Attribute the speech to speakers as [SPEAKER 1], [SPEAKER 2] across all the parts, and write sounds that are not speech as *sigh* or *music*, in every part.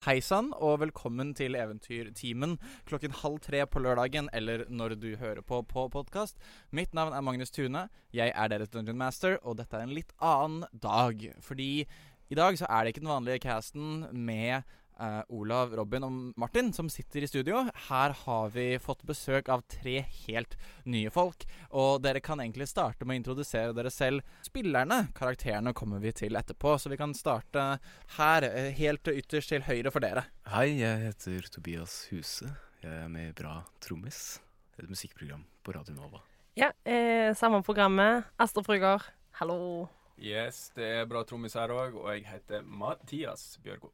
[SPEAKER 1] Hei sann, og velkommen til Eventyrtimen klokken halv tre på lørdagen, eller når du hører på på podkast. Mitt navn er Magnus Tune, jeg er deres Dungeon Master, og dette er en litt annen dag. Fordi i dag så er det ikke den vanlige casten med eh, Olav, Robin og Martin som sitter i studio. Her har vi fått besøk av tre helt nye folk, og dere kan egentlig starte med å introdusere dere selv. Spillerne, karakterene, kommer vi til etterpå, så vi kan starte her, eh, helt ytterst til høyre for dere.
[SPEAKER 2] Hei, jeg heter Tobias Huse. Jeg er med i Bra Trommis, et musikkprogram på Radio Nova.
[SPEAKER 3] Ja, eh, samme programmet. Astrid Fruger, hallo.
[SPEAKER 4] Yes, det er bra trommis her òg, og jeg heter Mathias Bjørgo.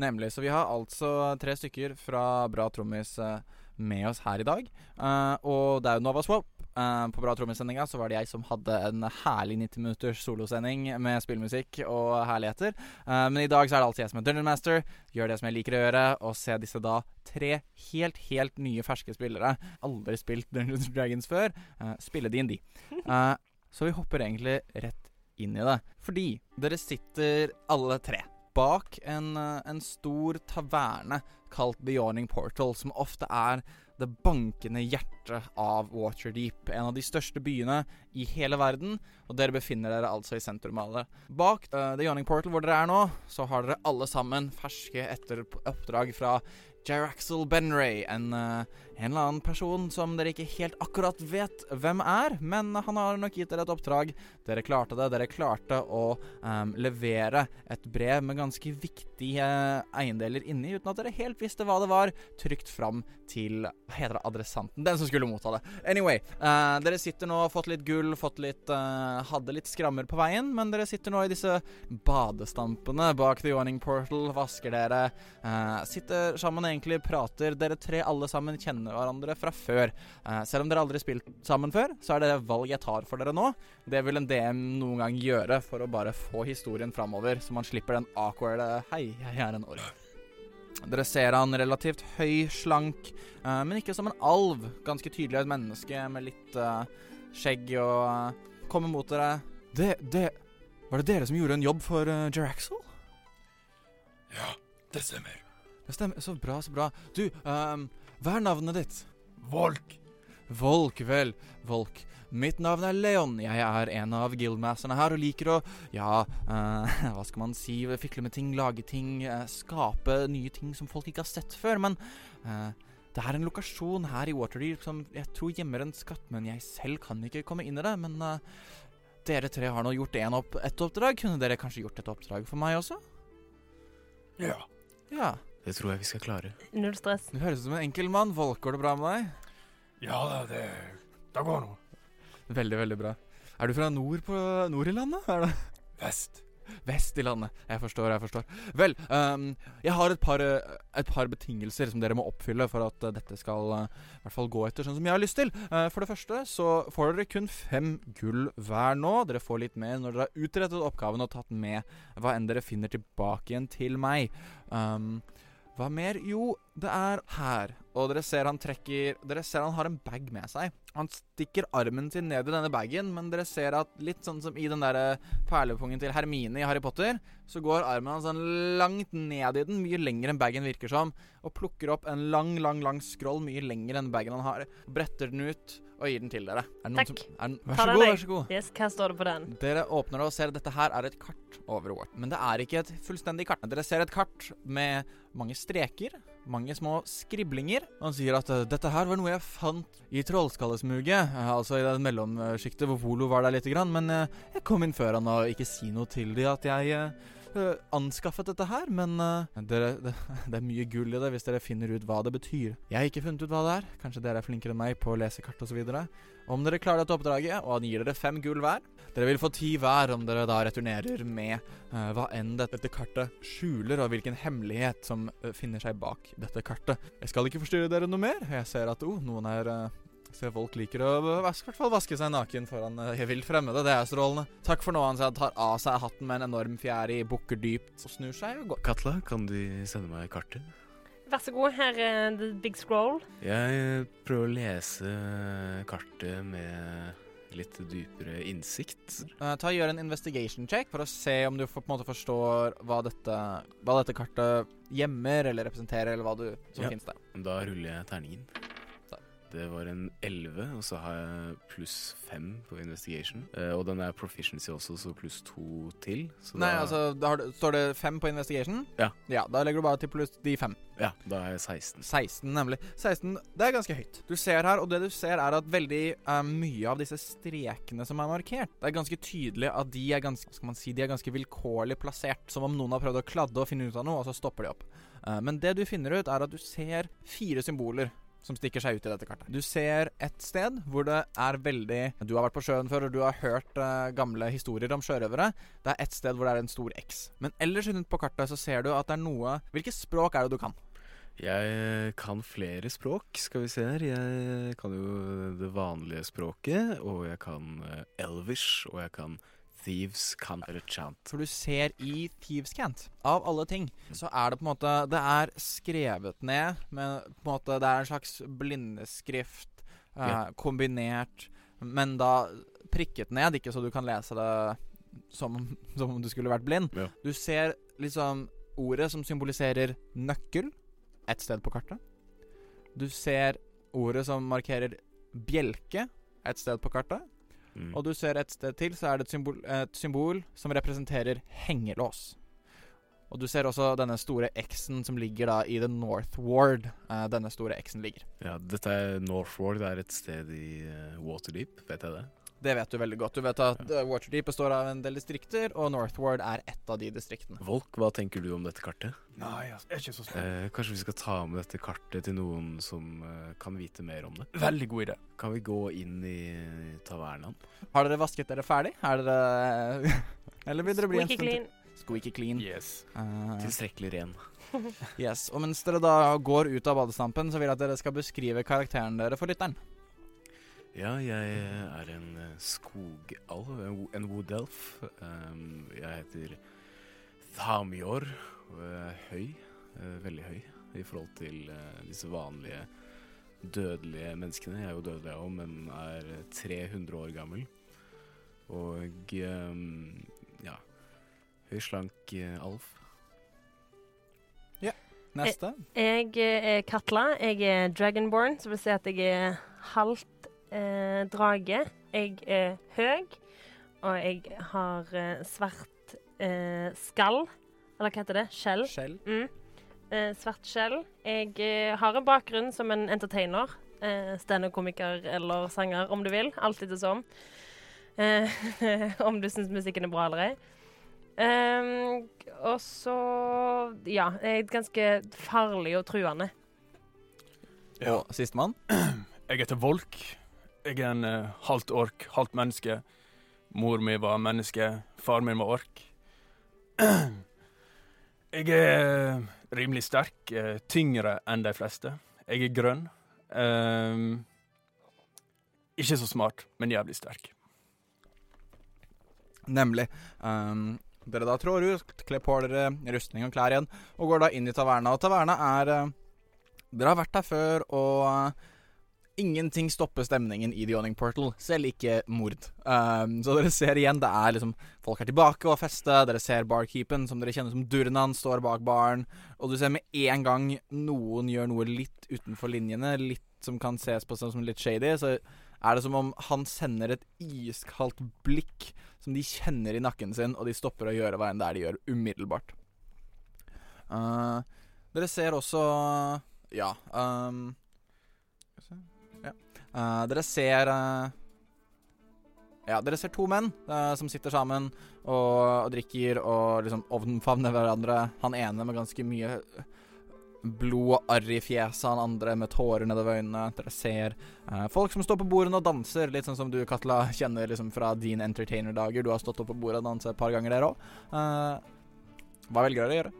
[SPEAKER 1] Nemlig. Så vi har altså tre stykker fra Bra Trommis eh, med oss her i dag. Eh, og det er jo Nova Swap. Eh, på Bra Trommis-sendinga så var det jeg som hadde en herlig 90 minutters solosending med spillmusikk og herligheter. Eh, men i dag så er det alltid jeg som er Dungeon Master. Gjør det som jeg liker å gjøre, og se disse da tre helt, helt nye ferske spillere. Aldri spilt Dungeons and Dragons før. eh, spille DND. Eh, så vi hopper egentlig rett inn i det. Fordi dere sitter alle tre bak en, eh, en stor taverne kalt The Yawning Portal, som ofte er det bankende hjertet av Waterdeep, en av de største byene i hele verden, og dere befinner dere altså i sentrum av det. Bak eh, The Yawning Portal, hvor dere er nå, så har dere alle sammen ferske etter oppdrag fra Jeraxel Benray, en, eh, en eller annen person som dere ikke helt akkurat vet hvem er, men han har nok gitt dere et oppdrag. Dere klarte det. Dere klarte å ehm, levere et brev med ganske viktige eh, eiendeler inni, uten at dere helt visste hva det var, trygt fram til Hva heter det? Adressanten? Den som skulle motta det. Anyway, eh, dere sitter nå og fått litt gull, fått litt eh, Hadde litt skrammer på veien, men dere sitter nå i disse badestampene bak The Yawning Portal, vasker dere, eh, sitter sammen egentlig, prater. Dere tre alle sammen kjenner hverandre fra før. Eh, selv om dere aldri har spilt sammen før, så er det det valg jeg tar for dere nå. Det vil en DM noen gang gjøre for å bare få historien framover, så man slipper den awkwarde 'hei, jeg er en ork'. Dere ser han relativt høy, slank, eh, men ikke som en alv. Ganske tydelig et menneske med litt eh, skjegg og eh, kommer mot dere. Det, det Var det dere som gjorde en jobb for uh, Jeraxel?
[SPEAKER 4] Ja, det stemmer.
[SPEAKER 1] Det stemmer. Så bra, så bra. Du, ehm, hva er navnet ditt?
[SPEAKER 4] Volk.
[SPEAKER 1] Volk, vel. Volk. Mitt navn er Leon. Jeg er en av guildmasterne her og liker å Ja, eh, *laughs* hva skal man si? Fikle med ting, lage ting, eh, skape nye ting som folk ikke har sett før. Men eh, det er en lokasjon her i Waterdeep som jeg tror gjemmer en skatt, men jeg selv kan ikke komme inn i det. Men eh, dere tre har nå gjort en opp, et oppdrag. Kunne dere kanskje gjort et oppdrag for meg også?
[SPEAKER 4] Ja.
[SPEAKER 1] Ja.
[SPEAKER 2] Det tror jeg vi skal klare.
[SPEAKER 3] Null stress.
[SPEAKER 1] Du høres ut som en enkel mann. Volk, går det bra med deg?
[SPEAKER 4] Ja da, det Det går nå.
[SPEAKER 1] Veldig, veldig bra. Er du fra nord på nord i landet? Er det?
[SPEAKER 4] Vest.
[SPEAKER 1] Vest i landet. Jeg forstår, jeg forstår. Vel, ehm, jeg har et par, eh, et par betingelser som dere må oppfylle for at eh, dette skal eh, i hvert fall gå etter sånn som jeg har lyst til. Eh, for det første så får dere kun fem gull hver nå. Dere får litt mer når dere har utrettet oppgaven og tatt med hva enn dere finner tilbake igjen til meg. Ehm, hva mer? Jo, det er her. Og dere ser han trekker Dere ser han har en bag med seg. Han stikker armen sin ned i denne bagen, men dere ser at litt sånn som i den derre perlepungen til Hermine i Harry Potter, så går armen hans sånn langt ned i den, mye lenger enn bagen virker som, og plukker opp en lang, lang, lang scroll mye lenger enn bagen han har, bretter den ut og gir den til dere. Er det noen
[SPEAKER 3] Takk.
[SPEAKER 1] Som, er, vær
[SPEAKER 3] Ta
[SPEAKER 1] så
[SPEAKER 3] den,
[SPEAKER 1] god,
[SPEAKER 3] jeg.
[SPEAKER 1] vær så god.
[SPEAKER 3] Yes, hva står det på den?
[SPEAKER 1] Dere åpner det og ser at dette her er et kart over Wharton. Men det er ikke et fullstendig kart. Dere ser et kart med mange streker, mange små skriblinger. Han sier at eh, dette her var noe jeg fant i Trollskallesmuget, eh, altså i det mellomsjiktet hvor Volo var der lite grann, men eh, jeg kom inn før han og ikke si noe til de at jeg eh, eh, anskaffet dette her, men eh, dere, *laughs* det, det er mye gull i det hvis dere finner ut hva det betyr. Jeg har ikke funnet ut hva det er. Kanskje dere er flinkere enn meg på å lese kart osv. Om dere klarer dette oppdraget, og han gir dere fem gull hver, dere vil få ti hver om dere da returnerer med eh, hva enn dette, dette kartet skjuler, og hvilken hemmelighet som eh, finner seg bak dette kartet. Jeg skal ikke forstyrre dere noe mer. Jeg ser at oh, noen her eh, ser folk liker å eh, vaske, i hvert fall vaske seg naken foran eh, Jeg vil fremmede. Det er strålende. Takk for nå. Han sier han tar av seg hatten med en enorm fjær i, bukker dypt og snur seg og går.
[SPEAKER 2] Katla, kan du sende meg kartet?
[SPEAKER 3] Vær så god, her er The Big Scroll.
[SPEAKER 2] Jeg prøver å lese kartet med litt dypere innsikt.
[SPEAKER 1] Eh, ta og Gjør en investigation check for å se om du for, på en måte forstår hva dette, hva dette kartet gjemmer eller representerer, eller hva du, som
[SPEAKER 2] Ja.
[SPEAKER 1] finnes der.
[SPEAKER 2] Da ruller jeg terningen.
[SPEAKER 1] Da.
[SPEAKER 2] Det var en 11, og så har jeg pluss 5 på investigation. Eh, og den er proficiency også, så pluss 2 til. Så
[SPEAKER 1] Nei,
[SPEAKER 2] da,
[SPEAKER 1] altså, da har du, Står det fem på investigation?
[SPEAKER 2] Ja.
[SPEAKER 1] ja. Da legger du bare til pluss de fem.
[SPEAKER 2] Ja, da er jeg 16.
[SPEAKER 1] 16, nemlig. 16, Det er ganske høyt. Du ser her, og det du ser, er at veldig eh, mye av disse strekene som er markert, det er ganske tydelig at de er ganske hva skal man si, de er ganske vilkårlig plassert. Som om noen har prøvd å kladde og finne ut av noe, og så stopper de opp. Eh, men det du finner ut, er at du ser fire symboler. Som stikker seg ut i dette kartet. Du ser et sted hvor det er veldig Du har vært på sjøen før, og du har hørt eh, gamle historier om sjørøvere. Det er et sted hvor det er en stor X. Men ellers rundt på kartet så ser du at det er noe Hvilke språk er det du kan?
[SPEAKER 2] Jeg eh, kan flere språk, skal vi se her. Jeg kan jo det vanlige språket, og jeg kan eh, elvish, og jeg kan thieves cant eller chant.
[SPEAKER 1] For du ser i Thieves Cant, av alle ting, så er det på en måte Det er skrevet ned med på en måte, Det er en slags blindeskrift eh,
[SPEAKER 2] Ja.
[SPEAKER 1] kombinert, men da prikket ned, ikke så du kan lese det som, som om du skulle vært blind.
[SPEAKER 2] Ja.
[SPEAKER 1] Du ser liksom ordet som symboliserer nøkkel et sted på kartet. Du ser ordet som markerer bjelke et sted på kartet.
[SPEAKER 2] Mm.
[SPEAKER 1] Og du ser et sted til, så er det et symbol, et symbol som representerer hengelås. Og du ser også denne store X-en som ligger da i The North Ward. eh, denne store X-en ligger.
[SPEAKER 2] Ja, dette er Northward, det er et sted i eh, Waterdeep, vet jeg det?
[SPEAKER 1] Det vet du veldig godt. Du vet at eh, Waterdeep består av en del distrikter, og North Ward er ett av de distriktene.
[SPEAKER 2] Volk, hva tenker du om dette kartet?
[SPEAKER 4] Nei, altså, jeg er ikke så spent.
[SPEAKER 2] Eh, kanskje vi skal ta med dette kartet til noen som eh, kan vite mer om det?
[SPEAKER 4] Eh, Veldig god idé.
[SPEAKER 2] Kan vi gå inn i eh, tavernaen?
[SPEAKER 1] Har dere vasket dere ferdig? Er dere eh, *laughs* Eller vil dere bli
[SPEAKER 3] Squeaky clean.
[SPEAKER 1] til? Squeaky clean.
[SPEAKER 4] Yes.
[SPEAKER 1] Eh,
[SPEAKER 2] Tilstrekkelig ren.
[SPEAKER 1] yes. Og mens dere da går ut av badestampen, så vil jeg at dere skal beskrive karakteren dere for lytteren.
[SPEAKER 2] Ja, jeg er en eh, skogalv, en wo- en woodelf. Um, jeg heter Thamior og jeg er høy, eh, veldig høy, i forhold til eh, disse vanlige dødelige menneskene. Jeg er jo dødelig òg, men er 300 år gammel. Og um, ja Høy, slank eh, alv.
[SPEAKER 1] Neste.
[SPEAKER 3] Jeg eh, er Katla. Jeg er dragonborn, som vil si at jeg er halvt eh, drage. Jeg er høy, og jeg har eh, svart eh, skall. Eller hva heter det? Skjell.
[SPEAKER 1] Skjell.
[SPEAKER 3] Mm. Eh, svart skjell. Jeg eh, har en bakgrunn som en entertainer. Eh, Standup-komiker eller sanger, om du vil. Alt etter som. Eh, *laughs* om du syns musikken er bra eller ei. Ehm, og så Ja, jeg er ganske farlig og truende.
[SPEAKER 4] Ja.
[SPEAKER 1] Og sistemann.
[SPEAKER 4] Jeg heter Volk. Jeg er en eh, halvt ork, halvt menneske. Mor mi var menneske, far min var ork. *clears throat* Jeg er rimelig sterk, eh, tyngre enn de fleste. Jeg er grønn. Ehm, ikke så smart, men jævlig sterk.
[SPEAKER 1] Nemlig. Ehm, dere da trår ut, kler på dere rustning og klær igjen, og går da inn i taverna. Og taverna er eh, Dere har vært her før, og eh, ingenting stopper stemningen i The Yawning Portal, selv ikke mord. Ehm, så dere ser igjen, det er liksom Folk er tilbake og har festet, dere ser barkeeperen, som dere kjenner som Durnan, står bak baren, og du ser med en gang noen gjør noe litt utenfor linjene, litt som kan ses på som som litt shady, så er det som om han sender et iskaldt blikk som de kjenner i nakken sin, og de stopper å gjøre hva enn det er de gjør, umiddelbart. Eh, dere ser også Ja. ehm, skal vi se, ja. Eh, dere ser eh, Ja, dere ser to menn eh, som sitter sammen og, og drikker og liksom omfavner hverandre. Han ene med ganske mye blod og arr i fjeset, han andre med tårer nedover øynene. Dere ser Eh, Folk som står på bordene og danser, litt sånn som du, Katla, *laughs* kjenner liksom fra din entertainer-dager. Du har stått opp på bordet og danset et par ganger, dere òg. hva velger dere å gjøre?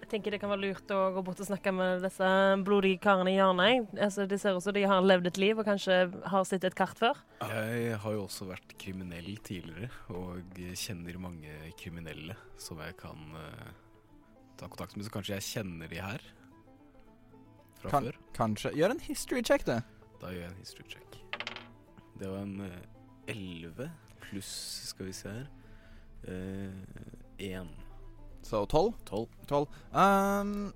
[SPEAKER 3] Jeg tenker det kan være lurt å gå bort og snakke med disse blodige karene i hjørnet. jeg. Altså, det ser ut som de har levd et liv og kanskje har sett et kart før.
[SPEAKER 2] Jeg har jo også vært kriminell tidligere, og kjenner mange kriminelle som jeg kan eh, ta kontakt med. Så kanskje jeg kjenner de her fra
[SPEAKER 1] Kan-
[SPEAKER 2] før.
[SPEAKER 1] Kanskje Gjør en history check, du.
[SPEAKER 2] Da gjør jeg en history check. Det var en eh, 11 pluss, skal vi se her, eh, 1.
[SPEAKER 1] Så tolv?
[SPEAKER 2] 12.
[SPEAKER 1] Tolv. Ehm,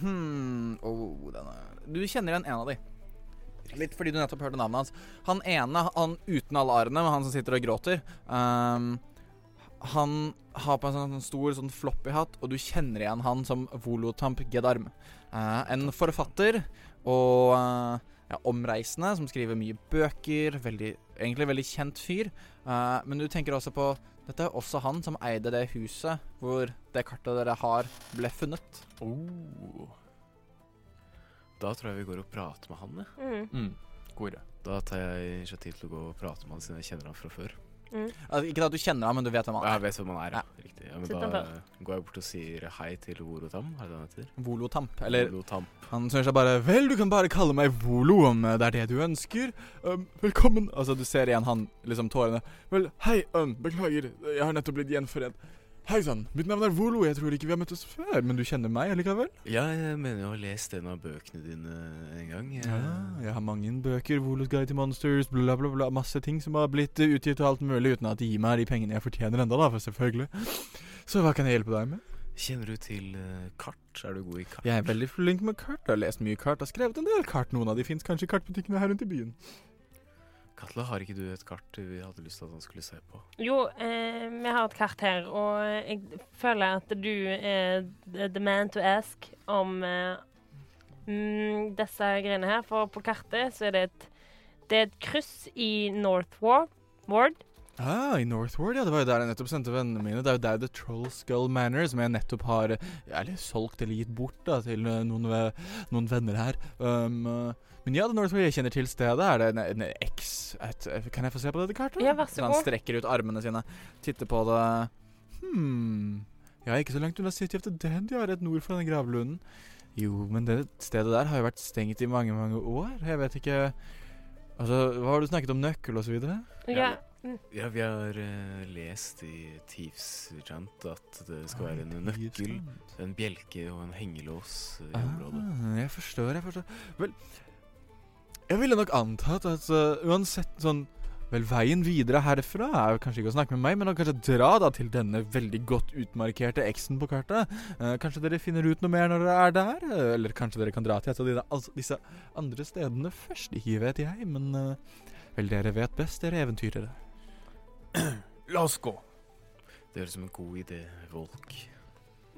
[SPEAKER 1] hmm, oh, den er Du kjenner igjen en av de. Litt fordi du nettopp hørte navnet hans. Han ene, han uten alle arrene, men han som sitter og gråter ehm, Han har på en sånn stor sånn floppy hatt, og du kjenner igjen han som Volotamp Gedarm. Eh, en forfatter og eh, ja, omreisende som skriver mye bøker. Veldig, egentlig veldig kjent fyr. Eh, men du tenker også på dette er også han som eide det huset hvor det kartet dere har, ble funnet.
[SPEAKER 2] Oh. Da tror jeg vi går og prater med han. jeg.
[SPEAKER 3] Mm.
[SPEAKER 4] Mm. God idé.
[SPEAKER 2] Da tar jeg initiativ til å gå og prate med han siden jeg kjenner han fra før.
[SPEAKER 3] Mm.
[SPEAKER 1] Altså, ikke at du kjenner ham, men du vet hvem
[SPEAKER 2] Ja,
[SPEAKER 1] han
[SPEAKER 2] jeg
[SPEAKER 1] er.
[SPEAKER 2] vet hvem han er, ja. Riktig. Ja, men
[SPEAKER 3] Sitt
[SPEAKER 2] da
[SPEAKER 3] han
[SPEAKER 2] eh, går jeg bort og sier hei til Vorotam, er det han heter?
[SPEAKER 1] Volotamp. Eller
[SPEAKER 2] Vorotam.
[SPEAKER 1] han snur seg bare 'Vel, du kan bare kalle meg Volo om eh, det er det du ønsker. Um, velkommen.' Altså, du ser igjen han, liksom tårene. 'Vel, hei, um, beklager, jeg har nettopp blitt gjenforent.' 'Hei sann, mitt navn er Volo, jeg tror ikke vi har møttes før, men du kjenner meg allikevel?'
[SPEAKER 2] Ja, jeg mener jeg har lest en av bøkene dine en gang. Jeg-
[SPEAKER 1] Ja, jeg har mange bøker, Volos Guide to Monsters, bla, bla, bla. Masse ting som har blitt eh, utgitt og alt mulig, uten at de gir meg de pengene jeg fortjener enda, da, for selvfølgelig. Så hva kan jeg hjelpe deg med?
[SPEAKER 2] Kjenner du til eh, kart? Er du god i kart?
[SPEAKER 1] Jeg er veldig flink med kart, jeg har lest mye kart, jeg har skrevet en del kart. Noen av de fins kanskje i kartbutikkene her rundt i byen.
[SPEAKER 2] Katla, har ikke du et kart vi hadde lyst til at han skulle se på?
[SPEAKER 3] Jo, eh, vi har et kart her, og jeg føler at du er the man to ask om eh, mm, disse greiene her. For på kartet så er det et, det er et kryss i North Ward. Ward.
[SPEAKER 1] Ah, I Northward, ja. Det var jo der jeg nettopp sendte vennene mine. Det er jo der The Troll Skull Manor, som jeg nettopp har eh, eller solgt eller gitt bort da, til eh, noen, ve- noen venner her. Um, eh, men ja, The Northward, jeg kjenner til stedet. Er det en, en X et, eh, Kan jeg få se på dette kartet? Sånn
[SPEAKER 3] Ja, vær så
[SPEAKER 1] Han
[SPEAKER 3] god.
[SPEAKER 1] strekker ut armene sine, titter på det. Hmm. Ja, ikke så langt unna City of the Dead, ja. Rett nord for denne gravlunden. Jo, men det stedet der har jo vært stengt i mange, mange år. Jeg vet ikke Altså, hva har du snakket om nøkkel og så videre?
[SPEAKER 3] Ja.
[SPEAKER 2] Ja, vi har eh, lest i Thieves Chant at det skal være en nøkkel, en bjelke og en hengelås eh, i området.
[SPEAKER 1] Ah, jeg forstår, jeg forstår. Vel Jeg ville nok antatt at eh, uansett sånn Vel, veien videre herfra er jo kanskje ikke å snakke med meg, men å kanskje dra da til denne veldig godt utmarkerte X-en på kartet. Eh, kanskje dere finner ut noe mer når dere er der? eh, eller kanskje dere kan dra til et av de, altså, disse andre stedene først? Ikke vet jeg, men eh, Vel, dere vet best, dere eventyrere.
[SPEAKER 4] La oss gå.
[SPEAKER 2] Det høres ut som en god idé, Volk.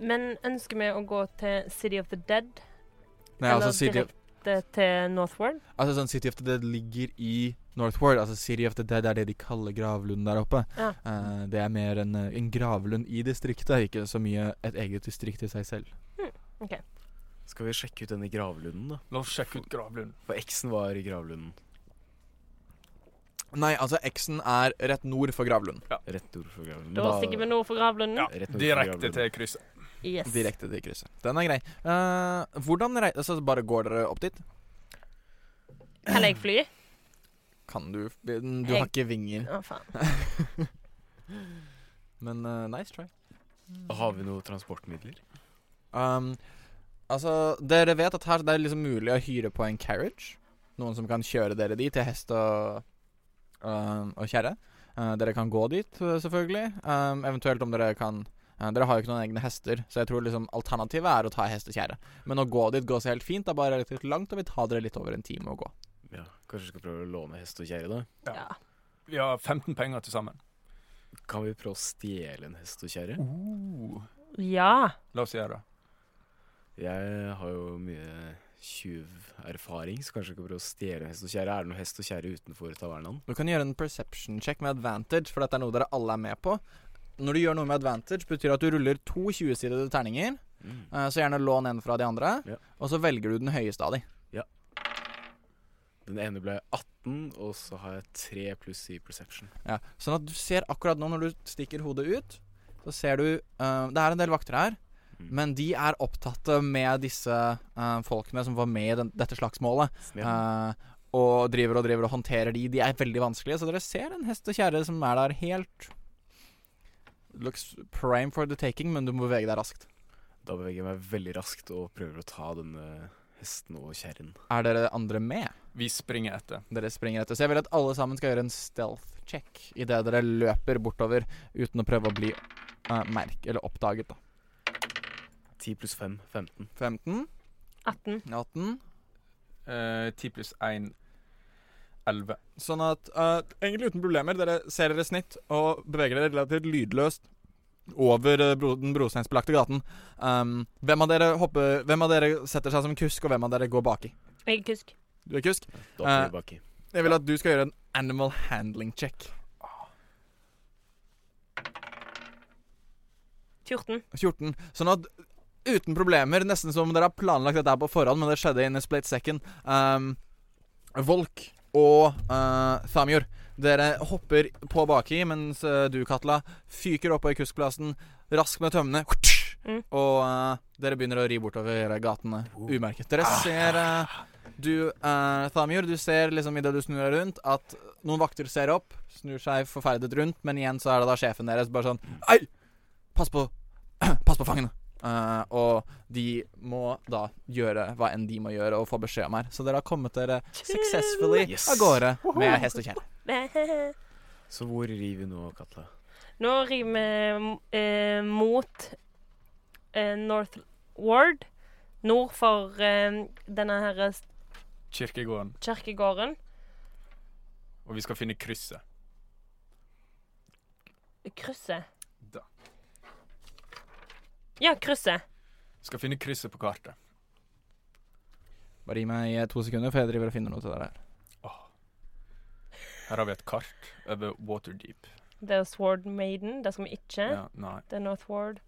[SPEAKER 3] Men ønsker vi å gå til City of the Dead,
[SPEAKER 1] Nei,
[SPEAKER 3] eller
[SPEAKER 1] altså City, of-
[SPEAKER 3] direkte til North Ward?
[SPEAKER 1] altså sånn City of the Dead ligger i Northward. Altså City of the Dead er det de kaller gravlunden der oppe.
[SPEAKER 3] Ja.
[SPEAKER 1] Eh, det er mer en, eh, en gravlund i distriktet, ikke så mye et eget distrikt i seg selv.
[SPEAKER 2] Skal vi sjekke ut den i gravlunden, da?
[SPEAKER 4] La oss sjekke ut gravlunden.
[SPEAKER 2] For X-en var i gravlunden.
[SPEAKER 1] Nei, altså X-en er rett nord for gravlunden.
[SPEAKER 2] Rett ord for gravlunden.
[SPEAKER 3] Da stikker vi nord for gravlunden.
[SPEAKER 4] Ja,
[SPEAKER 2] Rett nord for
[SPEAKER 4] direkte
[SPEAKER 2] gravlunden.
[SPEAKER 4] til krysset.
[SPEAKER 3] Yes.
[SPEAKER 1] Direkte til krysset. Den er grei. Eh, hvordan rei... Altså, bare går dere opp dit?
[SPEAKER 3] Kan jeg fly?
[SPEAKER 1] Kan du Du har ikke vinger.
[SPEAKER 3] Å, faen.
[SPEAKER 1] *laughs* Men eh, nice try.
[SPEAKER 2] Har vi noen transportmidler?
[SPEAKER 1] Um, altså, dere vet at her det er liksom mulig å hyre på en carriage. Noen som kan kjøre dere dit til hest og, um, og kjerre. Eh, dere kan gå dit, eh, selvfølgelig. Um, eventuelt om dere kan eh, Dere har jo ikke noen egne hester, så jeg tror liksom alternativet er å ta hest og kjerre. Men å gå dit går så helt fint. Det er bare relativt langt, og vi tar dere litt over en time å gå.
[SPEAKER 2] Ja, Kanskje vi skal prøve å låne hest og kjerre, da?
[SPEAKER 4] Ja.
[SPEAKER 3] Ja.
[SPEAKER 4] Vi har 15 penger til sammen.
[SPEAKER 2] Kan vi prøve å stjele en hest og kjerre?
[SPEAKER 3] ja.
[SPEAKER 4] La oss gjøre det.
[SPEAKER 2] Jeg har jo mye tjuverfaring, så kanskje vi kan prøve å stjele en hest og kjerre. Er det noe hest og kjerre utenfor tavernaen?
[SPEAKER 1] Du kan gjøre en perception check med advantage, for dette er noe dere alle er med på. Når du gjør noe med advantage, betyr det at du ruller to 20-sidede terninger.
[SPEAKER 4] Mm.
[SPEAKER 1] Eh, Så gjerne lån en fra de andre,
[SPEAKER 2] Ja.
[SPEAKER 1] og så velger du den høyeste av de.
[SPEAKER 2] Den ene ble 18, og så har jeg 3 pluss i perception.
[SPEAKER 1] Ja. Sånn at du ser akkurat nå når du stikker hodet ut, så ser du eh, Det er en del vakter her,
[SPEAKER 2] Mm.
[SPEAKER 1] men de er opptatte med disse eh, folkene som var med i den, dette slagsmålet.
[SPEAKER 2] Ja.
[SPEAKER 1] Eh, og driver og driver og håndterer de. De er veldig vanskelige, så dere ser en hest og kjerre som er der helt Looks
[SPEAKER 4] Eh.
[SPEAKER 1] prime for the taking, men du må bevege deg raskt.
[SPEAKER 2] Da beveger jeg meg veldig raskt og prøver å ta denne Hesten og kjerren.
[SPEAKER 1] Er dere andre med?
[SPEAKER 4] Vi springer etter.
[SPEAKER 1] Dere springer etter. Så jeg vil at alle sammen skal gjøre en stealth check idet dere løper bortover uten å prøve å bli eh, merk... Eller oppdaget, da.
[SPEAKER 2] 10 pluss 5, 15.
[SPEAKER 1] 15,
[SPEAKER 3] 18.
[SPEAKER 1] 18
[SPEAKER 4] Eh, 10 pluss 1 11.
[SPEAKER 1] Sånn at eh, Egentlig uten problemer. Dere ser dere snitt og beveger dere relativt lydløst over eh, bro, den brosteinsbelagte gaten. Um, hvem, av dere hopper, hvem av dere setter seg som kusk, og hvem av dere går baki?
[SPEAKER 3] Jeg er kusk.
[SPEAKER 1] Du er kusk.
[SPEAKER 2] Da får
[SPEAKER 1] Eh.
[SPEAKER 2] vi baki.
[SPEAKER 1] Jeg vil at du skal gjøre en animal handling check.
[SPEAKER 3] 14.
[SPEAKER 1] 14. Sånn at uten problemer, nesten som om dere har planlagt dette her på forhånd, men det skjedde in a split second um, Volk og uh, Thamjord, dere hopper på baki, mens eh, du, Katla, fyker opp på kuskplassen, rask med tømmene,
[SPEAKER 3] Mm.
[SPEAKER 1] og eh, dere begynner å ri bortover gatene umerket. Dere ser eh, du, uh, Thamjord, du ser liksom idet du snur deg rundt, at noen vakter ser opp, snur seg forferdet rundt, men igjen så er det da sjefen deres bare sånn Ei! Pass på *clears throat* Pass på fangene! Eh, og de må da gjøre hva enn de må gjøre, og få beskjed om her. Så dere har kommet dere successfully
[SPEAKER 3] *laughs*
[SPEAKER 2] Yes.
[SPEAKER 1] av gårde med hest og kjerre.
[SPEAKER 2] Så hvor rir vi nå, Katla?
[SPEAKER 3] Nå rimer vi eh, mot eh, Northward. Nord for eh, denne her
[SPEAKER 4] Kirkegården.
[SPEAKER 3] kirkegården.
[SPEAKER 4] Og vi skal finne krysset.
[SPEAKER 3] Krysset.
[SPEAKER 4] Da.
[SPEAKER 3] Ja, krysset.
[SPEAKER 4] Vi skal finne krysset på kartet.
[SPEAKER 1] Bare gi meg eh, to sekunder, for jeg driver og finner noe til dere her.
[SPEAKER 4] Her har vi et kart over Waterdeep.
[SPEAKER 3] Det er Sword Maiden. Det skal vi ikke.
[SPEAKER 4] Ja, nei.
[SPEAKER 3] Det er Northward.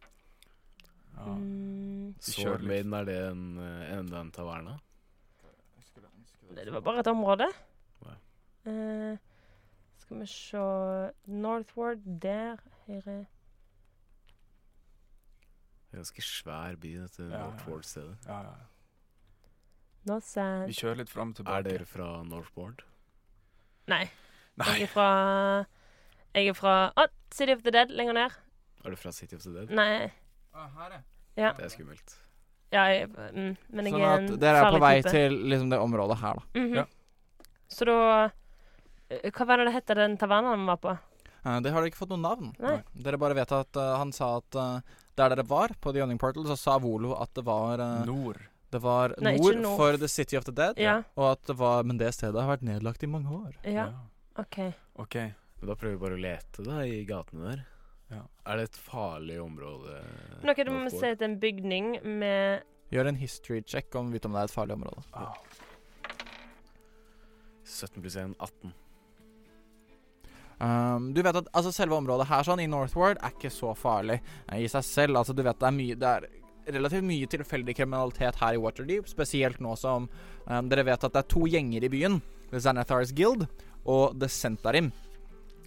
[SPEAKER 4] Ja.
[SPEAKER 3] Mm.
[SPEAKER 4] Vi kjører litt.
[SPEAKER 2] Swordmaiden, er det en, eh, enda en taverna?
[SPEAKER 3] Det
[SPEAKER 4] sånn.
[SPEAKER 3] var bare et område.
[SPEAKER 2] Ja.
[SPEAKER 3] Eh, skal vi se Northward der. Høyre.
[SPEAKER 2] Det er en Ganske svær by, dette
[SPEAKER 4] Ja, ja.
[SPEAKER 2] Northward-stedet.
[SPEAKER 4] Ja, ja.
[SPEAKER 3] Northsand.
[SPEAKER 4] Vi kjører litt fram og tilbake.
[SPEAKER 2] Er dere fra Northward?
[SPEAKER 3] Nei.
[SPEAKER 4] Nei.
[SPEAKER 3] Jeg er fra Jeg er fra Å, City of the Dead lenger ned.
[SPEAKER 2] Er du fra City of the Dead?
[SPEAKER 3] Nei.
[SPEAKER 4] Ah,
[SPEAKER 3] Ja.
[SPEAKER 2] Det er skummelt.
[SPEAKER 3] ja jeg, mm, men jeg
[SPEAKER 1] Sånn
[SPEAKER 3] er
[SPEAKER 1] at
[SPEAKER 3] en
[SPEAKER 1] dere er på
[SPEAKER 3] farlig
[SPEAKER 1] vei
[SPEAKER 3] type.
[SPEAKER 1] til liksom det området her, da.
[SPEAKER 3] Mhm.
[SPEAKER 4] Ja.
[SPEAKER 3] Så da eh, Hva var det det het den tavernaen vi var på?
[SPEAKER 1] Eh, det har dere ikke fått noe navn.
[SPEAKER 3] Nei.
[SPEAKER 1] Dere bare vet at eh, han sa at eh, der dere var, på The Yawning Portal, så sa Volo at det var,
[SPEAKER 2] Ah.
[SPEAKER 1] eh,
[SPEAKER 4] Nord.
[SPEAKER 1] det var
[SPEAKER 3] Nei, ikke
[SPEAKER 1] nord
[SPEAKER 3] nord.
[SPEAKER 1] for The City of the Dead,
[SPEAKER 3] Ja.
[SPEAKER 1] og at det var Men det stedet har vært nedlagt i mange år.
[SPEAKER 3] Ja, OK.
[SPEAKER 4] OK.
[SPEAKER 2] Men da prøver vi bare å lete da, i gatene der.
[SPEAKER 4] Ja.
[SPEAKER 2] Er det et farlig område?
[SPEAKER 3] Noe du må
[SPEAKER 2] Northward?
[SPEAKER 3] se etter en bygning med
[SPEAKER 1] Gjør en history check om vet om det er et farlig område.
[SPEAKER 4] Ah.
[SPEAKER 2] 17 pluss 1, 18.
[SPEAKER 1] Um, du vet at altså, selve området her sånn, i Northward er ikke så farlig eh, i seg selv. Altså, du vet det er mye Det er relativt mye tilfeldig kriminalitet her i Waterdeep, spesielt nå som um, dere vet at det er to gjenger i byen. The Xanathars Guild og The Centarim.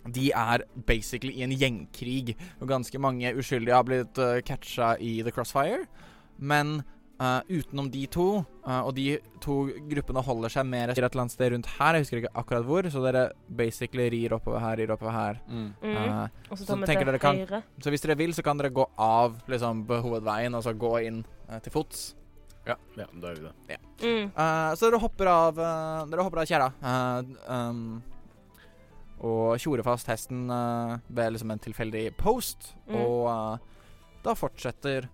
[SPEAKER 1] De er basically i en gjengkrig, og ganske mange uskyldige har blitt uh, catcha i The Crossfire. Men eh, utenom de to, eh, og de to gruppene holder seg mer et eller annet sted rundt her, jeg husker ikke akkurat hvor, så dere basically rir oppover her, rir oppover her.
[SPEAKER 4] Mm.
[SPEAKER 3] mm,
[SPEAKER 1] Eh,
[SPEAKER 3] Og
[SPEAKER 1] så
[SPEAKER 3] så tar vi
[SPEAKER 1] tenker
[SPEAKER 3] til
[SPEAKER 1] dere kan-
[SPEAKER 3] høyre.
[SPEAKER 1] så hvis dere vil, så kan dere gå av liksom, på hovedveien og så gå inn eh, til fots.
[SPEAKER 2] Ja, men da er vi det.
[SPEAKER 3] Mm.
[SPEAKER 1] Eh, så dere hopper av uh, Dere hopper av kjerra. eh, um, og tjorer fast hesten eh, ved liksom en tilfeldig post.
[SPEAKER 3] Mm.
[SPEAKER 1] Og eh, da fortsetter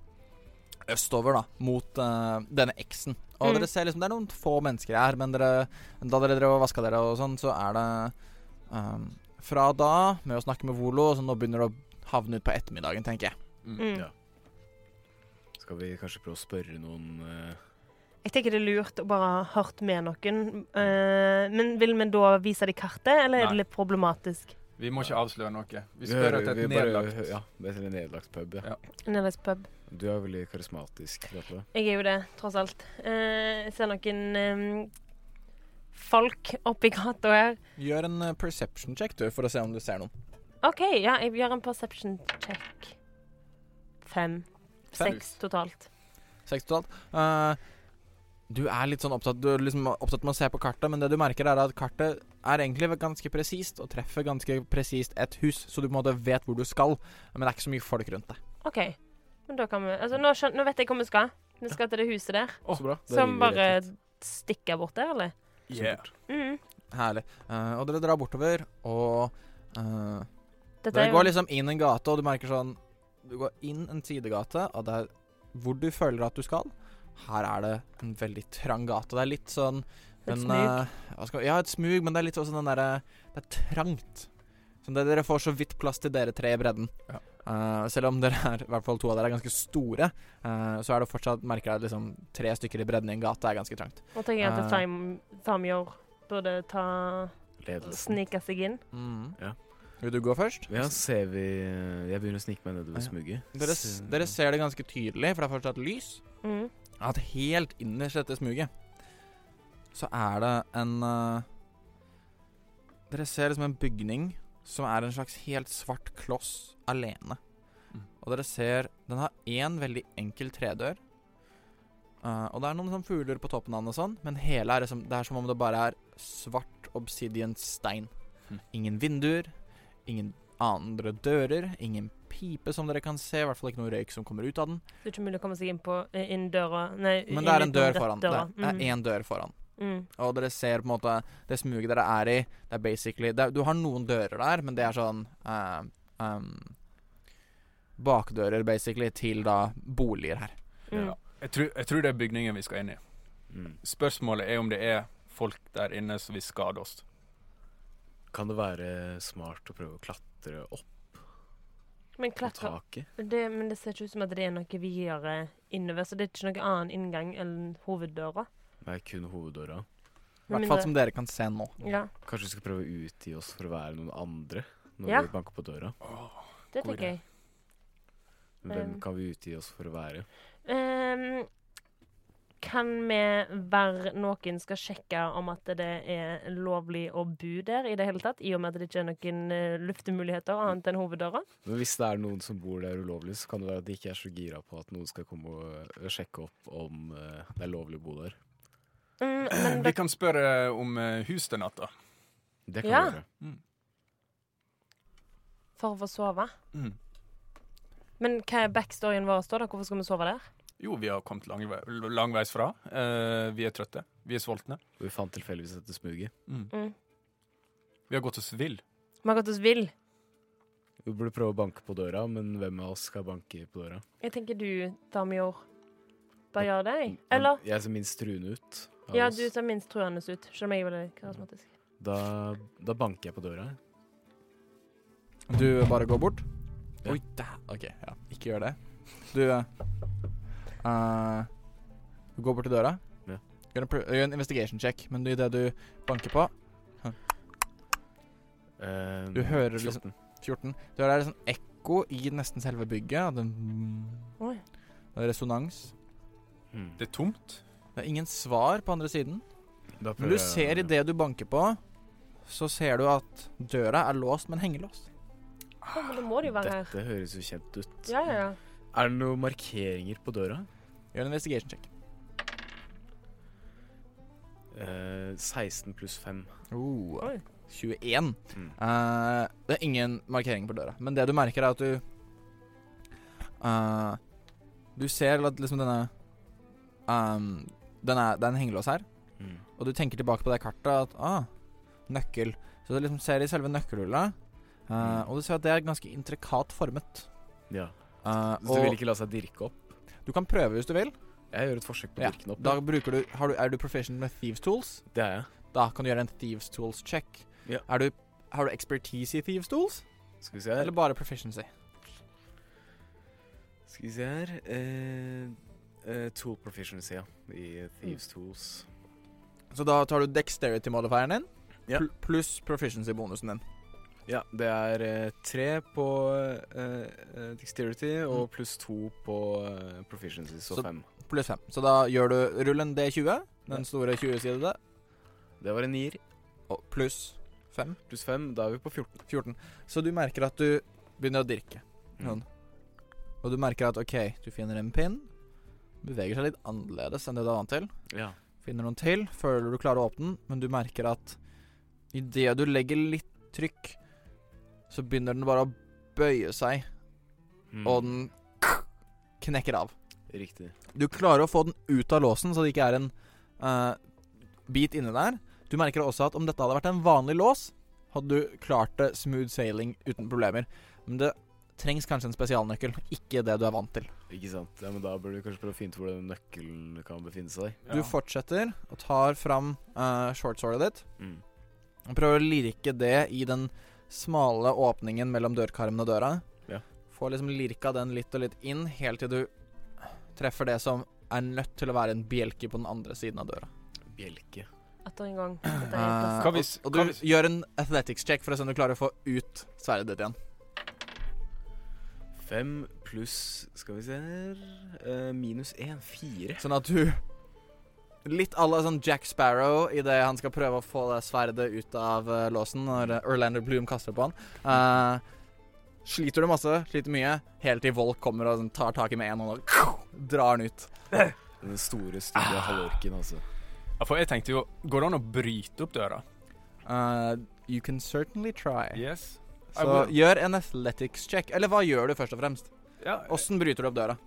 [SPEAKER 1] østover, da, mot eh, denne X-en. Og
[SPEAKER 3] Mm.
[SPEAKER 1] dere ser liksom, Det er noen få mennesker her, men dere, da dere drev og vaska dere og sånn, så er det um, Fra da, med å snakke med Volo, så nå begynner det å havne ut på ettermiddagen, tenker jeg.
[SPEAKER 4] Mm.
[SPEAKER 3] Mm.
[SPEAKER 2] Ja. Skal vi kanskje prøve å spørre noen eh,
[SPEAKER 3] Jeg tenker det er lurt å bare ha hørt med noen. eh, men vil vi da vise dem kartet, eller er det
[SPEAKER 4] Nei.
[SPEAKER 3] litt problematisk?
[SPEAKER 4] Vi må ikke avsløre noe. Vi spør
[SPEAKER 2] hører-
[SPEAKER 4] etter
[SPEAKER 2] vi
[SPEAKER 4] et
[SPEAKER 2] bare
[SPEAKER 4] nedlagt
[SPEAKER 2] hø- Ja, det er en nedlagt pub. Ja.
[SPEAKER 4] Ja.
[SPEAKER 3] Nederlands pub.
[SPEAKER 2] Du er veldig karismatisk, Katla.
[SPEAKER 3] Jeg er jo det, tross alt. Eh, jeg ser noen eh, folk oppi gata her.
[SPEAKER 1] Gjør en eh, perception check, du, for å se om du ser noen.
[SPEAKER 3] OK, ja, jeg gjør en perception check. Fem.
[SPEAKER 1] Fem.
[SPEAKER 3] Seks totalt.
[SPEAKER 1] Seks totalt. Eh, du er litt sånn opptatt Du er liksom opptatt med å se på kartet, men det du merker, er at kartet er egentlig ganske presist og treffer ganske presist et hus, så du på en måte vet hvor du skal, men det er ikke så mye folk rundt deg.
[SPEAKER 3] OK. Men da kan vi Altså, nå, skjøn, nå vet jeg hvor vi skal. Vi skal til det huset der.
[SPEAKER 2] Så bra. Da
[SPEAKER 3] Som
[SPEAKER 2] river vi
[SPEAKER 3] bare
[SPEAKER 2] rett ut.
[SPEAKER 3] stikker bort der, eller?
[SPEAKER 4] Yeah.
[SPEAKER 3] Mm.
[SPEAKER 1] Herlig. Eh, og dere drar bortover, og eh,
[SPEAKER 3] Dette
[SPEAKER 1] Dere
[SPEAKER 3] er jo
[SPEAKER 1] går liksom inn en gate, og du merker sånn Du går inn en sidegate, og det er hvor du føler at du skal. Her er det en veldig trang gate. Det er litt sånn
[SPEAKER 3] Et
[SPEAKER 1] men,
[SPEAKER 3] smug.
[SPEAKER 1] eh, hva skal, ja, et smug, men det er litt sånn den derre Det er trangt. Så det, dere får så vidt plass til dere tre i bredden.
[SPEAKER 2] Ja.
[SPEAKER 1] Eh, selv om dere er, i hvert fall to av dere er ganske store, eh, så er det fortsatt merker jeg at liksom, tre stykker i bredden i en gate er ganske trangt.
[SPEAKER 3] Nå tenker jeg at
[SPEAKER 1] eh,
[SPEAKER 3] Tham- Thamjor burde ta
[SPEAKER 2] Ledelsen.
[SPEAKER 3] snike seg inn.
[SPEAKER 2] Ja.
[SPEAKER 1] Vil du gå først?
[SPEAKER 2] Ja, ser vi eh, Jeg begynner å snike meg nedover
[SPEAKER 1] Ja.
[SPEAKER 2] smugget.
[SPEAKER 1] Dere, s- dere ser det ganske tydelig, for det er fortsatt lys.
[SPEAKER 3] Mm.
[SPEAKER 1] at helt innerst i dette smuget så er det en eh, Dere ser liksom en bygning som er en slags helt svart kloss alene.
[SPEAKER 4] Mm.
[SPEAKER 1] Og dere ser Den har én veldig enkel tredør. Eh, og det er noen sånn fugler på toppen av den, og sånn men hele er liksom, det er som om det bare er svart obsidian-stein.
[SPEAKER 4] Mm.
[SPEAKER 1] Ingen vinduer, ingen andre dører, ingen pipe som dere kan se, i hvert fall ikke noe røyk som kommer ut av den.
[SPEAKER 3] Så det er ikke mulig å komme seg inn på eh, inn døra Nei,
[SPEAKER 1] Men
[SPEAKER 3] inn
[SPEAKER 1] det er en
[SPEAKER 3] utenom
[SPEAKER 1] dør
[SPEAKER 3] dø-
[SPEAKER 1] foran. Det
[SPEAKER 3] Døra.
[SPEAKER 1] er- det er én dør foran.
[SPEAKER 3] Mm. Mm.
[SPEAKER 1] Og dere ser på en måte det smuget dere er i. Det er basically det er, Du har noen dører der, men det er sånn eh, ehm, Bakdører, basically, til da boliger her.
[SPEAKER 3] Mm.
[SPEAKER 4] Ja. Jeg, tror, jeg tror det er bygningen vi skal inn i.
[SPEAKER 2] Mm.
[SPEAKER 4] Spørsmålet er om det er folk der inne som vil skade oss.
[SPEAKER 2] Kan det være smart å prøve å klatre opp
[SPEAKER 3] Men
[SPEAKER 2] på
[SPEAKER 3] klatre
[SPEAKER 2] taket?
[SPEAKER 3] det, Men det ser ikke ut som at det er noe videre innover, så det er ikke noen annen inngang enn hoveddøra.
[SPEAKER 2] Nei, kun hoveddøra.
[SPEAKER 1] I hvert fall som dere kan se nå.
[SPEAKER 3] Ja,
[SPEAKER 2] Kanskje vi skal prøve å utgi oss for å være noen andre når
[SPEAKER 3] Ja.
[SPEAKER 2] vi banker på døra.
[SPEAKER 3] det
[SPEAKER 4] God idé.
[SPEAKER 3] tenker jeg.
[SPEAKER 2] Men hvem
[SPEAKER 3] Um.
[SPEAKER 2] kan vi utgi oss for å være?
[SPEAKER 3] Ehm, kan vi være noen skal sjekke om at det er lovlig å bo der i det hele tatt, i og med at det ikke er noen eh, luftemuligheter annet enn hoveddøra?
[SPEAKER 2] Men hvis det er noen som bor der ulovlig, så kan det være at de ikke er så gira på at noen skal komme og øh, sjekke opp om øh, det er lovlig å bo der.
[SPEAKER 4] *clears throat*
[SPEAKER 3] Mm, men
[SPEAKER 4] Vi
[SPEAKER 3] det,
[SPEAKER 4] kan spørre om eh, hus den natta.
[SPEAKER 2] Det kan
[SPEAKER 3] Ja.
[SPEAKER 2] vi gjøre.
[SPEAKER 3] for å få sove.
[SPEAKER 4] Mm.
[SPEAKER 3] Men hva er backstoryen vår? Står det? Hvorfor skal vi sove der?
[SPEAKER 4] Jo, vi har kommet lang, vei- langveis fra. Eh, vi er trøtte. Vi er sultne.
[SPEAKER 2] Vi fant tilfeldigvis dette smuget.
[SPEAKER 3] Mm.
[SPEAKER 4] Vi har gått oss vill.
[SPEAKER 3] Vi har gått oss vill.
[SPEAKER 2] Vi burde prøve å banke på døra, men hvem av oss skal banke på døra?
[SPEAKER 3] Jeg tenker du, Damjor, bare gjør det. jeg.
[SPEAKER 2] Men
[SPEAKER 3] Eller?
[SPEAKER 2] Jeg ser minst truende ut. av
[SPEAKER 3] Ja,
[SPEAKER 2] oss.
[SPEAKER 3] du ser minst truende ut, selv om jeg er veldig karismatisk.
[SPEAKER 2] Da, da banker jeg på døra. jeg.
[SPEAKER 1] Du bare går bort.
[SPEAKER 2] Ja.
[SPEAKER 1] Oi, da. OK, ja. Ikke gjør det. Du eh, eh, Du går bort til døra.
[SPEAKER 2] Ja.
[SPEAKER 1] Gjør en, pr- gjør en investigation check, men idet du banker på
[SPEAKER 2] Eh,
[SPEAKER 1] Du hører liksom-
[SPEAKER 2] 14.
[SPEAKER 1] 14 Du hører det er sånn ekko i nesten selve bygget. At det,
[SPEAKER 3] Oi.
[SPEAKER 1] det er resonans.
[SPEAKER 2] Mm.
[SPEAKER 4] Det er tomt.
[SPEAKER 1] Det er ingen svar på andre siden.
[SPEAKER 2] Da
[SPEAKER 1] Men du
[SPEAKER 2] prøver jeg-
[SPEAKER 1] ser idet du banker på, så ser du at døra er låst, men hengelåst.
[SPEAKER 3] Ja, men da må de jo
[SPEAKER 4] Ah,
[SPEAKER 3] være her.
[SPEAKER 2] Dette høres jo kjent ut.
[SPEAKER 3] Ja, ja, ja.
[SPEAKER 2] Er det noen markeringer på døra?
[SPEAKER 1] Gjør en investigation check.
[SPEAKER 2] Eh, 16 pluss 5.
[SPEAKER 1] Oh,
[SPEAKER 3] Oi.
[SPEAKER 1] 21.
[SPEAKER 2] Mm.
[SPEAKER 1] Eh, det er ingen markering på døra, men det du merker, er at du eh, Du ser at liksom denne ehm, den er, Det er en hengelås her,
[SPEAKER 2] Mm.
[SPEAKER 1] og du tenker tilbake på det kartet at ah, nøkkel. Så du liksom ser i selve nøkkelhullet, eh,
[SPEAKER 2] Mm.
[SPEAKER 1] og du ser at det er ganske intrikat formet.
[SPEAKER 2] Ja.
[SPEAKER 1] Eh,
[SPEAKER 2] Så du vil ikke la seg dirke opp?
[SPEAKER 1] Du kan prøve hvis du vil.
[SPEAKER 2] Jeg gjør et forsøk på å
[SPEAKER 1] Ja,
[SPEAKER 2] dirke den opp.
[SPEAKER 1] Da bruker du, har du, er du proficient med thieves tools?
[SPEAKER 2] Det er jeg.
[SPEAKER 1] Da kan du gjøre en thieves tools check.
[SPEAKER 2] Ja.
[SPEAKER 1] Er du, har du expertise i thieves tools,
[SPEAKER 2] Skal vi se her.
[SPEAKER 1] eller bare proficiency?
[SPEAKER 2] Skal vi se her eh, eh, Tool proficiency, ja. I
[SPEAKER 1] Mm.
[SPEAKER 2] Thieves Tools.
[SPEAKER 1] Så da tar du dexterity-modifieren din
[SPEAKER 2] Ja.
[SPEAKER 1] pl- pluss proficiency-bonusen din.
[SPEAKER 2] Ja, det er eh, tre på eh, eh, dexterity og pluss to på eh, proficiency, så,
[SPEAKER 1] Mm. Så-
[SPEAKER 2] fem.
[SPEAKER 1] Pluss fem. Så da gjør du rull en D20,
[SPEAKER 2] Ja.
[SPEAKER 1] den store 20-sidede,
[SPEAKER 2] Det var en nier.
[SPEAKER 1] og pluss fem.
[SPEAKER 2] Pluss fem, da er vi på 14.
[SPEAKER 1] 14. Så du merker at du begynner å dirke. Sånn. Og du merker at OK, du finner en pinn. Beveger seg litt annerledes enn det du er vant til.
[SPEAKER 2] Ja.
[SPEAKER 1] Finner noen til, føler du klarer å åpne den, men du merker at idet du legger litt trykk, så begynner den bare å bøye seg,
[SPEAKER 2] Mm.
[SPEAKER 1] og den knekker av.
[SPEAKER 2] Riktig.
[SPEAKER 1] Du klarer å få den ut av låsen, så det ikke er en eh, bit inni der. Du merker også at om dette hadde vært en vanlig lås, hadde du klart det smooth sailing uten problemer. Men det trengs kanskje en spesialnøkkel, ikke det du er vant til.
[SPEAKER 2] Ikke sant. Ja, men da burde vi kanskje prøve å finne ut hvor den nøkkelen kan befinne seg.
[SPEAKER 1] Du fortsetter og tar fram uh, shortsålet ditt
[SPEAKER 2] Mm.
[SPEAKER 1] og prøver å lirke det i den smale åpningen mellom dørkarmen og døra.
[SPEAKER 2] Ja.
[SPEAKER 1] Får liksom lirka den litt og litt inn, helt til du treffer det som er nødt til å være en bjelke på den andre siden av døra.
[SPEAKER 2] Bjelke.
[SPEAKER 3] Atter en gang. Dette er helt
[SPEAKER 1] Eh,
[SPEAKER 4] Hva
[SPEAKER 1] og,
[SPEAKER 4] hvis-
[SPEAKER 1] og
[SPEAKER 4] hva
[SPEAKER 1] du
[SPEAKER 4] hvis-
[SPEAKER 1] gjør en athletics check for å se om du klarer å få ut sverdet ditt igjen.
[SPEAKER 2] Fem pluss Skal vi se her eh, Minus én. Fire.
[SPEAKER 1] Sånn at du Litt à la sånn Jack Sparrow idet han skal prøve å få det sverdet ut av eh, låsen når eh, Orlando Bloom kaster på han. Eh, sliter du masse, sliter mye, helt til Volk kommer og sånn, tar tak i med én hånd og *laughs* drar den ut.
[SPEAKER 2] Den store, stygge halvorken, altså.
[SPEAKER 4] Ja, for jeg tenkte jo Går det an å bryte opp døra?
[SPEAKER 1] Eh, you can certainly try.
[SPEAKER 4] Yes.
[SPEAKER 1] Så gjør en athletics check. Eller hva gjør du, først og fremst?
[SPEAKER 4] Ja,
[SPEAKER 1] Åssen bryter du opp døra?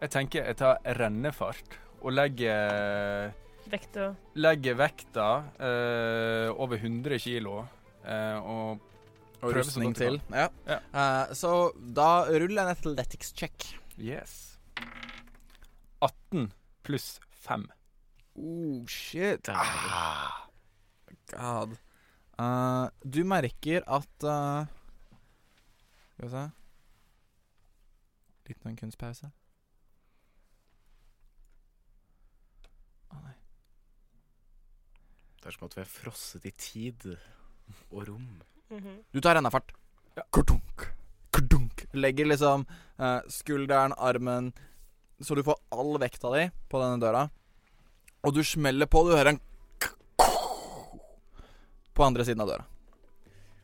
[SPEAKER 4] jeg tenker jeg tar rennefart og legger,
[SPEAKER 3] Vekta
[SPEAKER 4] legger vekta eh, over 100 kilo. eh, og
[SPEAKER 1] Og
[SPEAKER 4] Prøv så
[SPEAKER 1] rustning
[SPEAKER 4] godt du
[SPEAKER 1] til. Ja.
[SPEAKER 4] Ja.
[SPEAKER 1] Eh, så da rull en athletics check.
[SPEAKER 4] yes 18 pluss 5.
[SPEAKER 1] Oh, shit.
[SPEAKER 2] Der.
[SPEAKER 1] God. Eh, du merker at eh, Skal vi se Litt av en kunstpause. Å nei.
[SPEAKER 2] Det er som at vi er frosset i tid og rom.
[SPEAKER 3] Mhm.
[SPEAKER 1] Du tar rennafart.
[SPEAKER 4] Ja.
[SPEAKER 1] Kardunk, kardunk. Legger liksom eh, skulderen, armen Så du får all vekta di på denne døra. Og du smeller på, du hører en *clears throat* På andre siden av døra.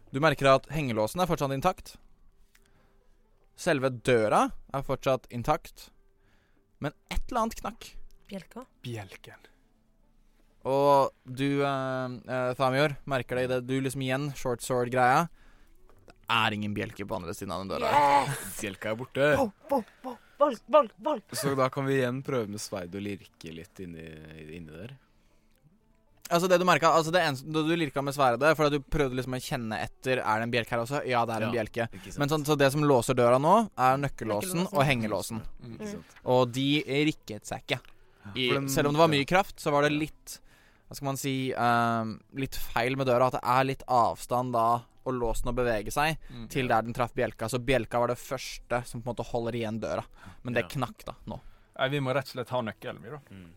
[SPEAKER 1] Du merker at hengelåsen er fortsatt intakt. Selve døra er fortsatt intakt. Men et eller annet knakk.
[SPEAKER 3] Bjelker.
[SPEAKER 4] Bjelken.
[SPEAKER 1] Og du, eh, eh, Thamior, merker det idet du liksom igjen short sword-greia. Det er ingen bjelke på andre siden av den døra.
[SPEAKER 3] Yes!
[SPEAKER 2] Bjelka er borte.
[SPEAKER 3] Wow, wow, wow. Volk, volk, volk.
[SPEAKER 2] Så da kan vi igjen prøve med sverd og lirke litt inni, inni der.
[SPEAKER 1] Altså Det du merket, altså det eneste da du lirka med sverdet, for at du prøvde liksom å kjenne etter Er det en bjelke her også. Ja, det er en
[SPEAKER 2] Ja.
[SPEAKER 1] bjelke.
[SPEAKER 2] Ikke sant?
[SPEAKER 1] Men sånn, så det som låser døra nå, er nøkkellåsen
[SPEAKER 3] Nøkkellåsen.
[SPEAKER 1] og hengelåsen.
[SPEAKER 4] Mm.
[SPEAKER 2] Ikke sant?
[SPEAKER 1] Og de rikket seg ikke. I,
[SPEAKER 2] For den-
[SPEAKER 1] selv om det var mye
[SPEAKER 2] ja.
[SPEAKER 1] kraft, så var det litt Hva skal man si ehm, Litt feil med døra. At det er litt avstand da, og låsen å bevege seg.
[SPEAKER 4] Mm.
[SPEAKER 1] til der den traff bjelka. Så bjelka var det første som på en måte holder igjen døra. Men det
[SPEAKER 2] Ja.
[SPEAKER 1] knakk da nå.
[SPEAKER 4] Nei, vi må rett og slett ha nøkkelen, vi, da.
[SPEAKER 2] Mm.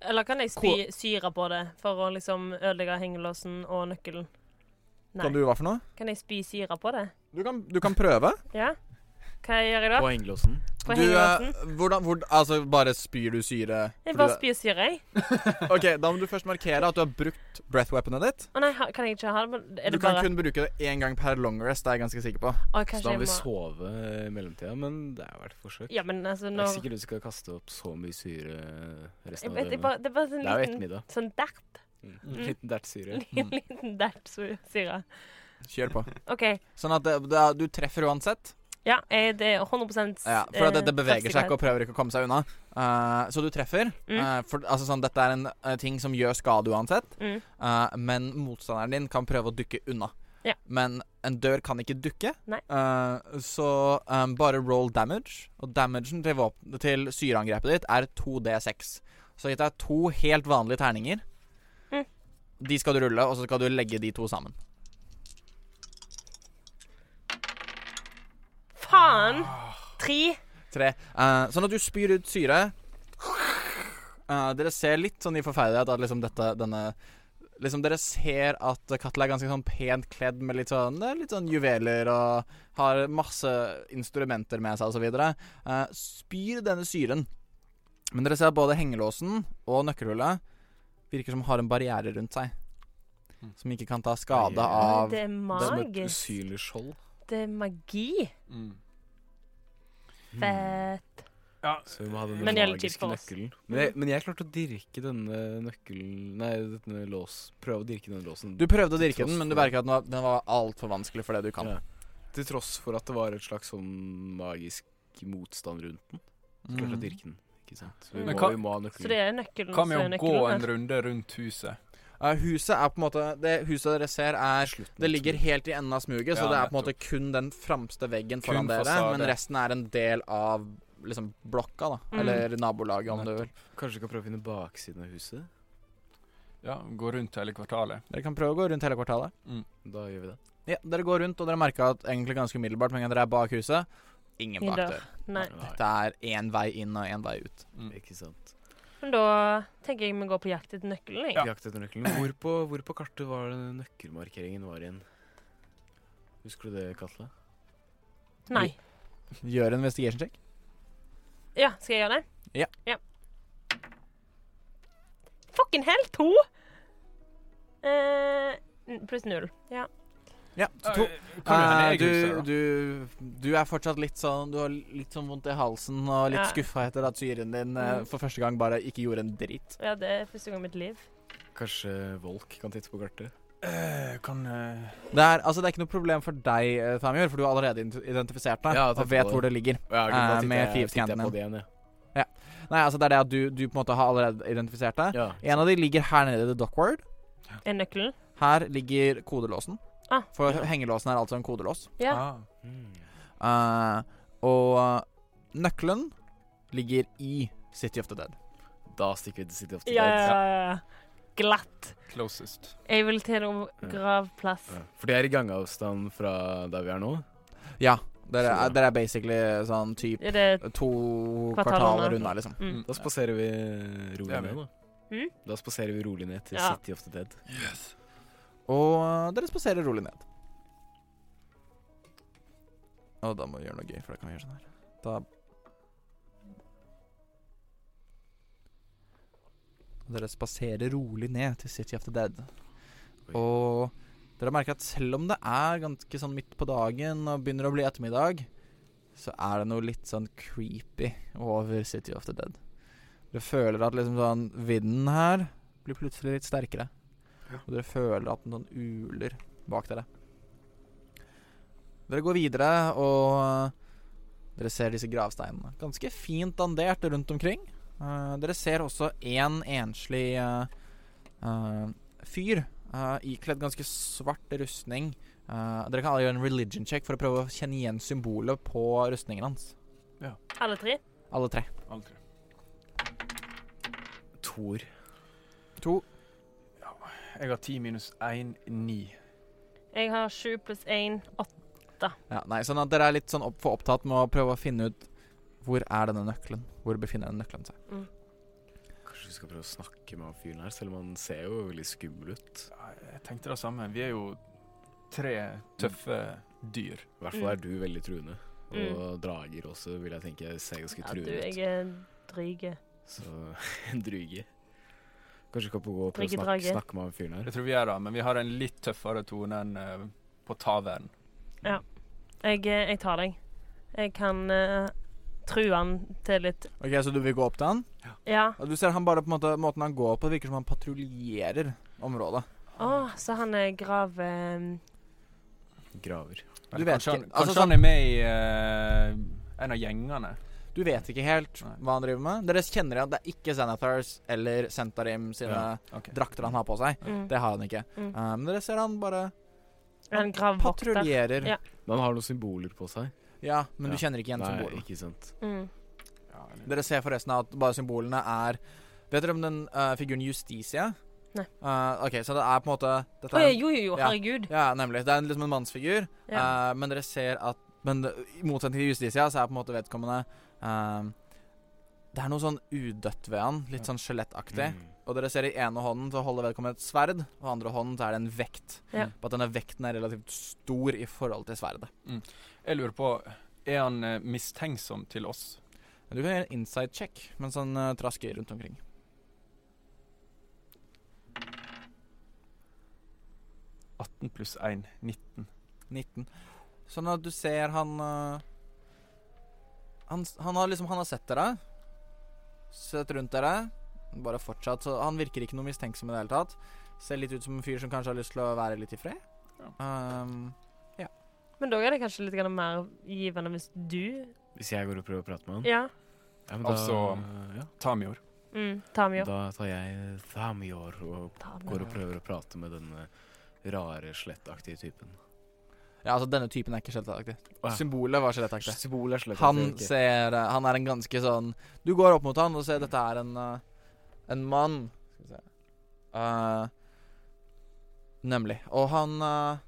[SPEAKER 3] Eller kan jeg spy, syre på det for å liksom ødelegge hengelåsen og nøkkelen? Nei.
[SPEAKER 1] Kan
[SPEAKER 3] Kan,
[SPEAKER 1] du hva for noe?
[SPEAKER 3] jeg spy syre på det?
[SPEAKER 1] Du kan, du kan prøve.
[SPEAKER 3] Ja? Hva jeg gjør jeg da?
[SPEAKER 2] På hengelåsen.
[SPEAKER 3] På
[SPEAKER 1] du,
[SPEAKER 3] hengelåsen?
[SPEAKER 1] eh, hvordan, hvor, altså bare spyr du syre?
[SPEAKER 3] Jeg
[SPEAKER 1] fordi
[SPEAKER 3] bare
[SPEAKER 1] det-
[SPEAKER 3] spyr syre, jeg.
[SPEAKER 1] Ok, Da må du først markere at du har brukt breath weaponet ditt.
[SPEAKER 3] Å nei, ha- kan jeg ikke ha det? men Er
[SPEAKER 1] Du
[SPEAKER 3] det
[SPEAKER 1] kan
[SPEAKER 3] bare
[SPEAKER 1] kun bruke det én gang per long rest, det er jeg ganske sikker på.
[SPEAKER 3] Å,
[SPEAKER 2] Så
[SPEAKER 3] kanskje
[SPEAKER 2] da må
[SPEAKER 3] jeg
[SPEAKER 2] vi
[SPEAKER 3] må
[SPEAKER 2] sove i mellomtida, men det er verdt et forsøk.
[SPEAKER 3] Ja, men altså,
[SPEAKER 2] Det er
[SPEAKER 3] når
[SPEAKER 2] ikke sikkert du skal kaste opp så mye syre
[SPEAKER 3] Jeg
[SPEAKER 2] resten av
[SPEAKER 3] vet, jeg
[SPEAKER 2] døgnet.
[SPEAKER 3] bare, det er bare
[SPEAKER 2] Det er jo
[SPEAKER 3] en liten
[SPEAKER 2] ettermiddag.
[SPEAKER 3] sånn derp.
[SPEAKER 2] Mm. Liten dertsyre.
[SPEAKER 1] Mm.
[SPEAKER 3] *laughs* Liten derp sy- syre.
[SPEAKER 1] Kjør
[SPEAKER 3] *laughs*
[SPEAKER 1] på.
[SPEAKER 3] OK.
[SPEAKER 1] Sånn at det, det, du treffer uansett.
[SPEAKER 3] Ja, eh, det er eh, 100
[SPEAKER 1] Ja, for at det, det beveger seg ikke og prøver ikke å komme seg unna. Eh, så du treffer.
[SPEAKER 3] Mm.
[SPEAKER 1] Eh, for, altså sånn, Dette er en eh, ting som gjør skade uansett.
[SPEAKER 3] Mm.
[SPEAKER 1] Eh, men motstanderen din kan prøve å dukke unna.
[SPEAKER 3] Ja.
[SPEAKER 1] Men en dør kan ikke dukke,
[SPEAKER 3] Nei.
[SPEAKER 1] Eh, så eh, bare roll damage. Og damagen til, våpen, til syreangrepet ditt er 2D6. Så gitt deg to helt vanlige terninger.
[SPEAKER 3] Mm.
[SPEAKER 1] De skal du rulle, og så skal du legge de to sammen.
[SPEAKER 3] Faen!
[SPEAKER 1] Ah.
[SPEAKER 3] Tre.
[SPEAKER 1] Tre. Eh, sånn at du spyr ut syre. Eh, dere ser litt sånn i forferdelighet at liksom dette denne Liksom Dere ser at Katla er ganske sånn pent kledd med litt sånn, eh, litt sånn juveler og har masse instrumenter med seg osv. Uh, spyr denne syren. Men dere ser at både hengelåsen og nøkkelhullet virker som har en barriere rundt seg.
[SPEAKER 2] Hmm.
[SPEAKER 4] Mm.
[SPEAKER 1] Som ikke kan ta skade
[SPEAKER 2] Ai,
[SPEAKER 1] av
[SPEAKER 2] Det
[SPEAKER 3] Det er
[SPEAKER 2] er som et
[SPEAKER 3] magisk.
[SPEAKER 2] usynlig skjold.
[SPEAKER 3] Det er magi.
[SPEAKER 4] Mm.
[SPEAKER 3] Fett.
[SPEAKER 4] Ja,
[SPEAKER 2] Så vi må ha den
[SPEAKER 3] Men det gjelder tid
[SPEAKER 2] magiske
[SPEAKER 3] for oss.
[SPEAKER 2] nøkkelen. Men jeg, men jeg klarte å dirke denne nøkkelen Nei, denne lås Prøve å dirke denne låsen.
[SPEAKER 1] Du prøvde å
[SPEAKER 2] Til
[SPEAKER 1] dirke
[SPEAKER 2] tross
[SPEAKER 1] den, men du
[SPEAKER 2] for-
[SPEAKER 1] merker at den var, den var altfor vanskelig for det du kan.
[SPEAKER 2] Ja. Til tross for at det var et slags sånn magisk motstand rundt den. Så klarte jeg å
[SPEAKER 1] Mm.
[SPEAKER 2] dyrke den. Ikke sant? Så vi,
[SPEAKER 3] Men
[SPEAKER 2] må,
[SPEAKER 4] hva-
[SPEAKER 2] vi må ha
[SPEAKER 3] Så
[SPEAKER 2] nøkkelen.
[SPEAKER 3] det er nøkkelen
[SPEAKER 4] Hva
[SPEAKER 3] som
[SPEAKER 4] med
[SPEAKER 3] er
[SPEAKER 4] å gå en
[SPEAKER 3] nøkkelen. her.
[SPEAKER 4] runde rundt huset?
[SPEAKER 1] Eh, huset er på en måte Det huset dere ser, er
[SPEAKER 2] Slutten
[SPEAKER 1] Det
[SPEAKER 2] av
[SPEAKER 1] ligger
[SPEAKER 2] turen.
[SPEAKER 1] helt i enden av smuget, så
[SPEAKER 4] Ja,
[SPEAKER 1] det er på en måte
[SPEAKER 4] nettopp.
[SPEAKER 1] kun den framste veggen
[SPEAKER 4] Kun
[SPEAKER 1] foran dere.
[SPEAKER 4] fasade.
[SPEAKER 1] Men resten er en del av liksom blokka, da.
[SPEAKER 3] Mm.
[SPEAKER 1] Eller nabolaget, om du vil.
[SPEAKER 2] Kanskje vi kan prøve å finne baksiden av huset?
[SPEAKER 4] Ja, gå rundt hele kvartalet.
[SPEAKER 1] Dere kan prøve å gå rundt hele kvartalet.
[SPEAKER 2] Da gjør vi det.
[SPEAKER 1] Ja, Dere går rundt, og dere merker at egentlig ganske umiddelbart med en gang dere er bak huset Ingen
[SPEAKER 3] Ingen
[SPEAKER 1] bakdør.
[SPEAKER 2] Nei,
[SPEAKER 3] Nei.
[SPEAKER 1] Dette er én vei inn og én vei ut.
[SPEAKER 4] Mm.
[SPEAKER 2] ikke sant.
[SPEAKER 3] Men da tenker jeg vi går på jakt etter nøkkelen. jeg.
[SPEAKER 2] Vi Jakt etter nøkkelen. Hvor på, hvor på kartet var det nøkkelmarkeringen var igjen? Husker du det, Katle?
[SPEAKER 3] Nei.
[SPEAKER 1] Gjør en investigation check.
[SPEAKER 3] Ja, skal jeg gjøre det?
[SPEAKER 1] Ja.
[SPEAKER 3] Fucking hell, to! Eh, n- pluss null. Ja.
[SPEAKER 1] Ja, så to. Eh, du, du, du er fortsatt litt sånn Du har litt sånn vondt i halsen og litt
[SPEAKER 3] Ja.
[SPEAKER 1] skuffa etter at syren din eh,
[SPEAKER 3] Mm.
[SPEAKER 1] for første gang bare ikke gjorde en dritt.
[SPEAKER 3] ja, det er første gang i mitt liv.
[SPEAKER 2] Kanskje Volk kan titte på kartet?
[SPEAKER 4] kan eh,
[SPEAKER 1] Det er, altså, det er ikke noe problem for deg, eh, Thamjord, for du har allerede ident- identifisert deg
[SPEAKER 2] Ja,
[SPEAKER 1] og
[SPEAKER 2] takk for
[SPEAKER 1] vet
[SPEAKER 2] det.
[SPEAKER 1] hvor det ligger.
[SPEAKER 2] Ja, ok,
[SPEAKER 1] Eh,
[SPEAKER 2] da titter
[SPEAKER 1] med
[SPEAKER 2] jeg- titter jeg
[SPEAKER 1] knivscannen
[SPEAKER 2] på det igjen, ja.
[SPEAKER 1] Nei, altså det er det at du, du på en måte har allerede identifisert deg.
[SPEAKER 2] ja.
[SPEAKER 1] En av de ligger her nede i Dockward.
[SPEAKER 3] Er nøkkelen?
[SPEAKER 1] Her ligger kodelåsen.
[SPEAKER 3] Ah.
[SPEAKER 1] For hengelåsen er altså en kodelås.
[SPEAKER 3] Ja.
[SPEAKER 4] ah.
[SPEAKER 2] Mm.
[SPEAKER 1] Eh, og eh, nøkkelen ligger i City of the Dead.
[SPEAKER 2] Da stikker vi til City of the
[SPEAKER 3] Ja,
[SPEAKER 2] Dead.
[SPEAKER 3] ja, ja. Glatt.
[SPEAKER 4] Closest.
[SPEAKER 3] Jeg vil til noe gravplass.
[SPEAKER 2] Ja. For det er i gangavstand fra der vi er nå.
[SPEAKER 1] Ja, dere
[SPEAKER 2] Så bra.
[SPEAKER 1] er, dere er basically sånn typ
[SPEAKER 3] Er det
[SPEAKER 1] to
[SPEAKER 3] Kvartaler
[SPEAKER 1] kvartaler
[SPEAKER 3] unna.
[SPEAKER 1] unna, liksom.
[SPEAKER 3] mm.
[SPEAKER 2] Da spaserer vi
[SPEAKER 4] Det
[SPEAKER 2] rolig
[SPEAKER 4] er vi.
[SPEAKER 2] ned, da.
[SPEAKER 3] Mm?
[SPEAKER 2] Da spaserer vi rolig ned til
[SPEAKER 3] Ja.
[SPEAKER 2] City of the Dead.
[SPEAKER 4] Yes.
[SPEAKER 1] Og eh, dere spaserer rolig ned. Og da må vi gjøre noe gøy, for da kan vi gjøre sånn her. Da Og Dere spaserer rolig ned til City of the Dead.
[SPEAKER 2] Oi.
[SPEAKER 1] Og dere merker at selv om det er ganske sånn midt på dagen og begynner å bli ettermiddag, så er det noe litt sånn creepy over City of the Dead. Dere føler at liksom sånn vinden her blir plutselig litt sterkere. Og dere føler at noen uler bak dere. Dere går videre, og eh, dere ser disse gravsteinene. Ganske fint dandert rundt omkring. Eh, dere ser også én enslig eh, eh, fyr eh, ikledd ganske svart rustning. Eh, dere kan alle gjøre en religion check for å prøve å kjenne igjen symbolet på rustningen hans.
[SPEAKER 3] Alle tre?
[SPEAKER 1] Alle tre.
[SPEAKER 4] Aldri.
[SPEAKER 2] Thor.
[SPEAKER 1] To.
[SPEAKER 4] Jeg har ti minus én, ni.
[SPEAKER 3] Jeg har sju pluss én. Åtte.
[SPEAKER 1] Ja, nei, sånn at dere er litt sånn opp, for opptatt med å prøve å finne ut hvor er denne nøkkelen? Hvor befinner den nøkkelen seg?
[SPEAKER 3] Mm.
[SPEAKER 2] Kanskje vi skal prøve å snakke med han fyren her, selv om han ser jo veldig skummel ut.
[SPEAKER 4] Ja, eh, Jeg tenkte det samme. Vi er jo tre tøffe dyr.
[SPEAKER 2] I hvert fall
[SPEAKER 3] Mm.
[SPEAKER 2] er du veldig truende. Og drager også, vil jeg tenke, ser ganske
[SPEAKER 3] Ja, du,
[SPEAKER 2] truende
[SPEAKER 3] jeg
[SPEAKER 2] ut.
[SPEAKER 3] er dryg.
[SPEAKER 2] Så *laughs* en druge. Kanskje vi kan gå og prøve å
[SPEAKER 3] Druge
[SPEAKER 2] snakke,
[SPEAKER 3] drage.
[SPEAKER 2] snakke med han fyren her.
[SPEAKER 4] Jeg tror vi er det, men vi har en litt tøffere tone enn eh, på tavern.
[SPEAKER 3] Jeg, eh, jeg tar deg. Jeg kan eh, true han til litt
[SPEAKER 1] Ok, Så du vil gå opp til han?
[SPEAKER 3] Ja.
[SPEAKER 1] Og Du ser han bare på en måte, måten han går på, det virker som han patruljerer området.
[SPEAKER 3] Å, så han er grav... eh,
[SPEAKER 2] Graver.
[SPEAKER 1] Du vet
[SPEAKER 4] kanskje han,
[SPEAKER 1] ikke.
[SPEAKER 4] kanskje
[SPEAKER 1] Altså, sånn-
[SPEAKER 4] han er med i eh, en av gjengene.
[SPEAKER 1] Du vet ikke helt
[SPEAKER 4] Nei.
[SPEAKER 1] hva han driver med. Dere kjenner igjen, det er ikke Xanathars eller Sentarim sine
[SPEAKER 2] Ja.
[SPEAKER 4] Ok.
[SPEAKER 1] drakter han har på seg.
[SPEAKER 3] mm.
[SPEAKER 1] Det har han ikke.
[SPEAKER 3] Mm.
[SPEAKER 1] Eh, men dere ser han bare
[SPEAKER 3] En gravvokter.
[SPEAKER 1] patruljerer.
[SPEAKER 3] Ja.
[SPEAKER 1] Ja.
[SPEAKER 2] Men han har noen symboler på seg.
[SPEAKER 1] men
[SPEAKER 2] Ja.
[SPEAKER 1] du kjenner ikke igjen
[SPEAKER 2] Nei,
[SPEAKER 1] symbolene.
[SPEAKER 2] ikke sant.
[SPEAKER 3] Mm.
[SPEAKER 4] Ja, eller-
[SPEAKER 1] Dere ser forresten at bare symbolene er Vet dere om den eh, figuren Justicia?
[SPEAKER 3] Nei.
[SPEAKER 1] Eh, ok, så det er på en måte dette
[SPEAKER 3] Å,
[SPEAKER 1] er
[SPEAKER 3] ja,
[SPEAKER 1] en-
[SPEAKER 3] jo, jo, jo,
[SPEAKER 1] Ja.
[SPEAKER 3] herregud.
[SPEAKER 1] Ja, nemlig. Det er en- liksom en mannsfigur.
[SPEAKER 3] Ja.
[SPEAKER 1] Eh, men dere ser at Men det- i motsetning til Justicia, så er på en måte vedkommende eh, Det er noe sånn udødt ved han. Litt sånn skjelettaktig.
[SPEAKER 2] Mm.
[SPEAKER 1] Og dere ser i ene hånden så holder vedkommende et sverd, og i andre hånden så er det en vekt. Mm.
[SPEAKER 3] Ja.
[SPEAKER 1] På at denne vekten er relativt stor i forhold til sverdet.
[SPEAKER 4] Jeg lurer på Er han eh, mistenksom til oss?
[SPEAKER 1] Men Du kan gjøre en inside check mens han eh, trasker rundt omkring.
[SPEAKER 4] pluss 1, 19.
[SPEAKER 1] 19. Sånn at du ser han eh, Han, s- han har liksom Han har sett dere. Sett rundt dere. Bare fortsatt. Så han virker ikke noe mistenksom i det hele tatt. Ser litt ut som en fyr som kanskje har lyst til å være litt i fred. Um,
[SPEAKER 3] Men da er det kanskje litt grann mer givende hvis du
[SPEAKER 2] Mm. Hvis jeg går og prøver å prate med han,
[SPEAKER 3] Ja.
[SPEAKER 2] Ja, men
[SPEAKER 4] Altså-
[SPEAKER 2] ja,
[SPEAKER 4] Tamior.
[SPEAKER 3] Mm, Tamio.
[SPEAKER 2] da tar jeg Thamior og går
[SPEAKER 3] Tamio.
[SPEAKER 2] og prøver å prate med denne rare, slettaktige typen.
[SPEAKER 1] Ja, altså Denne typen er ikke skjelettaktig.
[SPEAKER 2] Å, ja.
[SPEAKER 1] Symbolet var skjelettaktig.
[SPEAKER 2] Symbol er slett
[SPEAKER 1] Han ser eh, Han er en ganske sånn Du går opp mot han og ser dette er en eh, En mann Skal vi se Eh, Nemlig Og han eh,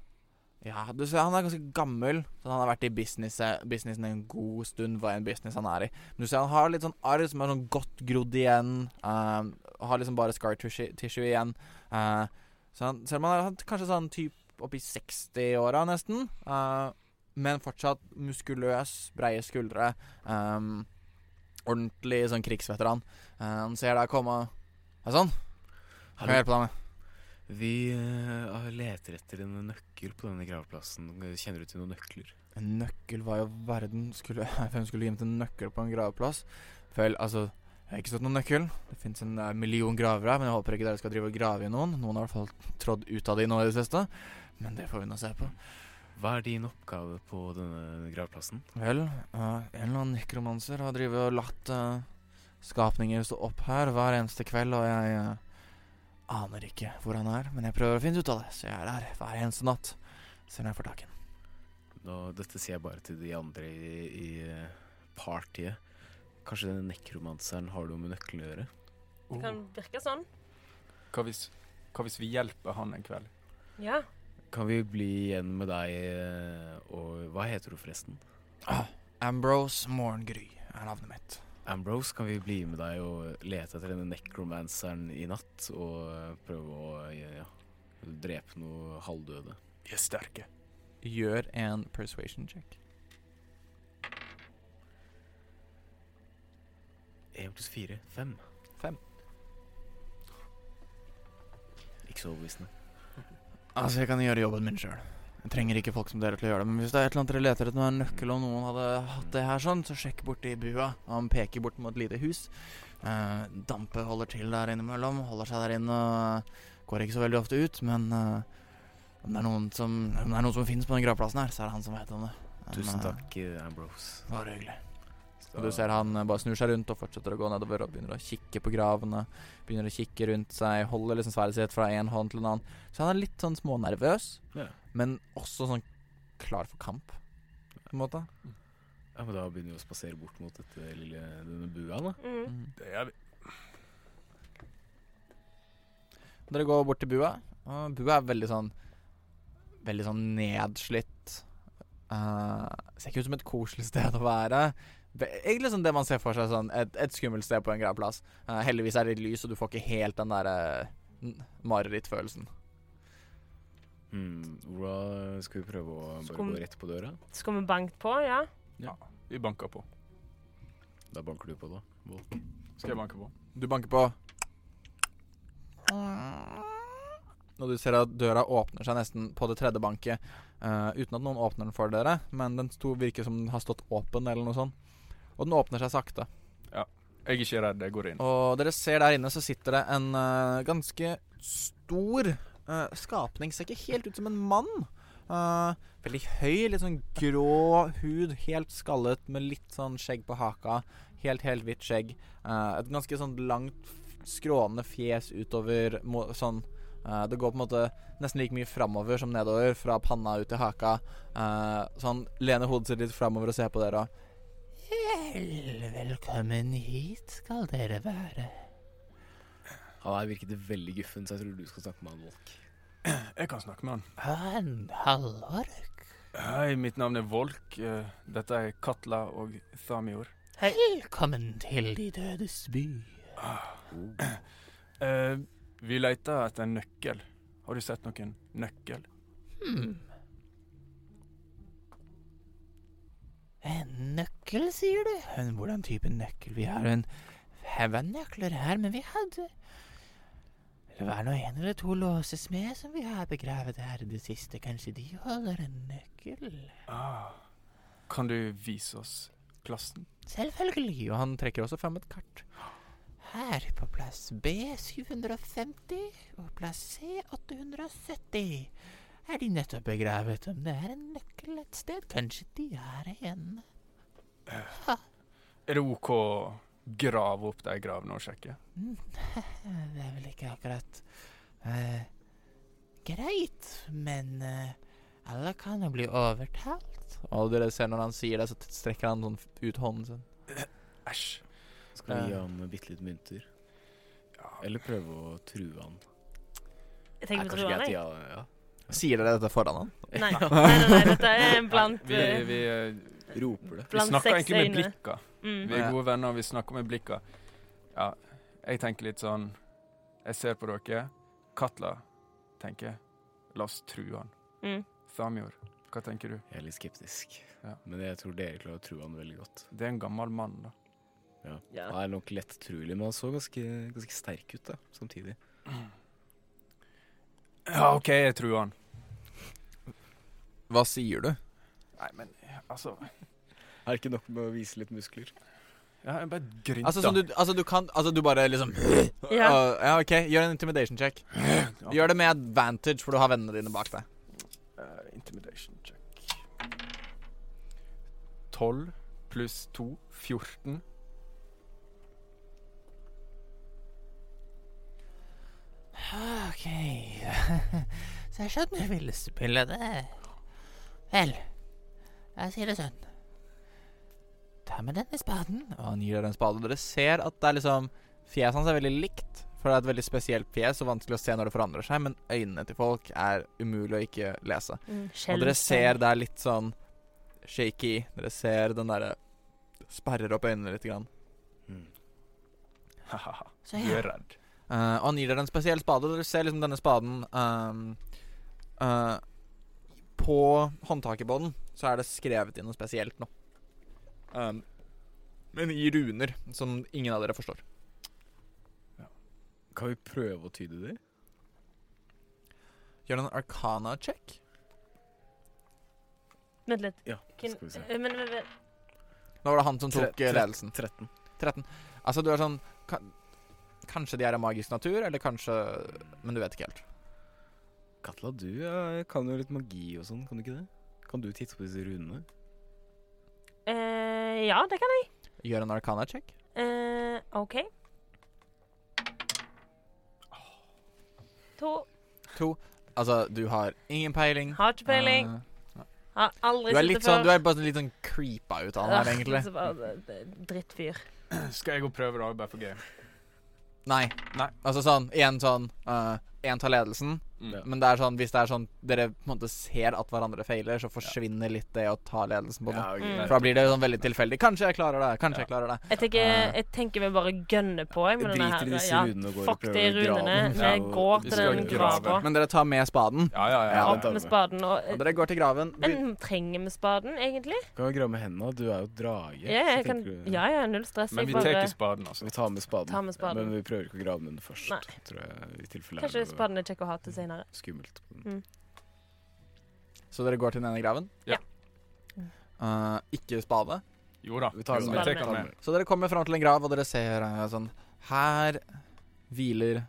[SPEAKER 1] Ja, du ser han er ganske gammel Så han har vært i business, eh, businessen en god stund Hva en business han er i Men du ser han har litt sånn arr som er sånn godt grodd igjen eh, Har liksom bare scar tissue, tissue igjen Eh, Så han, selv om han er kanskje sånn typ Oppi 60-åra nesten Eh men fortsatt muskuløs, breie skuldre. ehm, ordentlig sånn krigsveteran. Eh, Han ser deg komme. Er det sånn? Kan jeg hjelpe deg med?
[SPEAKER 2] Vi eh, leter etter en nøkkel på denne gravplassen. Kjenner du til noen nøkler?
[SPEAKER 1] En nøkkel var jo verden skulle, *laughs* Hvem skulle gjemt en nøkkel på en graveplass? Vel, altså Jeg har ikke stått noen nøkkel. Det fins en eh, million gravere her, men jeg håper ikke dere skal drive og grave i noen. Noen har i hvert fall trådd ut av de nå i det siste. Men det får vi nå se på.
[SPEAKER 2] Hva er din oppgave på denne gravplassen?
[SPEAKER 1] Vel, eh, en eller annen nekromanser har drivet og latt eh, skapninger stå opp her hver eneste kveld, og jeg eh, aner ikke hvor han er, men jeg prøver å finne ut av det, så jeg er her hver eneste natt. Ser om jeg får tak i ham.
[SPEAKER 2] Nå, dette sier jeg bare til de andre i, i eh, partiet. Kanskje denne nekromanseren har noe med nøkkelen å gjøre?
[SPEAKER 3] Det kan virke sånn.
[SPEAKER 4] Oh, Hva, hvis, hva hvis vi hjelper han en kveld?
[SPEAKER 3] Ja.
[SPEAKER 2] Kan vi bli igjen med deg eh, og Hva heter du forresten?
[SPEAKER 1] Ambrose Morgengry er navnet mitt.
[SPEAKER 2] Ambrose, kan vi bli med deg og lete etter denne nekromanseren i natt? Og eh, prøve å eh, ja, drepe noe halvdøde?
[SPEAKER 4] Vi er sterke.
[SPEAKER 1] Gjør en persuasion check.
[SPEAKER 2] Én pluss fire. Fem.
[SPEAKER 1] Fem.
[SPEAKER 2] Ikke så overbevisende.
[SPEAKER 1] Altså, jeg kan gjøre jobben min sjøl. Jeg trenger ikke folk som dere til å gjøre det, men hvis det er et eller annet dere leter etter nå, en nøkkel, og noen hadde hatt det her sånn, så sjekk borti bua. Og han peker bort mot et lite hus. Eh, Dampe holder til der innimellom, holder seg der inne og går ikke så veldig ofte ut, men eh, om det er noen som, om det er noen som finnes på den gravplassen her, så er det han som vet om det. Men,
[SPEAKER 2] Tusen
[SPEAKER 1] eh,
[SPEAKER 2] takk, eh, Ambrose.
[SPEAKER 1] Bare hyggelig.
[SPEAKER 2] Så-
[SPEAKER 1] Og du ser han eh, bare snur seg rundt og fortsetter å gå nedover og begynner å kikke på gravene. Begynner å kikke rundt seg, holder liksom sverdet sitt fra én hånd til en annen. Så han er litt sånn smånervøs,
[SPEAKER 2] Ja.
[SPEAKER 1] men også sånn klar for kamp, på en måte.
[SPEAKER 2] Ja, men Da begynner vi å spasere bort mot dette lille, denne bua. da
[SPEAKER 3] Mm.
[SPEAKER 1] Mm.
[SPEAKER 4] Det gjør vi.
[SPEAKER 1] Dere går bort til bua, og bua er veldig sånn Veldig sånn nedslitt. Eh, ser ikke ut som et koselig sted å være. Ve- Egentlig sånn det man ser for seg, sånn et, et skummelt sted på en gravplass. Eh, heldigvis er det lys, og du får ikke helt den derre marerittfølelsen.
[SPEAKER 2] Hmm, Hvordan skal vi prøve å bare
[SPEAKER 3] Skum-
[SPEAKER 2] gå rett på døra?
[SPEAKER 3] Skal vi banke på? Ja.
[SPEAKER 4] Vi banker på.
[SPEAKER 2] Da banker du på, da. Volk.
[SPEAKER 4] Skal jeg banke på?
[SPEAKER 1] Du banker på. Og du ser at døra åpner seg nesten på det tredje banket. eh, uten at noen åpner den for dere, men den sto, virker som den har stått åpen, eller noe sånt. Og den åpner seg sakte.
[SPEAKER 4] Jeg er ikke redd, jeg går inn.
[SPEAKER 1] Og dere ser der inne så sitter det en eh, ganske stor eh, skapning. Ser ikke helt ut som en mann. Eh, veldig høy, litt sånn grå hud, helt skallet med litt sånn skjegg på haka. Helt, helt hvitt skjegg. Eh, et ganske sånn langt, f- skrånende fjes utover mo sånn eh, Det går på en måte nesten like mye framover som nedover, fra panna ut til haka. Eh, så han lener hodet sitt litt framover og ser på dere. Vel, velkommen hit skal dere være.
[SPEAKER 2] Han her virket veldig guffen, så jeg tror du skal snakke med han, Volk.
[SPEAKER 4] Jeg kan snakke med han.
[SPEAKER 1] En halvork?
[SPEAKER 4] Hei, mitt navn er Volk. Eh, Dette er Katla og Thamior.
[SPEAKER 1] Velkommen til De dødes by.
[SPEAKER 2] Oh.
[SPEAKER 4] Eh, Vi leter etter en nøkkel. Har du sett noen nøkkel?
[SPEAKER 1] Hmm. En nøkkel, sier du? Men Hvordan type nøkkel? Vi har en haug av nøkler her, men vi hadde Det var nå en eller to låsesmed som vi har begravet her i det siste. Kanskje de holder en nøkkel?
[SPEAKER 4] Ah. Kan du vise oss plassen?
[SPEAKER 1] Selvfølgelig. Og han trekker også fram et kart. Her på plass B 750 og plass C 870 er de nettopp begravet. Om det er en nøkkel *laughs* et sted, kanskje de har en.
[SPEAKER 4] Er det OK grave opp de gravene og sjekke.
[SPEAKER 5] Det er vel ikke akkurat eh, greit, men eh, alle kan jo bli overtalt.
[SPEAKER 1] Og dere ser når han sier det, så strekker han sånn ut hånden sin.
[SPEAKER 4] Æsj.
[SPEAKER 2] Skal vi gi ham bitte litt mynter? Eller prøve å true han?
[SPEAKER 3] Jeg tenker på truene, jeg.
[SPEAKER 2] ja, ja.
[SPEAKER 1] Sier dere dette foran han?
[SPEAKER 3] Nei. nei, nei, nei, dette er blant,
[SPEAKER 4] Vi,
[SPEAKER 3] eh,
[SPEAKER 4] vi, eh,
[SPEAKER 2] Roper det.
[SPEAKER 4] vi
[SPEAKER 3] blant seks
[SPEAKER 4] snakker egentlig med
[SPEAKER 3] øyne.
[SPEAKER 4] blikka. Vi
[SPEAKER 3] Mm.
[SPEAKER 1] Ja.
[SPEAKER 4] er gode venner, og vi snakker med blikka. Ja, jeg tenker litt sånn Jeg ser på dere. Katla tenker La oss true han.
[SPEAKER 3] Mm.
[SPEAKER 4] Thamjord, hva tenker du?
[SPEAKER 2] Jeg er litt skeptisk.
[SPEAKER 4] Ja.
[SPEAKER 2] Men jeg tror dere klarer å true han veldig godt.
[SPEAKER 4] Det er en gammel mann, da.
[SPEAKER 3] Ja.
[SPEAKER 2] Han er nok lett truelig, men han så ganske, ganske sterk ut da, samtidig.
[SPEAKER 4] Ja, OK, jeg truer han.
[SPEAKER 1] Hva sier du?
[SPEAKER 4] Nei, men altså
[SPEAKER 2] Er det ikke nok med å vise litt muskler?
[SPEAKER 4] Ja, jeg bare grynter.
[SPEAKER 1] Altså, sånn du, altså, du kan Altså, du bare
[SPEAKER 5] *laughs*
[SPEAKER 1] liksom
[SPEAKER 3] Ja.
[SPEAKER 1] Øh, ja, OK. Gjør en intimidation check. Gjør det med advantage, for du har vennene dine bak deg.
[SPEAKER 4] Eh, intimidation check. 12 pluss 2 14.
[SPEAKER 5] OK. *laughs* Så jeg skjønner du ville spille det. Vel, jeg sier det sånn. Ta med denne spaden.
[SPEAKER 1] Og han gir dere en spade. Og dere ser at det er liksom Fjeset hans er veldig likt, for det er et veldig spesielt fjes og vanskelig å se når det forandrer seg, men øynene til folk er umulig å ikke lese.
[SPEAKER 3] Mm.
[SPEAKER 1] Og dere
[SPEAKER 3] Skjelv.
[SPEAKER 1] ser det er litt sånn shaky. Dere ser den derre Sperrer opp øynene litt. Grann.
[SPEAKER 2] Hmm.
[SPEAKER 4] Ha-ha-ha.
[SPEAKER 5] Så
[SPEAKER 4] Du
[SPEAKER 5] ja,
[SPEAKER 4] er redd.
[SPEAKER 1] Eh, og han gir dere en spesiell spade. og Dere ser liksom denne spaden ehm, eh, På håndtaket på den så er det skrevet inn noe spesielt nå. Ehm, men i runer som ingen av dere forstår.
[SPEAKER 2] Kan vi prøve å tyde det?
[SPEAKER 1] Gjør en arcana check.
[SPEAKER 3] Vent litt.
[SPEAKER 2] Ja,
[SPEAKER 3] Kun,
[SPEAKER 2] skal vi se.
[SPEAKER 3] eh, men, men, men
[SPEAKER 1] Nå var det han som tok
[SPEAKER 2] Tre-
[SPEAKER 1] eh,
[SPEAKER 2] tre-
[SPEAKER 1] ledelsen.
[SPEAKER 2] 13.
[SPEAKER 1] 13. Altså, du er sånn ka Kanskje de er av magisk natur, eller kanskje Men du vet ikke helt.
[SPEAKER 2] Katla, du eh, kan jo litt magi og sånn, kan du ikke det? Kan du titte på disse runene?
[SPEAKER 3] eh, Ja, det kan jeg.
[SPEAKER 1] Gjør en arcana check.
[SPEAKER 3] Eh, OK. To.
[SPEAKER 1] Altså, du har ingen peiling.
[SPEAKER 3] Har ikke peiling.
[SPEAKER 1] Eh,
[SPEAKER 3] Har
[SPEAKER 1] du er
[SPEAKER 3] aldri sett det
[SPEAKER 1] litt sånn,
[SPEAKER 3] før.
[SPEAKER 1] du er bare litt sånn creepa ut av han her,
[SPEAKER 3] Ah,
[SPEAKER 1] egentlig.
[SPEAKER 3] så bare, eh, Drittfyr.
[SPEAKER 4] Skal jeg gå og prøve, da? Bare for gøy.
[SPEAKER 1] Nei.
[SPEAKER 4] Nei.
[SPEAKER 1] Altså sånn, én sånn Én tar ledelsen,
[SPEAKER 4] Mm.
[SPEAKER 1] men det er sånn, hvis det er sånn dere på en måte ser at hverandre feiler, så forsvinner litt det å ta ledelsen på noe.
[SPEAKER 2] ok,
[SPEAKER 3] Mm.
[SPEAKER 2] greit.
[SPEAKER 1] For da blir det sånn veldig tilfeldig. Kanskje jeg klarer det, kanskje jeg klarer det.
[SPEAKER 3] Jeg tenker,
[SPEAKER 1] Eh.
[SPEAKER 3] jeg tenker vi bare gønner på. Jeg, med
[SPEAKER 2] Drit
[SPEAKER 3] denne
[SPEAKER 2] i
[SPEAKER 3] her.
[SPEAKER 2] disse
[SPEAKER 3] Ja,
[SPEAKER 2] runene og går og
[SPEAKER 3] fuck
[SPEAKER 2] prøver
[SPEAKER 3] de
[SPEAKER 2] å grave
[SPEAKER 3] runene.
[SPEAKER 2] den.
[SPEAKER 3] Vi
[SPEAKER 2] Ja, og-
[SPEAKER 3] går
[SPEAKER 4] Vi
[SPEAKER 3] til
[SPEAKER 4] skal
[SPEAKER 3] den
[SPEAKER 4] grave.
[SPEAKER 3] grava.
[SPEAKER 1] Men dere tar med spaden,
[SPEAKER 4] Ja, ja, ja.
[SPEAKER 2] Ja, da-
[SPEAKER 4] ja.
[SPEAKER 3] Opp med spaden. Og,
[SPEAKER 1] og dere går til graven.
[SPEAKER 3] men trenger vi spaden, egentlig?
[SPEAKER 2] Kan vi grave med hendene? Du er jo drage.
[SPEAKER 3] Ja,
[SPEAKER 2] så
[SPEAKER 3] jeg kan,
[SPEAKER 2] tenker du-
[SPEAKER 3] ja, ja, null stress.
[SPEAKER 4] Men
[SPEAKER 3] Jeg
[SPEAKER 4] vi
[SPEAKER 3] bare
[SPEAKER 4] tar spaden, altså.
[SPEAKER 2] Vi tar med spaden.
[SPEAKER 3] tar med
[SPEAKER 2] Men
[SPEAKER 3] spaden.
[SPEAKER 2] vi prøver ikke å grave med den først.
[SPEAKER 3] Nei.
[SPEAKER 2] Tror jeg, i tilfelle det er
[SPEAKER 3] Kanskje
[SPEAKER 2] noe
[SPEAKER 3] spaden er kjekk å ha til senere.
[SPEAKER 2] Skummelt. på den.
[SPEAKER 1] Så dere går til den ene graven?
[SPEAKER 4] Ja.
[SPEAKER 1] Eh, ikke spade.
[SPEAKER 4] Jo da.
[SPEAKER 2] Vi tar
[SPEAKER 4] Jo,
[SPEAKER 2] den
[SPEAKER 4] vi
[SPEAKER 2] med.
[SPEAKER 3] Spaden
[SPEAKER 4] tar den med.
[SPEAKER 1] Så dere kommer fram til en grav, og dere ser eh, sånn Her hviler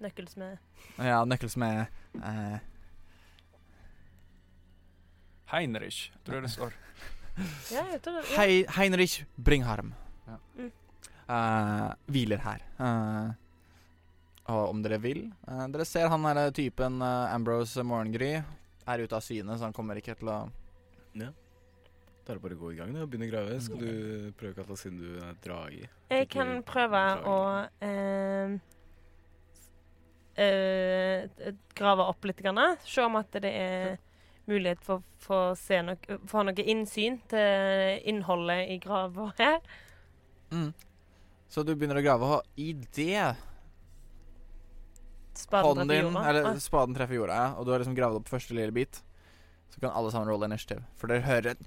[SPEAKER 3] Nøkkelsmed.
[SPEAKER 1] Ja, nøkkelsmed eh,
[SPEAKER 4] Heinrich, tror jeg det står.
[SPEAKER 3] Ja, jeg tror det. Ja.
[SPEAKER 1] Hei, Heinrich Bringharm.
[SPEAKER 4] Ja.
[SPEAKER 3] Mm.
[SPEAKER 1] Eh, hviler her. Eh, og om dere vil eh, Dere ser han er typen eh, Ambrose Morgengry. Er ute av syne, så han kommer ikke til å
[SPEAKER 2] Da er det bare å gå i gang da, og begynne å grave. Skal du prøve, Katla, siden du er drage?
[SPEAKER 3] Jeg kan prøve å eh, eh, grave opp litt. Grann, se om at det er mulighet for for å se noe, få noe innsyn til innholdet i grava her.
[SPEAKER 1] Mm. Så du begynner å grave, og i det
[SPEAKER 3] Spaden
[SPEAKER 1] hånden
[SPEAKER 3] treffer
[SPEAKER 1] din
[SPEAKER 3] jorda.
[SPEAKER 1] Eller
[SPEAKER 3] Ah,
[SPEAKER 1] spaden treffer jorda, ja, og du har liksom gravd opp første lille bit, så kan alle sammen rolle initiativ. For dere hører et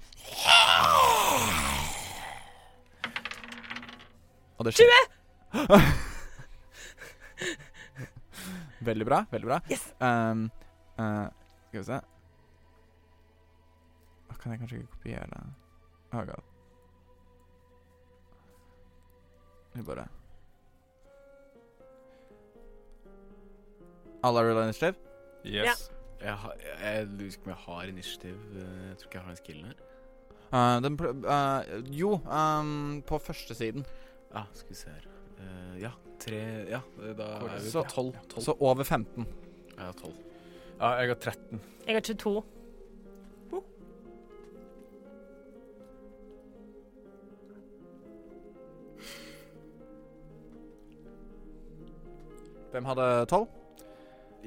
[SPEAKER 1] Og det skjer. 20! *laughs* veldig bra. Veldig bra.
[SPEAKER 3] Yes.
[SPEAKER 1] Ehm, eh, skal vi se Å, Kan jeg kanskje ikke kopiere Oh god. Vi bare Alle har rulla initiativ?
[SPEAKER 4] Yes.
[SPEAKER 2] Jeg, har, jeg, jeg lurer ikke om jeg har initiativ. eh, Jeg tror ikke jeg har den skillen her.
[SPEAKER 1] Eh, den pl eh, jo, ehm, på første siden.
[SPEAKER 2] Ja, Ah, skal vi se her. Eh, ja, tre Ja, da er vi
[SPEAKER 1] Så-
[SPEAKER 2] på tolv. tolv.
[SPEAKER 1] Så over 15.
[SPEAKER 2] Ja, tolv.
[SPEAKER 4] Ja, jeg har 13.
[SPEAKER 3] Jeg har 22.
[SPEAKER 1] Hvem hadde 12?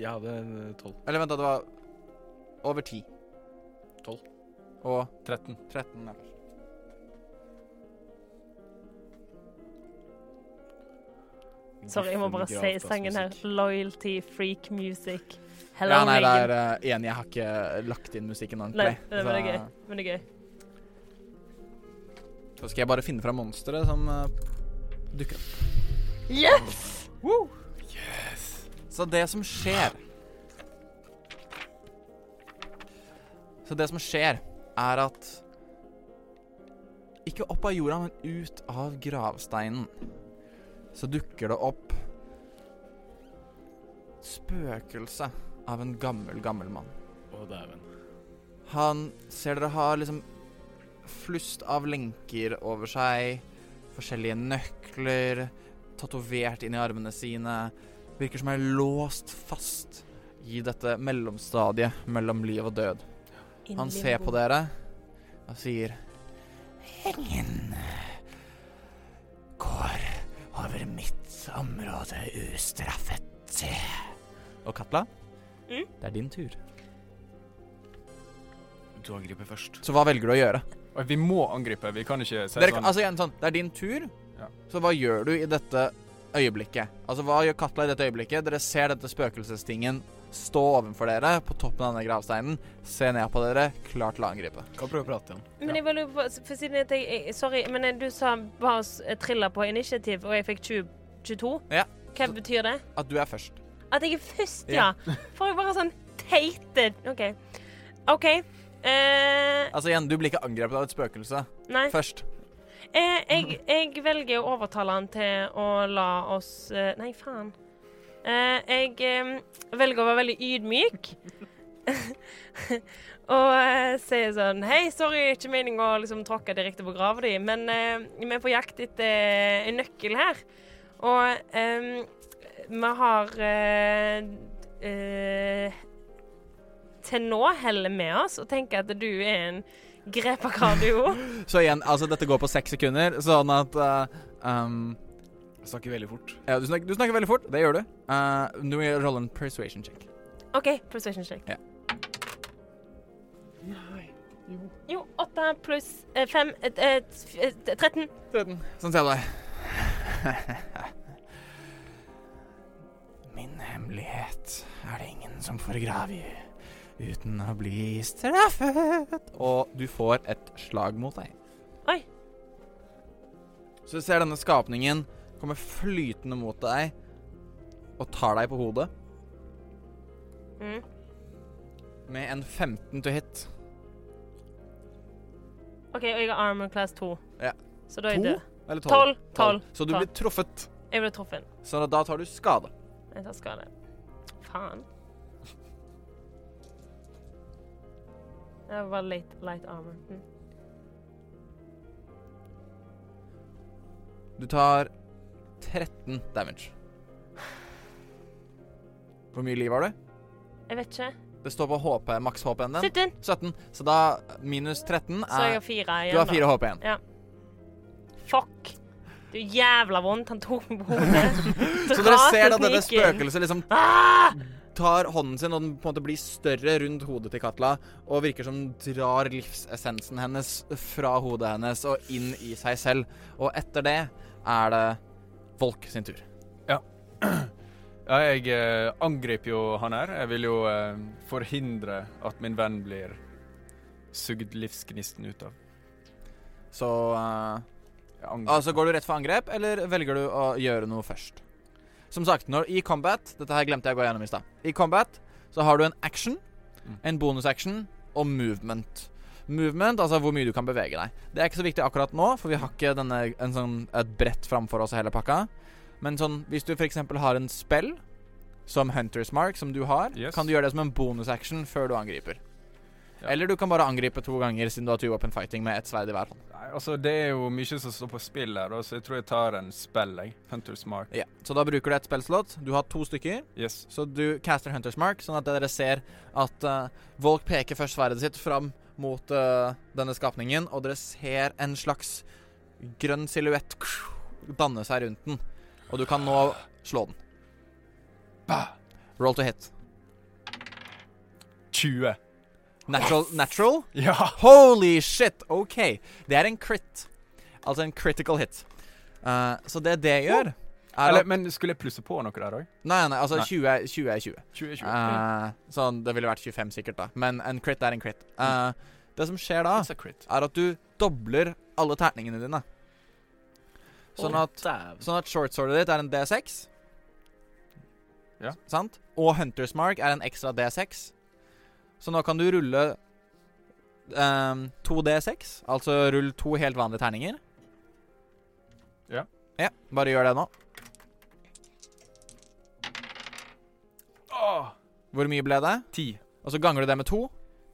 [SPEAKER 2] Jeg hadde en eh, tolv.
[SPEAKER 1] Eller vent, da, det var over 10.
[SPEAKER 2] 12.
[SPEAKER 1] Og
[SPEAKER 4] 13.
[SPEAKER 1] 13. Ja.
[SPEAKER 3] Sorry, jeg må bare
[SPEAKER 2] Guffen
[SPEAKER 3] si
[SPEAKER 2] grav
[SPEAKER 3] sangen her.
[SPEAKER 2] bassmusikk.
[SPEAKER 3] Loyalty, freak music. Hello,
[SPEAKER 1] ja, nei, det
[SPEAKER 3] Megan.
[SPEAKER 1] er eh, enig. Jeg har ikke lagt inn musikken ordentlig. eh,
[SPEAKER 3] Nei, det er veldig gøy. Men det er gøy.
[SPEAKER 1] Så skal jeg bare finne fram monsteret som eh, dukker opp.
[SPEAKER 3] Yes!
[SPEAKER 1] Så det som skjer Så det som skjer, er at Ikke opp av jorda, men ut av gravsteinen så dukker det opp spøkelse av en gammel, gammel mann.
[SPEAKER 2] Å, dæven.
[SPEAKER 1] Han ser dere har liksom flust av lenker over seg, forskjellige nøkler, tatovert inn i armene sine. Virker som er låst fast i dette mellomstadiet mellom liv og død. Han ser på dere og sier Ingen går over mitt område ustraffet. Og Katla,
[SPEAKER 3] Mm?
[SPEAKER 1] det er din tur.
[SPEAKER 2] Du angriper først.
[SPEAKER 1] Så hva velger du å gjøre?
[SPEAKER 4] Og vi må angripe. Vi kan ikke si
[SPEAKER 1] Dere,
[SPEAKER 4] sånn
[SPEAKER 1] kan- altså igjen, sånn, Det er din tur,
[SPEAKER 4] Ja.
[SPEAKER 1] så hva gjør du i dette øyeblikket? Altså, Hva gjør Katla i dette øyeblikket? Dere ser dette spøkelsestingen stå ovenfor dere på toppen av denne gravsteinen, se ned på dere, klar til å angripe.
[SPEAKER 2] Kan prøve å prate igjen.
[SPEAKER 3] Men jeg bare lurer på for siden jeg, tenker- jeg, Sorry, men eh, du sa bare s- eh, trilla på initiativ, og jeg fikk 20, 22.
[SPEAKER 1] Ja.
[SPEAKER 3] Hva betyr det?
[SPEAKER 1] At du er først.
[SPEAKER 3] At jeg er først, ja.
[SPEAKER 1] Ja.
[SPEAKER 3] For jeg bare sånn teite OK. OK. Eh,
[SPEAKER 1] Altså igjen, du blir ikke angrepet av et spøkelse
[SPEAKER 3] nei.
[SPEAKER 1] først.
[SPEAKER 3] Eh, jeg, jeg velger å overtale han til å la oss eh, Nei, faen. Eh, jeg eh, velger å være veldig ydmyk. *laughs* og eh, sier sånn Hei, sorry, ikke meningen å liksom, tråkke direkte på grava di, men eh, vi er på jakt etter eh, en nøkkel her. Og eh, vi har eh, eh, til nå hellet med oss og tenker at du er en grepakardio.
[SPEAKER 1] Så igjen, altså dette går på seks sekunder, sånn at eh, um,
[SPEAKER 2] Jeg snakker veldig fort.
[SPEAKER 1] ja, du, snakker, du snakker veldig fort, det gjør du. Eh, du må rolle en persuasion check.
[SPEAKER 3] OK, persuasion check.
[SPEAKER 1] Ja.
[SPEAKER 3] Jo. Jo, 8 pluss eh, 5 13.
[SPEAKER 1] 13. Sånn ser jeg deg. Min hemmelighet er det ingen som får grave i uten å bli straffet. Og du får et slag mot deg.
[SPEAKER 3] Oi.
[SPEAKER 1] Så du ser denne skapningen komme flytende mot deg og tar deg på hodet
[SPEAKER 3] Mm.
[SPEAKER 1] med en 15 to hit.
[SPEAKER 3] OK, og jeg har armor class 2.
[SPEAKER 1] Ja.
[SPEAKER 3] Så da er jeg
[SPEAKER 1] To?
[SPEAKER 3] død.
[SPEAKER 1] Eller 12?
[SPEAKER 3] 12. 12.
[SPEAKER 1] Så du
[SPEAKER 3] Tolv.
[SPEAKER 1] blir truffet.
[SPEAKER 3] Jeg ble truffet.
[SPEAKER 1] Så da tar du skade.
[SPEAKER 3] Jeg tar skade. Faen. Det var bare light, light armor. Mm.
[SPEAKER 1] Du tar 13 damage. Hvor mye liv har du?
[SPEAKER 3] Jeg vet ikke.
[SPEAKER 1] Det står på HP, maks HP-en din.
[SPEAKER 3] 17.
[SPEAKER 1] 17. Så da minus 13
[SPEAKER 3] Så jeg har
[SPEAKER 1] er
[SPEAKER 3] fire igjen.
[SPEAKER 1] Du har
[SPEAKER 3] da.
[SPEAKER 1] 4 HP igjen.
[SPEAKER 3] Fuck. Du er jævla vondt. Han tok meg på hodet.
[SPEAKER 1] *laughs* Så dere
[SPEAKER 3] Dra
[SPEAKER 1] ser
[SPEAKER 3] til
[SPEAKER 1] da dette
[SPEAKER 3] sniken.
[SPEAKER 1] spøkelset liksom
[SPEAKER 3] Ah!
[SPEAKER 1] tar hånden sin, og den på en måte blir større rundt hodet til Katla, og virker som den drar livsessensen hennes fra hodet hennes og inn i seg selv. Og etter det er det Volk sin tur.
[SPEAKER 4] Ja, jeg eh, angriper jo han her. Jeg vil jo eh, forhindre at min venn blir sugd livsgnisten ut av.
[SPEAKER 1] Så eh,
[SPEAKER 4] Jeg angriper.
[SPEAKER 1] Altså, Går du rett for angrep, eller velger du å gjøre noe først? Som sagt, når, i combat Dette her glemte jeg å gå gjennom i stad. I combat så har du en action,
[SPEAKER 4] Mm.
[SPEAKER 1] en bonusaction og movement. Movement, altså hvor mye du kan bevege deg. Det er ikke så viktig akkurat nå, for vi har ikke denne, en sånn, et brett framfor oss og hele pakka. Men sånn, hvis du f.eks. har en spell, som Hunter's Mark, som du har,
[SPEAKER 4] Yes.
[SPEAKER 1] kan du gjøre det som en bonusaction før du angriper.
[SPEAKER 4] Ja.
[SPEAKER 1] Eller du kan bare angripe to ganger, siden du har two weapon fighting med ett sverd i hver hånd.
[SPEAKER 4] Nei, altså, det er jo mye som står på spill her, da, så jeg tror jeg tar en spell, jeg. Hunter's Mark.
[SPEAKER 1] Ja. Så da bruker du ett spellslott. Du har to stykker.
[SPEAKER 4] Yes.
[SPEAKER 1] Så du caster Hunters Mark, sånn at dere ser at eh, Volk peker først sverdet sitt fram mot eh, denne skapningen, og dere ser en slags grønn silhuett danne seg rundt den. Og du kan nå slå den. Roll to hit.
[SPEAKER 4] 20.
[SPEAKER 1] Natural? natural?
[SPEAKER 4] *laughs* Ja!
[SPEAKER 1] Holy shit! OK. Det er en crit. Altså en critical hit. Eh, så det det gjør, er
[SPEAKER 4] Eller,
[SPEAKER 1] at
[SPEAKER 4] men skulle jeg plusse på noe der òg?
[SPEAKER 1] Nei, nei, altså
[SPEAKER 4] Nei.
[SPEAKER 1] 20 er 20. er 20.
[SPEAKER 4] 2020.
[SPEAKER 1] Eh, sånn, det ville vært 25 sikkert, da. Men en crit er en crit. Eh,
[SPEAKER 4] Mm.
[SPEAKER 1] Det som skjer da,
[SPEAKER 2] It's a crit.
[SPEAKER 1] er at du dobler alle terningene dine. Sånn at, sånn at shortsordet ditt er en D6.
[SPEAKER 4] Ja.
[SPEAKER 1] S- Sant? Og Hunter's Mark er en ekstra D6. Så nå kan du rulle ehm, to D6. Altså rull to helt vanlige terninger.
[SPEAKER 4] Ja.
[SPEAKER 1] Ja, Bare gjør det nå.
[SPEAKER 4] Åh,
[SPEAKER 1] Hvor mye ble det?
[SPEAKER 4] 10.
[SPEAKER 1] Og så ganger du det med to,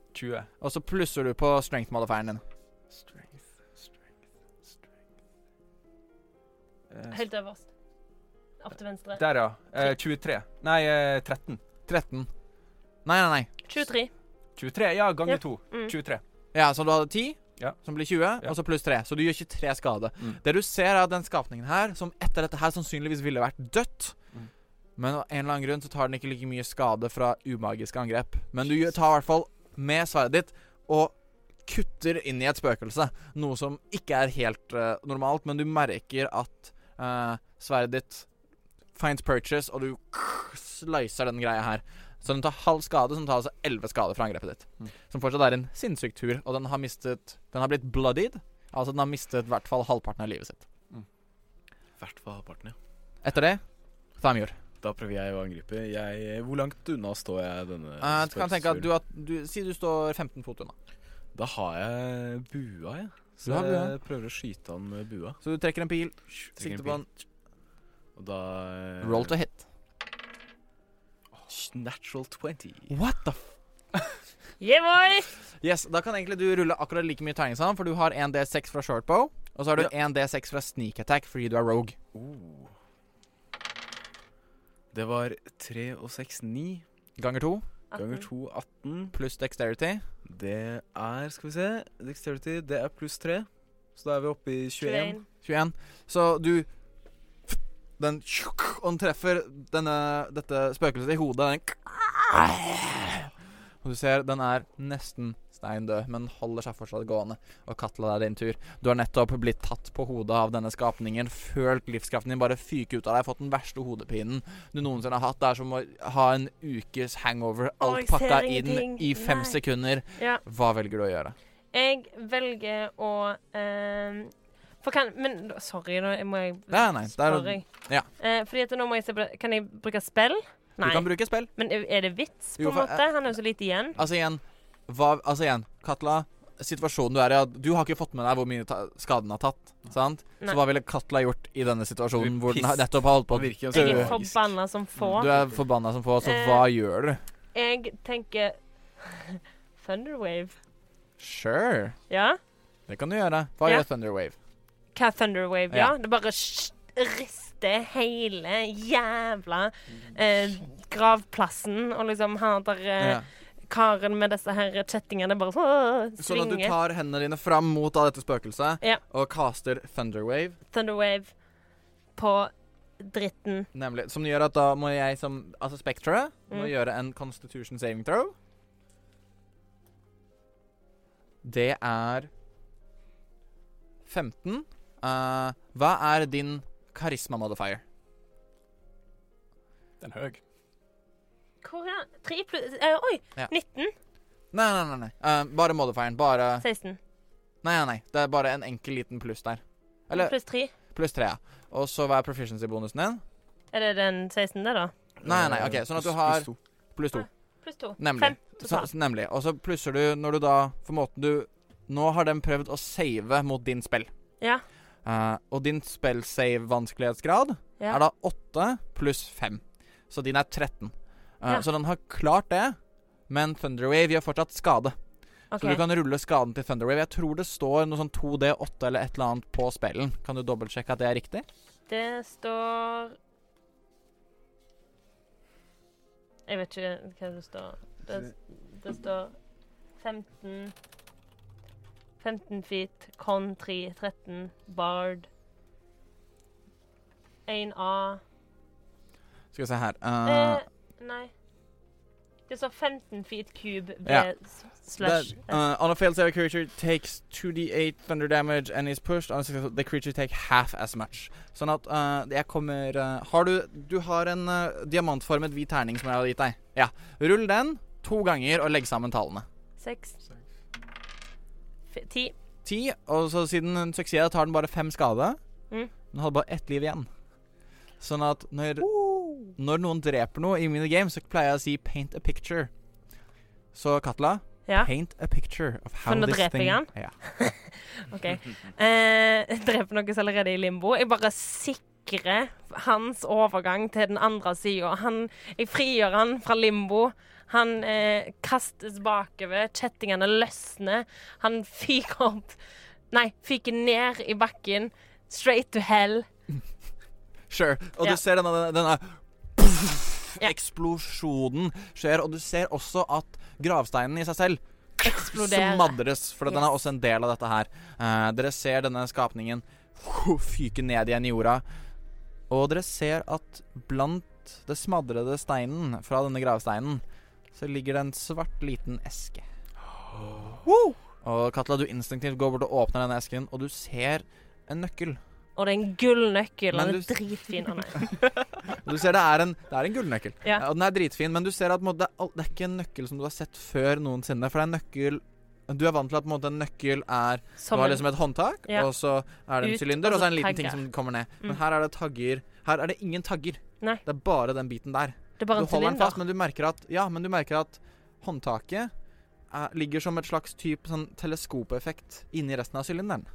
[SPEAKER 4] 20.
[SPEAKER 1] og så plusser du på strength modifieren din.
[SPEAKER 4] Strength, strength, strength
[SPEAKER 3] Helt øverst. Opp til venstre.
[SPEAKER 4] Der, ja. Eh, 23. Nei, eh, 13.
[SPEAKER 1] 13. Nei, nei, nei.
[SPEAKER 3] 23.
[SPEAKER 4] 23, ja, ganger
[SPEAKER 3] Ja.
[SPEAKER 4] 2.
[SPEAKER 3] Mm.
[SPEAKER 4] 23.
[SPEAKER 1] Ja, så du hadde 10,
[SPEAKER 4] Ja.
[SPEAKER 1] som blir 20,
[SPEAKER 4] Ja.
[SPEAKER 1] og så pluss 3. Så du gjør 23 skade.
[SPEAKER 4] Mm.
[SPEAKER 1] Det du ser, er at den skapningen her, som etter dette her sannsynligvis ville vært dødt
[SPEAKER 4] Mm.
[SPEAKER 1] Men av en eller annen grunn så tar den ikke like mye skade fra umagiske angrep. Men du gjør- tar i hvert fall med sverdet ditt og kutter inn i et spøkelse. Noe som ikke er helt eh, normalt, men du merker at eh, sverdet ditt finds purchase, og du slicer den greia her. Så den tar halv skade, så den tar altså 11 skade fra angrepet ditt. Som fortsatt er en sinnssyk tur, og den har mistet Den har blitt bloodied. Altså den har mistet i hvert fall halvparten av livet sitt.
[SPEAKER 2] Hvert fall halvparten, ja.
[SPEAKER 1] Etter det Thamjord.
[SPEAKER 2] Da prøver jeg å angripe. Jeg, hvor langt unna står jeg denne
[SPEAKER 1] Uh, du kan tenke at
[SPEAKER 2] spøkelsesfuglen?
[SPEAKER 1] du, har- du Si du står 15 fot unna.
[SPEAKER 2] Da har jeg bua, jeg. Så
[SPEAKER 1] Du har bua.
[SPEAKER 2] jeg prøver å skyte han med bua.
[SPEAKER 1] Så du trekker en pil,
[SPEAKER 2] Trenger
[SPEAKER 1] sikter på
[SPEAKER 2] en
[SPEAKER 1] en
[SPEAKER 2] pil. Og da eh,
[SPEAKER 1] Roll to hit.
[SPEAKER 2] Natural 20.
[SPEAKER 1] What the f...
[SPEAKER 3] Yeah, boy!
[SPEAKER 1] Yes, da kan egentlig du rulle akkurat like mye terning som han, for du har 1 D6 fra shortbow, og så har du
[SPEAKER 2] Ja.
[SPEAKER 1] 1 D6 fra sneak attack fordi du er rogue.
[SPEAKER 2] Oh. Det var 3 og 6, 9
[SPEAKER 1] Ganger 2
[SPEAKER 2] ganger 2, 18.
[SPEAKER 1] pluss dexterity.
[SPEAKER 2] Det er, skal vi se Dexterity, det er pluss 3. Så da er vi oppe i 21.
[SPEAKER 3] 21.
[SPEAKER 1] 21. Så du Den Og den treffer denne, dette spøkelset i hodet. Den og du ser den er nesten steindød, men holder seg fortsatt gående. Og Katla, det er din tur. Du har nettopp blitt tatt på hodet av denne skapningen. Følt livskraften din bare fyke ut av deg. Fått den verste hodepinen du noensinne har hatt. Det er som å ha en ukes hangover.
[SPEAKER 3] Å,
[SPEAKER 1] Alt
[SPEAKER 3] jeg ser
[SPEAKER 1] pakka inn
[SPEAKER 3] ingenting.
[SPEAKER 1] i fem
[SPEAKER 3] Nei.
[SPEAKER 1] sekunder.
[SPEAKER 3] Ja.
[SPEAKER 1] Hva velger du å gjøre?
[SPEAKER 3] Jeg velger å ehm, For kan Men da- sorry, nå må jeg
[SPEAKER 1] Nei, nei, det er-
[SPEAKER 3] spør jeg.
[SPEAKER 1] ja.
[SPEAKER 3] Eh, fordi at nå må jeg se på det. Kan jeg bruke spill? Nei.
[SPEAKER 1] Du kan bruke spill.
[SPEAKER 3] Men er er det vits, på
[SPEAKER 1] Jo,
[SPEAKER 3] en
[SPEAKER 1] for-
[SPEAKER 3] måte? Han er jo så lite igjen.
[SPEAKER 1] Altså igjen, hva, altså igjen Katla, situasjonen du er i at Du har ikke fått med deg hvor mye ta skaden har tatt. Sant?
[SPEAKER 3] Nei.
[SPEAKER 1] Så hva ville Katla gjort i denne situasjonen
[SPEAKER 2] Du
[SPEAKER 1] hvor den har-
[SPEAKER 2] piss.
[SPEAKER 1] nettopp har holdt på
[SPEAKER 2] Han virker jo
[SPEAKER 1] dø?
[SPEAKER 3] Jeg Eh. er
[SPEAKER 2] så- magisk.
[SPEAKER 3] forbanna som få.
[SPEAKER 1] Mm, Du er forbanna som få, så hva gjør du?
[SPEAKER 3] Jeg tenker *laughs* Thunderwave.
[SPEAKER 1] Sure,
[SPEAKER 3] Ja?
[SPEAKER 1] det kan du gjøre. Hva
[SPEAKER 3] Ja.
[SPEAKER 1] gjør Thunderwave?
[SPEAKER 3] Hva Thunderwave, ja.
[SPEAKER 1] Ja.
[SPEAKER 3] Det bare sj- rister hele jævla
[SPEAKER 1] Mm.
[SPEAKER 3] eh, gravplassen, og liksom han der eh,
[SPEAKER 1] Ja.
[SPEAKER 3] karen med disse her kjettingene bare så,
[SPEAKER 1] Sånn at du
[SPEAKER 3] svinger.
[SPEAKER 1] tar hendene dine fram mot da dette spøkelset
[SPEAKER 3] Ja.
[SPEAKER 1] og caster Thunderwave.
[SPEAKER 3] Thunderwave på dritten.
[SPEAKER 1] Nemlig, Som gjør at da må jeg som Altså Spectre må
[SPEAKER 3] Mm.
[SPEAKER 1] gjøre en Constitution saving throw. Det er 15. Eh, hva er din karisma modifier?
[SPEAKER 4] Den er høy.
[SPEAKER 3] Hvor er Tre pluss eh, Oi!
[SPEAKER 1] Ja.
[SPEAKER 3] 19?
[SPEAKER 1] Nei, nei, nei. nei. Eh, bare modifieren. Bare
[SPEAKER 3] 16.
[SPEAKER 1] Nei, nei, nei. Det er bare en enkel liten pluss der. Eller
[SPEAKER 3] Pluss 3.
[SPEAKER 1] pluss tre, ja. Og så hva er proficiency-bonusen din?
[SPEAKER 3] Er det den 16., det, da?
[SPEAKER 1] Nei, nei, ok, sånn at du
[SPEAKER 2] Pluss-
[SPEAKER 1] har-
[SPEAKER 2] pluss to.
[SPEAKER 1] Pluss to.
[SPEAKER 3] Pluss 2.
[SPEAKER 1] Nemlig.
[SPEAKER 3] 5
[SPEAKER 1] Så,
[SPEAKER 3] totalt.
[SPEAKER 1] så- nemlig. Og så plusser du når du da For måten du Nå har den prøvd å save mot din spill.
[SPEAKER 3] Ja.
[SPEAKER 1] Eh, og din spellsave-vanskelighetsgrad
[SPEAKER 3] ja.
[SPEAKER 1] er da 8 pluss 5. Så din er 13. Eh,
[SPEAKER 3] Ja.
[SPEAKER 1] Så den har klart det, men Thunderwave gjør fortsatt skade.
[SPEAKER 3] OK.
[SPEAKER 1] Så du kan rulle skaden til Thunderwave. Jeg tror det står noe sånn 2D8 eller et eller annet på spellen. Kan du dobbeltsjekke at det er riktig?
[SPEAKER 3] Det står Jeg vet ikke hva det står. Det, det står 15 15 feet, con 3, 13, bard 1A
[SPEAKER 1] Skal vi se her
[SPEAKER 3] eh,
[SPEAKER 1] Eh,
[SPEAKER 3] Nei. Det står 15 feet cube B
[SPEAKER 1] Ja.
[SPEAKER 3] s- slash
[SPEAKER 1] that, uh, On a failed save, a creature takes 2D8 thunder damage and is pushed. On a successful, the creature take half as much. Sånn at eh, jeg kommer eh, Har du Du har en eh, diamantformet hvit terning som jeg har gitt deg. Ja. Rull den to ganger og legg sammen tallene.
[SPEAKER 3] 6 10.
[SPEAKER 1] Ti, og så siden den suksesser tar den bare fem skade.
[SPEAKER 3] Mm.
[SPEAKER 1] Den hadde bare ett liv igjen. Sånn at når, når noen dreper noe i minigame, så pleier jeg å si 'paint a picture'. Så Katla,
[SPEAKER 3] Ja.
[SPEAKER 1] paint a picture of how
[SPEAKER 3] For nå
[SPEAKER 1] this
[SPEAKER 3] dreper
[SPEAKER 1] thing
[SPEAKER 3] jeg han.
[SPEAKER 1] Ja.
[SPEAKER 3] OK. Eh, *laughs* dreper noen som allerede er i limbo. Jeg bare sikrer hans overgang til den andre sida. Jeg frigjør han fra limbo. Han eh, kastes bakover. Kjettingene løsner. Han fyker opp Nei, fyker ned i bakken. Straight to hell.
[SPEAKER 1] Sure. Og
[SPEAKER 3] Ja.
[SPEAKER 1] du ser denne, denne
[SPEAKER 3] Ja.
[SPEAKER 1] eksplosjonen skjer, og du ser også at gravsteinen i seg selv
[SPEAKER 3] Eksploderer.
[SPEAKER 1] Smadres, for den er
[SPEAKER 3] Yes.
[SPEAKER 1] også en del av dette her. Eh, dere ser denne skapningen fyke ned igjen i jorda. Og dere ser at blant det smadrede steinen fra denne gravsteinen, så ligger det en svart liten eske. Woo! Og Katla, du instinktivt går bort og åpner denne esken, og du ser en nøkkel.
[SPEAKER 3] Og det er en gull nøkkel.
[SPEAKER 1] Men
[SPEAKER 3] Og
[SPEAKER 1] du-
[SPEAKER 3] det er dritfin. Å
[SPEAKER 1] *laughs*
[SPEAKER 3] nei.
[SPEAKER 1] Du ser det er en, det er en gullnøkkel.
[SPEAKER 3] Ja.
[SPEAKER 1] Og den er dritfin, men du ser at på en måte, det er al- det er ikke en nøkkel som du har sett før noensinne. For det er en nøkkel Du er vant til at på en måte, en nøkkel er
[SPEAKER 3] Som
[SPEAKER 1] du har liksom et håndtak,
[SPEAKER 3] Ja.
[SPEAKER 1] og så er det en
[SPEAKER 3] Ut,
[SPEAKER 1] sylinder,
[SPEAKER 3] og
[SPEAKER 1] og så er det en
[SPEAKER 3] så
[SPEAKER 1] liten ting
[SPEAKER 3] tagger.
[SPEAKER 1] som kommer ned. Men
[SPEAKER 3] Mm.
[SPEAKER 1] her er det tagger. Her er det ingen tagger.
[SPEAKER 3] Nei.
[SPEAKER 1] Det er bare den biten der.
[SPEAKER 3] det
[SPEAKER 1] Du
[SPEAKER 3] er bare en
[SPEAKER 1] holder den
[SPEAKER 3] sylinder.
[SPEAKER 1] fast, men du merker at Ja, men du merker at håndtaket er, ligger som et slags type sånn teleskopeffekt inni resten av sylinderen.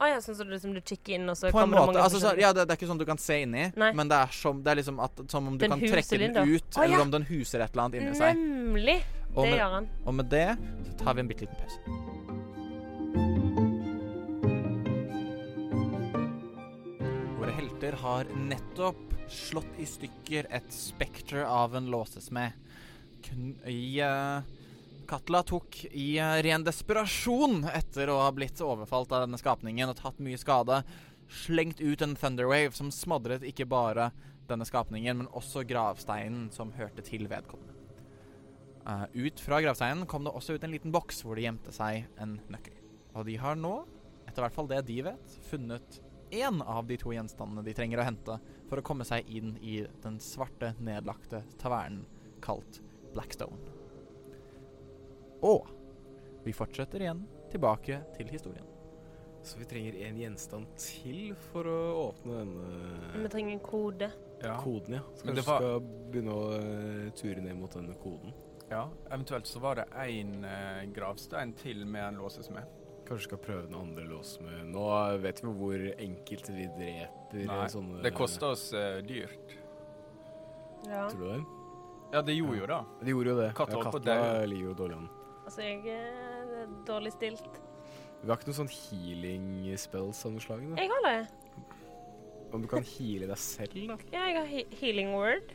[SPEAKER 3] Å ja, sånn som du, liksom, du kikker inn, og så
[SPEAKER 1] På en
[SPEAKER 3] kommer det
[SPEAKER 1] måte.
[SPEAKER 3] mange
[SPEAKER 1] Altså, så,
[SPEAKER 3] forskjellige-
[SPEAKER 1] ja, det, det er ikke sånn du kan se inni,
[SPEAKER 3] Nei.
[SPEAKER 1] men det er, som, det er liksom at, som om du
[SPEAKER 3] Den
[SPEAKER 1] kan trekke den
[SPEAKER 3] hussylinder.
[SPEAKER 1] ut,
[SPEAKER 3] Å, ja.
[SPEAKER 1] eller om den huser et eller annet inni seg.
[SPEAKER 3] Nemlig.
[SPEAKER 1] Og
[SPEAKER 3] Det
[SPEAKER 1] med,
[SPEAKER 3] gjør han.
[SPEAKER 1] og med det så tar vi en bitte liten pause. Våre helter har nettopp slått i stykker et spekter av en låsesmed. Kun I eh, Katla tok i eh, ren desperasjon etter å ha blitt overfalt av denne skapningen og tatt mye skade, slengt ut en thunderwave som smadret ikke bare denne skapningen, men også gravsteinen som hørte til vedkommende. Eh, ut fra gravsteinen kom det også ut en liten boks hvor det gjemte seg en nøkkel. Og de har nå, etter hvert fall det de vet, funnet én av de to gjenstandene de trenger å hente for å komme seg inn i den svarte, nedlagte tavernen kalt Blackstone. Og vi fortsetter igjen tilbake til historien.
[SPEAKER 2] Så vi trenger en gjenstand til for å åpne
[SPEAKER 3] Vi
[SPEAKER 2] denne
[SPEAKER 3] trenger en kode.
[SPEAKER 4] Ja.
[SPEAKER 2] koden, ja. Så kanskje
[SPEAKER 4] Men det
[SPEAKER 2] vi
[SPEAKER 4] var-
[SPEAKER 2] skal begynne å eh, ture ned mot denne koden.
[SPEAKER 4] ja. Eventuelt så var det én gravstein til med en låsesmed.
[SPEAKER 2] Kanskje vi skal prøve den andre låsen med Nå vet vi jo hvor enkelt vi dreper
[SPEAKER 4] Nei,
[SPEAKER 2] sånne
[SPEAKER 4] Det kosta oss eh, dyrt.
[SPEAKER 3] Ja.
[SPEAKER 2] Tror du det?
[SPEAKER 4] Ja, det gjorde jo det.
[SPEAKER 2] De gjorde jo det.
[SPEAKER 4] Katta holdt på å
[SPEAKER 2] katta
[SPEAKER 4] daue.
[SPEAKER 2] ligger jo dårlig an.
[SPEAKER 3] Altså, jeg er dårlig stilt.
[SPEAKER 2] Vi har ikke noen sånn healing spells av noe slag? da?
[SPEAKER 3] Jeg har det.
[SPEAKER 2] Om du kan heale deg selv, da?
[SPEAKER 3] Ja, jeg har he- healing word.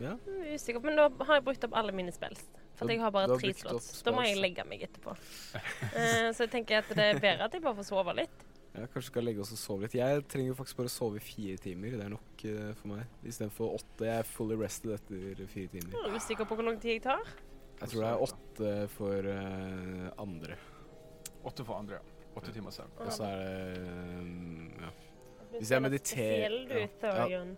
[SPEAKER 2] Ja.
[SPEAKER 3] Mm, Usikker, men da har jeg brukt opp alle mine spells. For
[SPEAKER 2] Du-
[SPEAKER 3] at jeg har bare
[SPEAKER 2] du har
[SPEAKER 3] tre
[SPEAKER 2] brukt opp
[SPEAKER 3] slott. Da må jeg
[SPEAKER 2] spells.
[SPEAKER 3] legge meg etterpå. Eh, så jeg tenker at det er bedre at jeg bare får sove litt.
[SPEAKER 2] Ja, kanskje vi skal legge oss og sove litt. Jeg trenger jo faktisk bare å sove i fire timer. Det er nok eh, for meg. Istedenfor åtte. Jeg er fully rested etter fire timer.
[SPEAKER 3] Jeg er usikker på hvor lang tid jeg tar.
[SPEAKER 2] Jeg tror det er åtte for eh, andre.
[SPEAKER 4] Åtte for andre, ja. Åtte timer søvn.
[SPEAKER 2] Og så er det eh, ja.
[SPEAKER 3] Du
[SPEAKER 2] altså, Hvis
[SPEAKER 3] ser
[SPEAKER 2] jeg
[SPEAKER 3] litt
[SPEAKER 2] mediterer-
[SPEAKER 3] Spesiell
[SPEAKER 2] ja.
[SPEAKER 3] du, Thorion.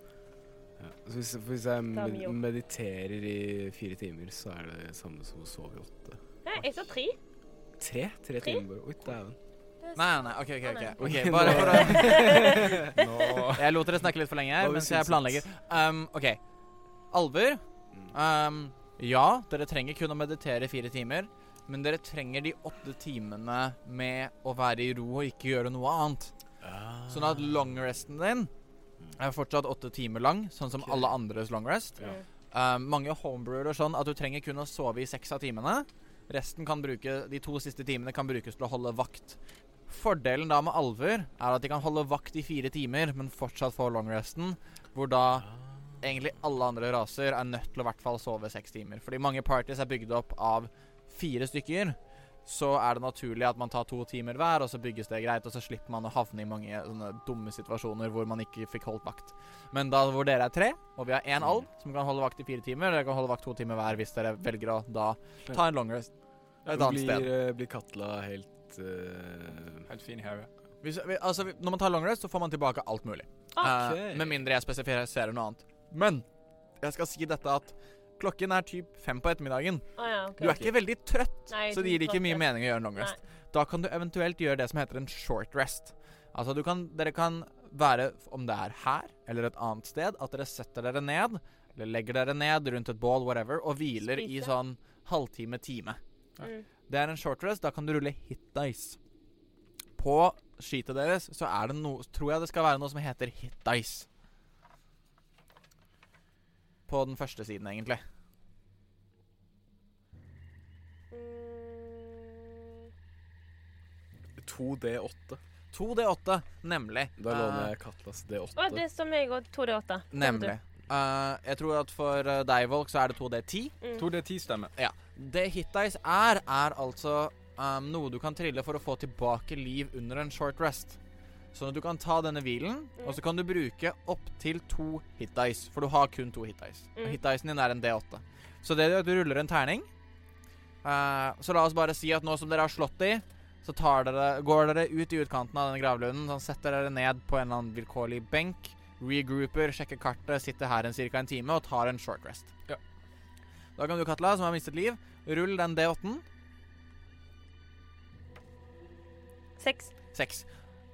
[SPEAKER 2] ja. Så hvis, for hvis jeg med,
[SPEAKER 3] Damio.
[SPEAKER 2] mediterer i fire timer, så er det det samme som å sove i åtte.
[SPEAKER 3] Nei, jeg tar tre.
[SPEAKER 2] Tre? Tre timer bare. Oi, dæven.
[SPEAKER 3] Det er
[SPEAKER 1] Nei, nei, OK, OK. ok,
[SPEAKER 2] Å, nei.
[SPEAKER 1] Ok, Bare for å
[SPEAKER 2] *laughs*
[SPEAKER 4] Nå
[SPEAKER 1] Jeg lot dere snakke litt for lenge
[SPEAKER 2] Da
[SPEAKER 1] her,
[SPEAKER 2] har vi
[SPEAKER 1] mens jeg
[SPEAKER 2] syntes.
[SPEAKER 1] planlegger. Um, OK. Alver.
[SPEAKER 2] Mm.
[SPEAKER 1] Um, ja, dere trenger kun å meditere i fire timer. Men dere trenger de åtte timene med å være i ro og ikke gjøre noe annet.
[SPEAKER 2] Ah.
[SPEAKER 1] Sånn at longresten din er fortsatt åtte timer lang, sånn som
[SPEAKER 2] Ok.
[SPEAKER 1] alle andres Ehm, longrest.
[SPEAKER 2] Ja.
[SPEAKER 3] Mm.
[SPEAKER 1] Um, mange homebrewer og sånn at du trenger kun å sove i seks av timene. Resten kan bruke, De to siste timene kan brukes til å holde vakt. Fordelen da med alver er at de kan holde vakt i fire timer, men fortsatt få longresten. Hvor da egentlig alle andre raser er nødt til å i hvert fall sove seks timer. Fordi mange parties er bygd opp av fire stykker. Så er det naturlig at man tar to timer hver, og så bygges det greit. Og så slipper man å havne i mange sånne dumme situasjoner hvor man ikke fikk holdt vakt. Men da hvor dere er tre, og vi har én alv som kan holde vakt i fire timer, dere kan holde vakt to timer hver hvis dere velger å da ta en long rest et
[SPEAKER 2] Hun
[SPEAKER 1] annet
[SPEAKER 2] blir,
[SPEAKER 1] sted.
[SPEAKER 2] eh, blir Katla helt eh,
[SPEAKER 4] Helt fin i hodet.
[SPEAKER 1] Hvis, vi- altså, vi- når man tar long rest, så får man tilbake alt mulig.
[SPEAKER 2] Ok.
[SPEAKER 1] Eh, med mindre jeg spesifiserer noe annet. Men jeg skal si dette at klokken er typ fem på ettermiddagen.
[SPEAKER 3] Å ja, ok.
[SPEAKER 1] Du er ikke veldig trøtt,
[SPEAKER 3] Nei,
[SPEAKER 1] så det gir ikke mye
[SPEAKER 3] klart
[SPEAKER 1] mening å gjøre en long
[SPEAKER 3] Nei.
[SPEAKER 1] rest. Da kan du eventuelt gjøre det som heter en short rest. Altså du kan, dere kan være, om det er her eller et annet sted, at dere setter dere ned, eller legger dere ned rundt et bål, whatever, og hviler i
[SPEAKER 3] Spise.
[SPEAKER 1] sånn halvtime-time.
[SPEAKER 3] Mm.
[SPEAKER 1] Det er en short rest. Da kan du rulle hit dice. På skitet deres så er det noe Tror jeg det skal være noe som heter hit dice. På den første siden, egentlig.
[SPEAKER 3] Mm.
[SPEAKER 2] 2D8.
[SPEAKER 1] 2D8, nemlig.
[SPEAKER 2] Da
[SPEAKER 1] Eh,
[SPEAKER 2] låner jeg Katlas D8.
[SPEAKER 3] Å, det er som jeg og 2D8.
[SPEAKER 1] Nemlig. Eh, jeg tror at for eh, deg, Volk, så er det 2D10.
[SPEAKER 3] Mm.
[SPEAKER 4] Tror det er ti stemmer.
[SPEAKER 1] Det hit dice er, er altså um, noe du kan trille for å få tilbake liv under en short rest. Sånn at du kan ta denne hvilen,
[SPEAKER 3] Mm.
[SPEAKER 1] og så kan du bruke opptil to hit dice. For du har kun to hit dice. Og
[SPEAKER 3] Mm.
[SPEAKER 1] Hit dicen din er en D8. Så det er at du ruller en terning. Eh, så la oss bare si at nå som dere har slått i, så tar dere, går dere ut i utkanten av denne gravlunden. Sånn setter dere ned på en eller annen vilkårlig benk. Regrouper, sjekker kartet, sitter her en cirka en time og tar en short rest.
[SPEAKER 4] Ja.
[SPEAKER 1] Da kan du, Katla, som har mistet liv, Rull den D8-en.
[SPEAKER 3] Seks.
[SPEAKER 1] Seks.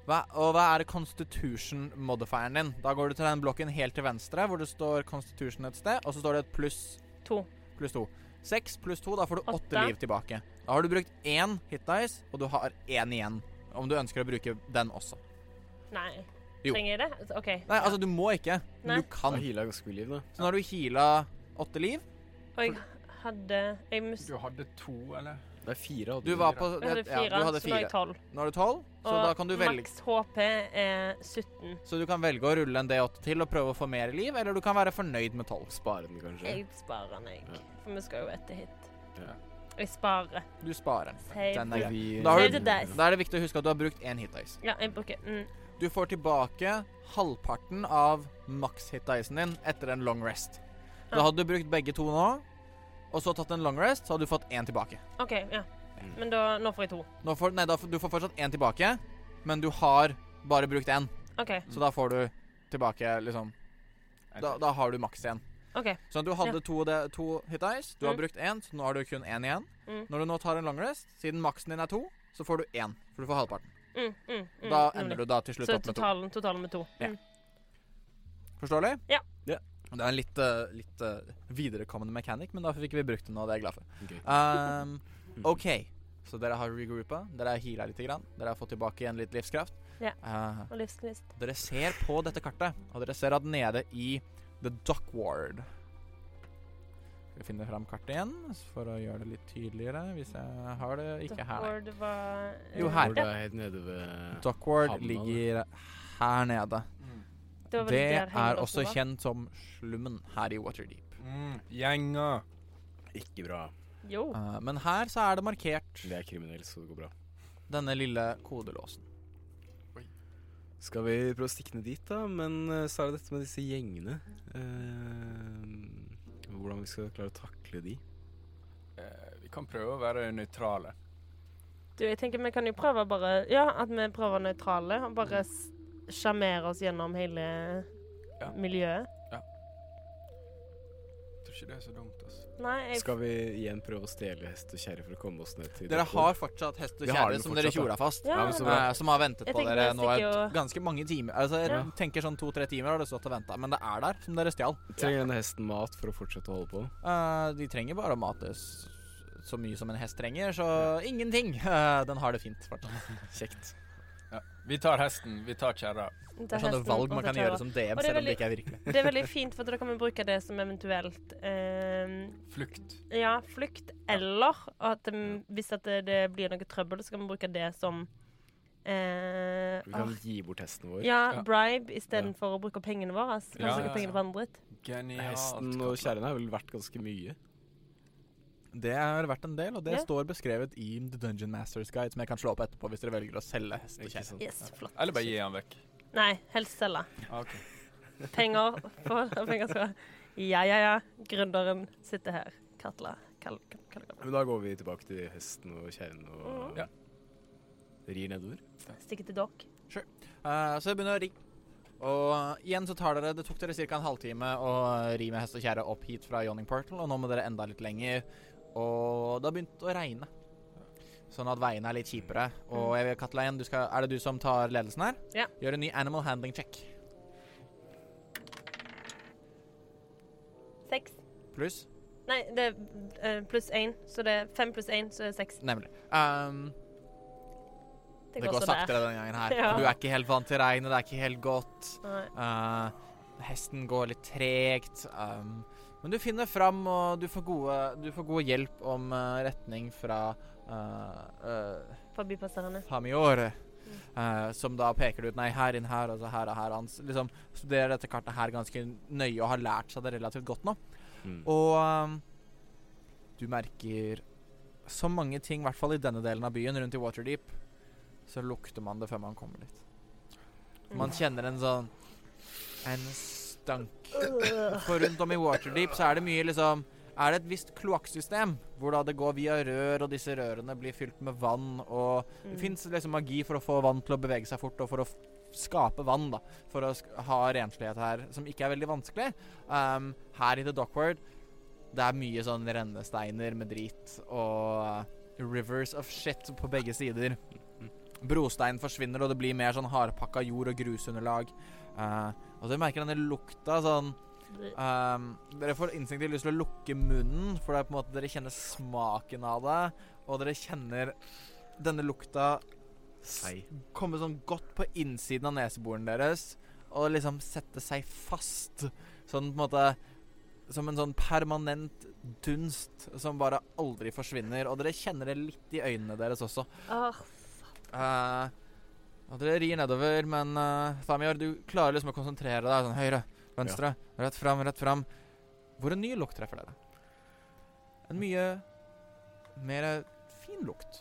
[SPEAKER 1] Hva, og hva er constitution-modifieren din? Da går du til den blokken helt til venstre, hvor det står constitution et sted, og så står det et pluss
[SPEAKER 3] To.
[SPEAKER 1] pluss to. Seks pluss to, da får du åtte
[SPEAKER 3] Åtte.
[SPEAKER 1] liv tilbake. Da har du brukt én hit dice, og du har én igjen. Om du ønsker å bruke den også.
[SPEAKER 3] Nei.
[SPEAKER 1] Jo.
[SPEAKER 3] Trenger jeg det? OK.
[SPEAKER 1] Nei, altså, du må ikke, men
[SPEAKER 3] Nei.
[SPEAKER 1] du kan.
[SPEAKER 2] Da healer jeg ganske mye liv, da.
[SPEAKER 1] Så nå har du heala åtte liv.
[SPEAKER 3] Og jeg hadde Jeg mus-
[SPEAKER 4] Du hadde to, eller?
[SPEAKER 2] Det er fire. hadde
[SPEAKER 1] Du var på
[SPEAKER 3] Jeg hadde fire,
[SPEAKER 1] ja, du hadde
[SPEAKER 3] så nå er jeg
[SPEAKER 1] fire.
[SPEAKER 3] tolv.
[SPEAKER 1] Nå har du tolv, så da kan du velge.
[SPEAKER 3] maks HP er 17.
[SPEAKER 1] Så du kan velge å rulle en D8 til og prøve å få mer liv, eller du kan være fornøyd med tolv.
[SPEAKER 2] Spare den, kanskje.
[SPEAKER 3] Jeg sparer den, jeg. For vi skal jo etter hit.
[SPEAKER 2] Ja.
[SPEAKER 3] Jeg sparer.
[SPEAKER 1] Du sparer.
[SPEAKER 3] Save.
[SPEAKER 1] Den er grei.
[SPEAKER 2] Vi-
[SPEAKER 1] Da har
[SPEAKER 3] du- Dice.
[SPEAKER 1] Da er det viktig å huske at du har brukt én hit dice.
[SPEAKER 3] Ja, jeg bruker mm.
[SPEAKER 1] Du får tilbake halvparten av maks hit dicen din etter en long rest. Da
[SPEAKER 3] Ja.
[SPEAKER 1] hadde du brukt begge to nå, og så tatt en long rest, så hadde du fått én tilbake.
[SPEAKER 3] OK, ja.
[SPEAKER 2] Mm.
[SPEAKER 3] Men da Nå får jeg to.
[SPEAKER 1] Nå får, nei, da, får- du får fortsatt én tilbake, men du har bare brukt én,
[SPEAKER 3] OK.
[SPEAKER 1] så da får du tilbake liksom Da, da har du maks igjen.
[SPEAKER 3] ok
[SPEAKER 1] Sånn at du hadde to, de, to hit dice, du har
[SPEAKER 3] Mm.
[SPEAKER 1] brukt én, så nå har du kun én igjen.
[SPEAKER 3] Mm.
[SPEAKER 1] Når du nå tar en long rest, siden maksen din er to, så får du én, for du får halvparten.
[SPEAKER 3] Mm, mm, mm,
[SPEAKER 1] Da ender du da til slutt
[SPEAKER 3] Så
[SPEAKER 1] opp med to.
[SPEAKER 3] totalen, totalen med to.
[SPEAKER 1] Ja.
[SPEAKER 3] Mm.
[SPEAKER 1] Forståelig?
[SPEAKER 3] Ja.
[SPEAKER 2] Ja.
[SPEAKER 1] Det er en litt, eh, litt eh, viderekommende mechanic, men da fikk vi brukt den, og det er jeg glad for.
[SPEAKER 2] Gøy.
[SPEAKER 1] Um,
[SPEAKER 2] *laughs*
[SPEAKER 1] OK, så dere har regroupa. Dere har heala litt. Grann. Dere har fått tilbake igjen litt livskraft.
[SPEAKER 3] Ja.
[SPEAKER 1] Eh,
[SPEAKER 3] Og livsgnist.
[SPEAKER 1] dere ser på dette kartet, og dere ser at nede i The Dock Ward Skal vi finne fram kartet igjen for å gjøre det litt tydeligere, hvis jeg har det ikke her. nei.
[SPEAKER 3] Hvor det var
[SPEAKER 1] Jo,
[SPEAKER 3] eh,
[SPEAKER 1] her.
[SPEAKER 2] Hvor det er helt nede ved
[SPEAKER 1] Dock Ward
[SPEAKER 2] Havna,
[SPEAKER 1] ligger her nede.
[SPEAKER 4] Mm,
[SPEAKER 3] da
[SPEAKER 1] Det
[SPEAKER 3] var der Heimdall
[SPEAKER 1] er også
[SPEAKER 3] var.
[SPEAKER 1] kjent som slummen her i Waterdeep.
[SPEAKER 4] Mm. Gjenger.
[SPEAKER 2] Ikke bra.
[SPEAKER 3] Jo.
[SPEAKER 1] Eh, men her så er det markert
[SPEAKER 2] Vi er kriminelle, så det går bra.
[SPEAKER 1] denne lille kodelåsen.
[SPEAKER 2] Skal vi prøve å stikke ned dit, da? Men eh, så er det dette med disse gjengene. Eh, hvordan vi skal klare å takle de.
[SPEAKER 4] Eh, vi kan prøve å være nøytrale.
[SPEAKER 3] Du, jeg tenker vi kan jo prøve bare Ja, at vi prøver nøytrale. Og bare s- sjarmere oss gjennom hele
[SPEAKER 4] Ja.
[SPEAKER 3] miljøet.
[SPEAKER 4] Jeg tror ikke det er så dumt, altså.
[SPEAKER 3] Nei, jeg
[SPEAKER 2] Skal vi igjen prøve å stjele hest og kjerre for å komme oss ned til
[SPEAKER 1] Dere
[SPEAKER 2] Dock Ward?
[SPEAKER 1] har fortsatt hest og
[SPEAKER 2] Vi har
[SPEAKER 1] kjerre
[SPEAKER 2] den
[SPEAKER 1] som dere
[SPEAKER 2] fortsatt,
[SPEAKER 1] tjora fast.
[SPEAKER 3] Ja,
[SPEAKER 2] Ja, men så bra.
[SPEAKER 1] eh, som har ventet
[SPEAKER 3] Jeg
[SPEAKER 1] på
[SPEAKER 3] tenker
[SPEAKER 1] dere
[SPEAKER 3] vi
[SPEAKER 1] nå et
[SPEAKER 3] stikker og-
[SPEAKER 1] ganske mange timer. Altså, jeg
[SPEAKER 3] Ja.
[SPEAKER 1] tenker sånn to-tre timer har det stått og venta, men det er der som dere stjal.
[SPEAKER 2] Trenger denne hesten mat for å fortsette å holde på?
[SPEAKER 1] Eh, de trenger bare å mates *laughs* så mye som en hest trenger, så ingenting. Eh, den har det fint. fortsatt.
[SPEAKER 2] Kjekt.
[SPEAKER 4] Vi tar hesten, vi tar kjerra.
[SPEAKER 1] Det er sånne valg man kan gjøre sånn. som DM,
[SPEAKER 3] Og det er
[SPEAKER 1] selv om det
[SPEAKER 3] veldig-
[SPEAKER 1] ikke er virkelig.
[SPEAKER 3] Det er veldig fint, for da kan vi bruke det som eventuelt eh,
[SPEAKER 4] Flukt.
[SPEAKER 3] Ja, flukt eller at mm, hvis at det, det blir noe trøbbel, så kan vi bruke det som eh,
[SPEAKER 2] Vi kan
[SPEAKER 3] ah,
[SPEAKER 2] gi bort hesten vår.
[SPEAKER 3] Ja,
[SPEAKER 4] Ja.
[SPEAKER 3] bribe istedenfor å bruke pengene våre. altså. Kan
[SPEAKER 4] Ja,
[SPEAKER 3] vi
[SPEAKER 4] ja,
[SPEAKER 3] bruke pengene
[SPEAKER 4] ja.
[SPEAKER 3] på andre dritt.
[SPEAKER 4] Genialt.
[SPEAKER 2] Hesten og kjerren er vel verdt ganske mye.
[SPEAKER 1] Det har vært en del, og det
[SPEAKER 3] Ja.
[SPEAKER 1] står beskrevet i The Dungeon Masters Guide, som jeg kan slå opp etterpå hvis dere velger å selge hest og
[SPEAKER 2] Ikke
[SPEAKER 1] kjerre.
[SPEAKER 2] sant?
[SPEAKER 3] Yes, flott.
[SPEAKER 4] Eller bare gi han vekk.
[SPEAKER 3] Nei, helst selge.
[SPEAKER 4] Ok.
[SPEAKER 3] Penger for penger skal Ja, ja, ja. Gründeren sitter her. Katla. Kall, kall, kall, kall.
[SPEAKER 2] Men da går vi tilbake til hesten og kjerren og
[SPEAKER 3] Mhm.
[SPEAKER 4] Ja.
[SPEAKER 2] rir nedover.
[SPEAKER 3] Stikke til dere.
[SPEAKER 1] Eh, så det begynner å ri. Og eh, igjen så tar dere Det tok dere ca. en halvtime å ri med hest og kjerre opp hit fra Yawning Portal, og nå må dere enda litt lenger. Og det har begynt å regne, sånn at veiene er litt kjipere. Og jeg vil, Katla, igjen, du skal, er det du som tar ledelsen her?
[SPEAKER 3] Mm. Ja.
[SPEAKER 1] Gjør en ny animal handling check.
[SPEAKER 3] Seks.
[SPEAKER 1] Pluss.
[SPEAKER 3] Nei, det er eh, pluss én, så det er fem pluss én, så det er seks.
[SPEAKER 1] Nemlig. Um, det, går
[SPEAKER 3] så
[SPEAKER 1] saktere denne gangen her.
[SPEAKER 3] *laughs* Ja.
[SPEAKER 1] Du er ikke helt vant til regnet, det er ikke helt godt.
[SPEAKER 3] Nei.
[SPEAKER 1] Eh, hesten går litt tregt. ehm, men du finner fram, og du får, gode, du får god hjelp om eh, retning fra eh, eh,
[SPEAKER 3] Forbipasserende.
[SPEAKER 1] Famiore. eh, som da peker ut Nei, her inn her, altså her og her. Han s- liksom studerer dette kartet her ganske nøye og har lært seg det relativt godt nå.
[SPEAKER 2] Og
[SPEAKER 1] Og ehm, du merker så mange ting, i hvert fall i denne delen av byen, rundt i Waterdeep, så lukter man det før man kommer dit. Man kjenner en sånn En stank. For rundt om i Waterdeep så er det mye liksom Er det et visst kloakksystem, hvor da det går via rør, og disse rørene blir fylt med vann, og det fins liksom magi for å få vann til å bevege seg fort, og for å f skape vann, da. For å sk ha renslighet her, som ikke er veldig vanskelig. Um, her i The Dockward, det er mye sånn rennesteiner med drit og rivers of shit på begge sider. Brostein forsvinner, og det blir mer sånn hardpakka jord og grusunderlag. Eh, og så merker denne lukta sånn Ehm, dere får instinktivt lyst til å lukke munnen, for det er på en måte dere kjenner smaken av det. Og dere kjenner denne lukta s-
[SPEAKER 2] Sei.
[SPEAKER 1] komme sånn godt på innsiden av neseborene deres og liksom sette seg fast. Sånn på en måte Som en sånn permanent dunst som bare aldri forsvinner. Og dere kjenner det litt i øynene deres også.
[SPEAKER 3] Åh,
[SPEAKER 1] Eh, og dere rir nedover, men uh, Thamior, du klarer liksom å konsentrere deg. Sånn høyre, venstre, rett fram, rett fram. Hvor en ny lukt treffer dere. En mye mer fin lukt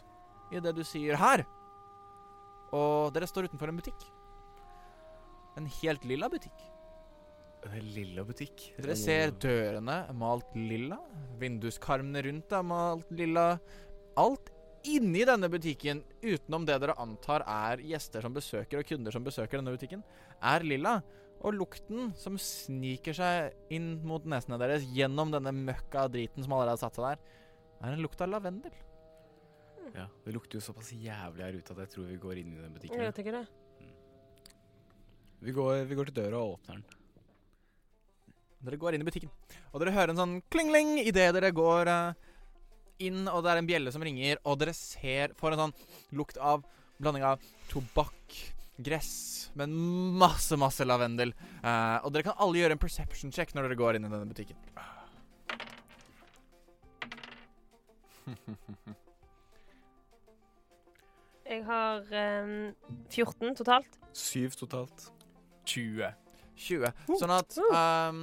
[SPEAKER 1] i det du sier her. Og dere står utenfor en butikk. En helt lilla butikk.
[SPEAKER 2] lilla butikk.
[SPEAKER 1] Dere ser dørene er malt lilla. Vinduskarmene rundt er malt lilla. Alt inni denne butikken, utenom det dere antar er gjester som besøker og kunder som besøker denne butikken, er lilla. Og lukten som sniker seg inn mot nesene deres gjennom denne møkka av driten som allerede har satt seg der, er en lukt av lavendel.
[SPEAKER 2] Ja, Det lukter jo såpass jævlig her ute at jeg tror vi går inn i den butikken.
[SPEAKER 3] jeg tenker det.
[SPEAKER 2] Vi, går, vi går til døra og åpner den.
[SPEAKER 1] Dere går inn i butikken, og dere hører en sånn kling-ling idet dere går eh, inn, og det er en bjelle som ringer, og dere ser får en sånn lukt av blanding av tobakk, gress, men masse, masse lavendel. Eh, og dere kan alle gjøre en perception check når dere går inn i denne butikken.
[SPEAKER 3] Jeg har eh, 14 totalt.
[SPEAKER 2] Syv totalt.
[SPEAKER 4] 20.
[SPEAKER 1] 20. Sånn at um,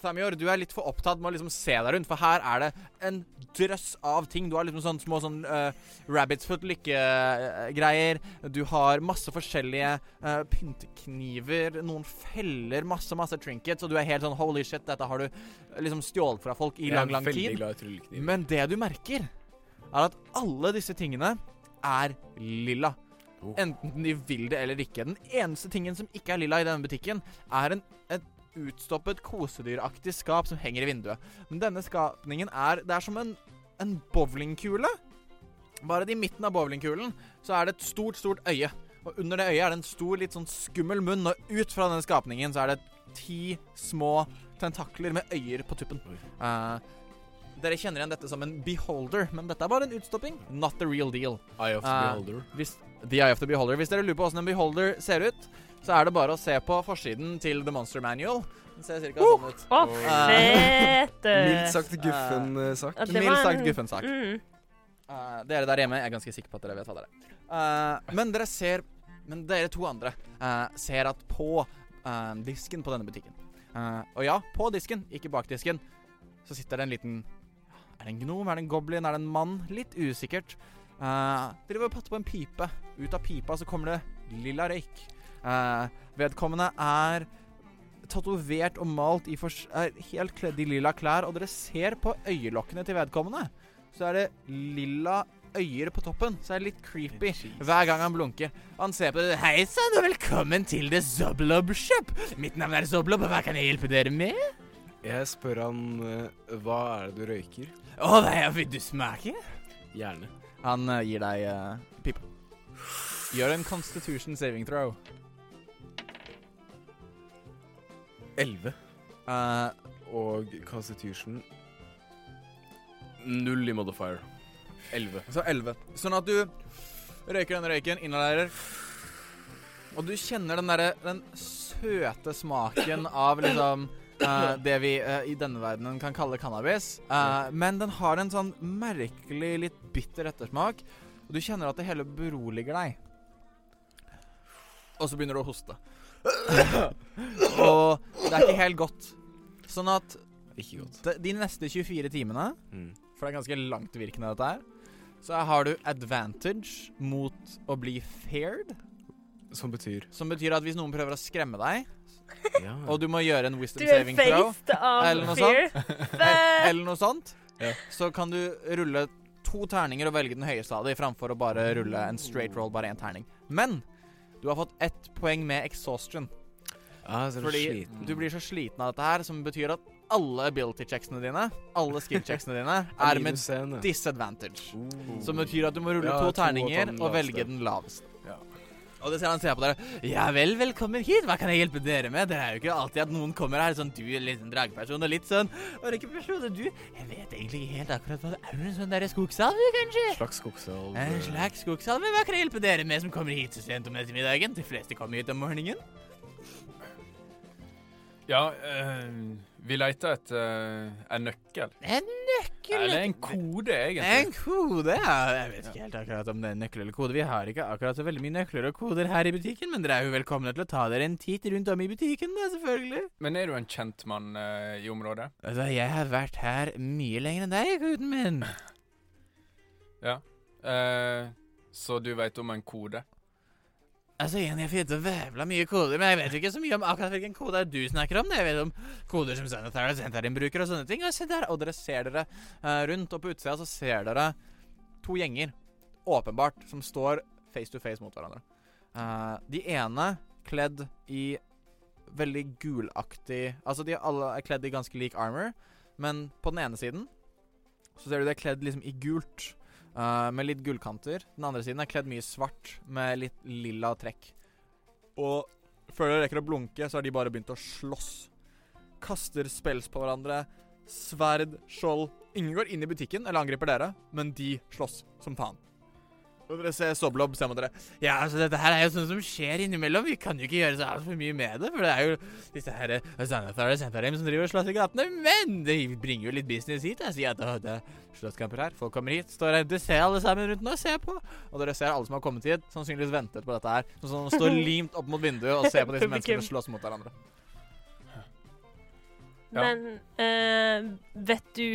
[SPEAKER 1] Thamior, du er litt for opptatt med å liksom se deg rundt, for her er det en drøss av ting. Du har liksom sånn små sånn eh, rabbits foot lykkegreier. Du har masse forskjellige eh, pyntekniver, noen feller, masse, masse trinkets, og du er helt sånn holy shit, dette har du liksom stjålet fra folk i
[SPEAKER 2] Jeg er
[SPEAKER 1] lang, lang tid.
[SPEAKER 2] Veldig glad i tryllekniv.
[SPEAKER 1] Men det du merker, er at alle disse tingene er lilla.
[SPEAKER 2] Oh.
[SPEAKER 1] Enten de vil det eller ikke. Den eneste tingen som ikke er lilla i denne butikken, er en, et utstoppet kosedyraktig skap som henger i vinduet. Men denne skapningen er Det er som en, en bowlingkule. Bare i midten av bowlingkulen så er det et stort, stort øye. Og under det øyet er det en stor, litt sånn skummel munn, og ut fra denne skapningen så er det ti små tentakler med øyer på tuppen.
[SPEAKER 2] Oi.
[SPEAKER 1] Eh, Dere kjenner igjen dette som en beholder, men dette er bare en utstopping. Not the real deal.
[SPEAKER 2] Eye of the
[SPEAKER 1] Eh,
[SPEAKER 2] Beholder.
[SPEAKER 1] Hvis, the Eye of the Beholder. Hvis dere lurer på åssen en beholder ser ut, så er det bare å se på forsiden til The Monster Manual. Den ser cirka sånn ut.
[SPEAKER 3] Å,
[SPEAKER 1] Eh,
[SPEAKER 3] fete!
[SPEAKER 6] Mildt sagt guffen eh, sak.
[SPEAKER 3] At det
[SPEAKER 1] Mildt
[SPEAKER 3] var
[SPEAKER 1] sagt
[SPEAKER 3] en-
[SPEAKER 1] guffen sak.
[SPEAKER 3] Mm.
[SPEAKER 1] Eh, dere der hjemme, jeg er ganske sikker på at dere vet hva det er. Eh, men dere ser Men dere to andre eh, ser at på eh, disken på denne butikken eh, Og ja, på disken, ikke bak disken, så sitter det en liten Er det en gnom? Er det en goblin? Er det en mann? Litt usikkert. Uh, driver og patter på en pipe. Ut av pipa så kommer det lilla røyk. Eh, vedkommende er tatovert og malt i fors... Er helt kledd i lilla klær, og dere ser på øyelokkene til vedkommende så er det lilla øyer på toppen. Så er det litt creepy hver gang han blunker. Han ser på det. Hei sann, og velkommen til The Zoblob Shop. Mitt navn er Zoblob, og hva kan jeg hjelpe dere med?
[SPEAKER 2] Jeg spør han eh, hva er det du røyker?
[SPEAKER 1] Å, hva vil du smake?
[SPEAKER 2] Gjerne.
[SPEAKER 1] Han eh, gir deg uh, pipa. Gjør en constitution saving throw.
[SPEAKER 2] Elleve.
[SPEAKER 1] Eh,
[SPEAKER 2] Og Constitution Null i modifier. Elleve.
[SPEAKER 1] Så 11. Sånn at du røyker denne røyken, inhalerer Og du kjenner den derre Den søte smaken av liksom eh, det vi eh, i denne verdenen kan kalle cannabis. Eh, men den har en sånn merkelig, litt bitter ettersmak. Og du kjenner at det hele beroliger deg. Og så begynner du å
[SPEAKER 2] *laughs*
[SPEAKER 1] hoste. og det er ikke helt godt. Sånn at
[SPEAKER 2] Ikke godt.
[SPEAKER 1] de- de neste 24 timene
[SPEAKER 2] Mm.
[SPEAKER 1] for det er ganske langtvirkende, dette her. Så her har du advantage mot å bli feared,
[SPEAKER 2] Som
[SPEAKER 1] *laughs*
[SPEAKER 2] betyr
[SPEAKER 1] som betyr at hvis noen prøver å skremme deg,
[SPEAKER 2] ja.
[SPEAKER 1] og du må gjøre en wisdom
[SPEAKER 3] Du er
[SPEAKER 1] saving throw,
[SPEAKER 3] faced
[SPEAKER 1] eller
[SPEAKER 3] av
[SPEAKER 1] noe
[SPEAKER 3] fear.
[SPEAKER 1] el-
[SPEAKER 3] Fett!
[SPEAKER 1] eller noe sånt,
[SPEAKER 2] Ja.
[SPEAKER 1] så kan du rulle to terninger og velge den høyeste av dem, framfor å bare rulle en straight roll, bare én terning. Men du har fått ett poeng med exhaustion,
[SPEAKER 2] ah, så er det
[SPEAKER 1] fordi
[SPEAKER 2] sliten.
[SPEAKER 1] du blir så sliten av dette her, som betyr at alle ability checksene dine, alle skill checksene dine,
[SPEAKER 2] Ah,
[SPEAKER 1] er med
[SPEAKER 2] minus en, *laughs* ja.
[SPEAKER 1] disadvantage.
[SPEAKER 2] Oh.
[SPEAKER 1] Som betyr at du må rulle
[SPEAKER 2] Ja,
[SPEAKER 1] to
[SPEAKER 2] to og ta den
[SPEAKER 1] terninger og
[SPEAKER 2] laveste.
[SPEAKER 1] velge den laveste.
[SPEAKER 4] Ja.
[SPEAKER 1] Og det ser han ser på dere. Ja vel, velkommen hit. Hva kan jeg hjelpe dere med? Det er jo ikke alltid at noen kommer her sånn Du er litt sånn drageperson og litt sånn Og ikke person, og du Jeg vet egentlig ikke helt akkurat hva det er. Er du en sånn derre skogsalve, kanskje?
[SPEAKER 2] Slags skogsalv.
[SPEAKER 1] En
[SPEAKER 2] eh,
[SPEAKER 1] slags skogsalve? Hva kan jeg hjelpe dere med som kommer hit så sent om ettermiddagen? De fleste kommer hit om morgenen.
[SPEAKER 4] Ja, eh, vi leter etter eh, en nøkkel.
[SPEAKER 1] En nøkkel
[SPEAKER 4] Eller en kode,
[SPEAKER 1] En
[SPEAKER 4] egentlig.
[SPEAKER 1] kode, ja. Jeg vet ikke helt akkurat om det er en nøkkel eller kode. Vi har ikke akkurat så veldig mye nøkler og koder her i butikken, men dere er jo velkomne til å ta dere en titt rundt om i butikken, da, selvfølgelig.
[SPEAKER 4] Men er du en kjent mann eh, i området?
[SPEAKER 1] Altså, jeg har vært her mye lenger enn deg, gutten min.
[SPEAKER 4] Eh, så du vet om en kode?
[SPEAKER 1] Altså, igjen, jeg finner så vævla mye koder, men jeg vet jo ikke så mye om akkurat hvilken kode er du snakker om. Jeg vet om koder som Sanitarius, Sanitarium bruker og sånne ting. Og se der, og dere ser dere eh, rundt, og på utsida så ser dere to gjenger, åpenbart, som står face to face mot hverandre. Eh, de ene kledd i veldig gulaktig Altså, de alle er kledd i ganske lik armor, men på den ene siden så ser du de er kledd liksom i gult. eh, med litt gullkanter. Den andre siden er kledd mye svart med litt lilla trekk. Og før dere rekker å blunke, så har de bare begynt å slåss. Kaster spels på hverandre. Sverd, skjold. Ingen går inn i butikken eller angriper dere, men de slåss som faen. Og dere ser Soblob se mot dere. Ja, altså dette her er jo sånt som skjer innimellom. Vi kan jo ikke gjøre så altfor mye med det, for det er jo disse her eh, Xanathar og Xantharim som driver og slåss i gatene. Men det bringer jo litt business hit. Jeg sier at «Å, det er slåsskamper her. Folk kommer hit, står her. Du ser alle sammen rundt nå, se på. Og dere ser alle som har kommet hit, sannsynligvis ventet på dette her. Sånn som står limt opp mot vinduet og ser på *laughs* disse menneskene slåss mot hverandre.
[SPEAKER 4] Ja.
[SPEAKER 3] Men eh, vet du,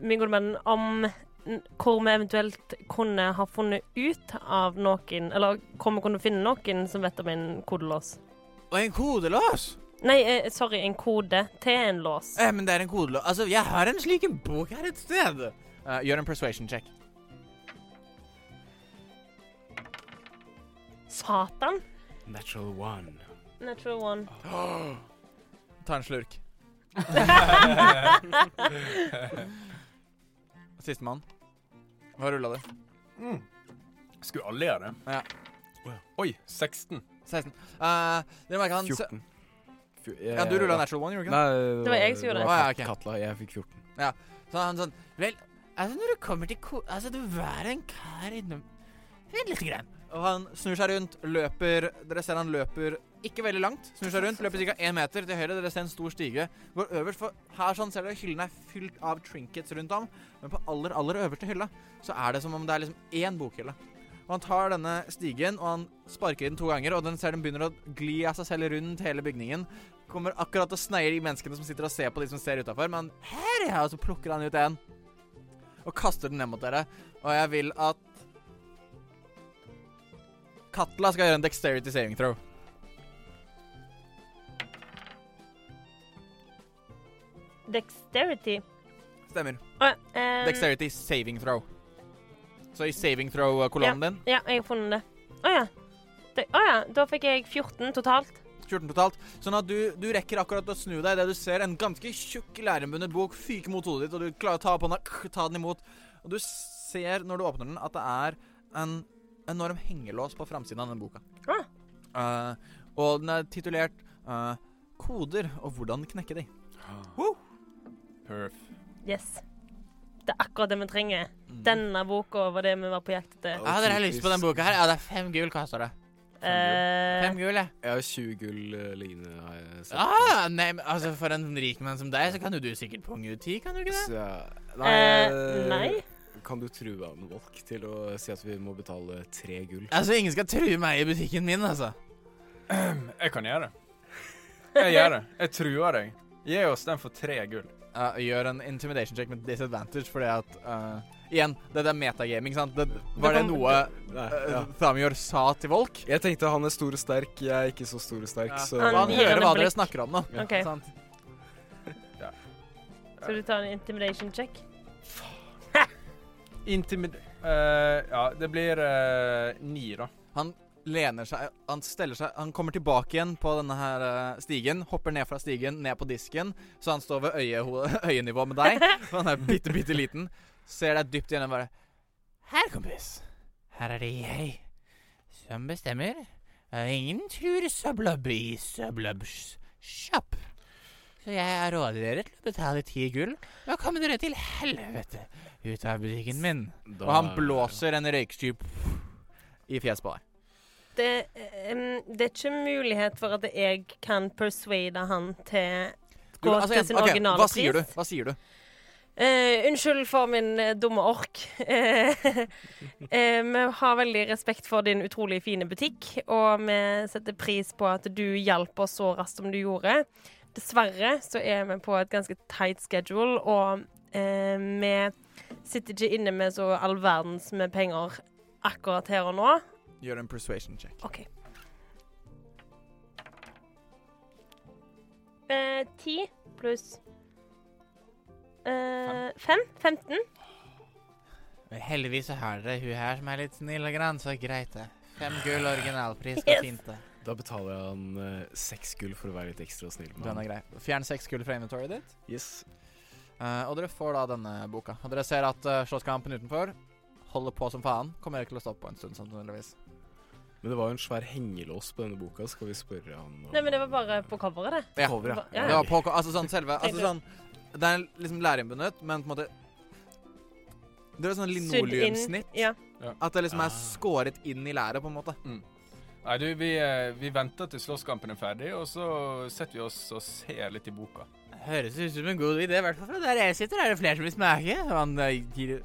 [SPEAKER 3] min gode venn, om n- hvor vi eventuelt kunne ha funnet ut av noen Eller hvor vi kunne finne noen som vet om en kodelås?
[SPEAKER 1] Og en kodelås!
[SPEAKER 3] Nei, eh, sorry, en kode til en lås.
[SPEAKER 1] Eh, men det er en kodelås. Altså, jeg har en slik en bok her et sted. Eh, gjør en persuasion check.
[SPEAKER 3] Satan.
[SPEAKER 2] Natural one.
[SPEAKER 3] Natural one.
[SPEAKER 1] Ta en *laughs* slurk. Sistemann. Hva rulla du?
[SPEAKER 4] Mm. Skulle alle gjøre det?
[SPEAKER 1] Ja.
[SPEAKER 4] Oi, 16.
[SPEAKER 1] 16. Eh, dere merker han
[SPEAKER 2] 14. Fjo-
[SPEAKER 1] Ja, du rulla
[SPEAKER 2] jeg-
[SPEAKER 1] natural one, gjorde du ikke?
[SPEAKER 2] Nei,
[SPEAKER 3] Det var jeg som gjorde
[SPEAKER 1] det.
[SPEAKER 2] var
[SPEAKER 1] Å, ja,
[SPEAKER 2] Kat-
[SPEAKER 1] ok.
[SPEAKER 2] Katla, jeg fikk 14.
[SPEAKER 1] Så han sånn
[SPEAKER 5] Vel, altså når du kommer til ko... Altså, du er en kar innom Vent lite grann.
[SPEAKER 1] Og han snur seg rundt, løper Dere ser han løper ikke veldig langt. Snur seg rundt, løper ca. én meter til høyre. Dere ser en stor stige. Går øverst, for her sånn ser dere hyllene er fylt av trinkets rundt ham. Men på aller, aller øverste hylla så er det som om det er liksom én bokhylle. Og han tar denne stigen og han sparker i den to ganger, og den ser den begynner å gli av seg selv rundt hele bygningen. Kommer akkurat og sneier i menneskene som sitter og ser på de som ser utafor, men her ja, og så plukker han ut en. Og kaster den ned mot dere. Og jeg vil at Katla skal gjøre en dexterity saving throw.
[SPEAKER 3] Dexterity.
[SPEAKER 1] Stemmer.
[SPEAKER 3] Å, eh,
[SPEAKER 1] Dexterity saving throw. Så i saving throw-kolonnen din,
[SPEAKER 3] Ja, jeg har funnet det. Å ja. Det- Å ja. Da fikk jeg 14 totalt.
[SPEAKER 1] 14 totalt, sånn at du, du rekker akkurat å snu deg idet du ser en ganske tjukk lærerbundet bok fyke mot hodet ditt, og du klarer å ta opp hånda, *clears throat* kk, ta den imot, og du ser når du åpner den, at det er en enorm hengelås på framsiden av den boka.
[SPEAKER 3] Ah.
[SPEAKER 1] Eh, og den er titulert eh, 'Koder og hvordan knekke de'.
[SPEAKER 4] Perf.
[SPEAKER 3] Yes. Det er akkurat det vi trenger.
[SPEAKER 1] Mm.
[SPEAKER 3] Denne boka var det vi var på jakt etter.
[SPEAKER 2] Og
[SPEAKER 5] Ja, dere har
[SPEAKER 2] typisk-
[SPEAKER 5] lyst på den boka her? Ja, det er fem gull, kaster det.
[SPEAKER 3] Eh,
[SPEAKER 5] Fem gull, ja.
[SPEAKER 2] Jeg har 20 gull eh, liggende, har jeg sett.
[SPEAKER 5] Ah, nei, men altså for en rik mann som deg, så kan jo du sikkert punge ut ti, kan du ikke det?
[SPEAKER 2] Så, nei,
[SPEAKER 3] eh, nei.
[SPEAKER 2] Kan du true Anne Walk til å si at vi må betale tre gull?
[SPEAKER 5] Altså, ingen skal true meg i butikken min, altså.
[SPEAKER 4] Jeg kan gjøre det. Jeg gjør det. Jeg truer deg. Gi oss den for tre gull.
[SPEAKER 1] Eh, gjør en intimidation check med disadvantage, fordi at eh, Igjen, dette er metagaming, sant? Det, var det
[SPEAKER 2] kan-
[SPEAKER 1] noe
[SPEAKER 2] Nei,
[SPEAKER 1] uh,
[SPEAKER 2] ja.
[SPEAKER 1] Thamjord sa til Volk?
[SPEAKER 6] Jeg tenkte han er stor og sterk, jeg er ikke så stor og sterk,
[SPEAKER 1] Ja.
[SPEAKER 6] så
[SPEAKER 1] Og han
[SPEAKER 3] gir
[SPEAKER 1] hører
[SPEAKER 3] han
[SPEAKER 1] hva
[SPEAKER 3] et
[SPEAKER 1] dere
[SPEAKER 3] blikk.
[SPEAKER 1] snakker om nå.
[SPEAKER 3] Ok.
[SPEAKER 1] Sant?
[SPEAKER 3] Skal du ta en intimidation check?
[SPEAKER 4] Intimid... eh, ja, det blir eh, ni, da.
[SPEAKER 1] Lener seg, han steller seg Han kommer tilbake igjen på denne her eh, stigen. Hopper ned fra stigen, ned på disken, så han står ved øye, ho- *laughs* øyenivå med deg. For han er bitte, bitte liten. Ser deg dypt igjen og bare
[SPEAKER 5] Her, kompis. Her er det jeg som bestemmer. Og ingen tror søblubb i søblubbs shop. Så jeg råder dere til å betale ti gull. Da kommer dere til helvete ut av butikken min.
[SPEAKER 2] Da-
[SPEAKER 1] Og han blåser en røyksky i fjeset på deg.
[SPEAKER 3] Det, eh, em, det er ikke mulighet for at jeg kan persuade han til
[SPEAKER 1] Du-
[SPEAKER 3] Gå til
[SPEAKER 1] igjen,
[SPEAKER 3] sin
[SPEAKER 1] altså, ok,
[SPEAKER 3] originale
[SPEAKER 1] hva sier
[SPEAKER 3] pris.
[SPEAKER 1] du? Hva sier du?
[SPEAKER 3] Eh, Unnskyld for min eh, dumme ork. Eh, *laughs* eh, vi har veldig respekt for din utrolig fine butikk, og vi setter pris på at du hjalp oss så raskt som du gjorde. Dessverre så er vi på et ganske tight schedule, og eh, vi sitter ikke inne med så all verdens med penger akkurat her og nå.
[SPEAKER 1] Gjør en persuasion check.
[SPEAKER 3] OK. Eh, Ti pluss eh, Fem? 15?
[SPEAKER 5] Men heldigvis så har dere hun her som er litt snill og grann, så greit det. Fem gull originalpris
[SPEAKER 3] Yes.
[SPEAKER 5] går fint, det.
[SPEAKER 2] Da betaler jeg han eh, seks gull for å være litt ekstra snill med
[SPEAKER 1] Den
[SPEAKER 2] han.
[SPEAKER 1] er grei. Fjern seks gull fra inventoryet ditt.
[SPEAKER 2] Yes.
[SPEAKER 1] Eh, og dere får da denne boka. Og dere ser at uh, slåsskampen utenfor holder på som faen. Kommer dere til å stoppe på en stund, sannsynligvis.
[SPEAKER 2] Men det var jo en svær hengelås på denne boka, skal vi spørre han om-
[SPEAKER 3] Nei, men det var bare på coveret, det.
[SPEAKER 1] Ja.
[SPEAKER 2] Cover, ja.
[SPEAKER 3] Ja, ja.
[SPEAKER 1] Det var på, altså sånn selve Altså
[SPEAKER 3] Tenkte-
[SPEAKER 1] sånn Det er liksom lærinnbundet, men på en måte Det er sånn
[SPEAKER 3] Sydd inn-
[SPEAKER 1] linoleumsnitt.
[SPEAKER 3] Ja.
[SPEAKER 1] At det liksom
[SPEAKER 2] Ah.
[SPEAKER 1] er skåret inn i læret, på en måte.
[SPEAKER 4] Nei, du, vi, eh, vi venter til slåsskampen er ferdig, og så setter vi oss og ser litt i boka.
[SPEAKER 5] Høres ut som en god idé, i hvert fall fra der jeg sitter. Er det flere som vil smake? Og han eh, gir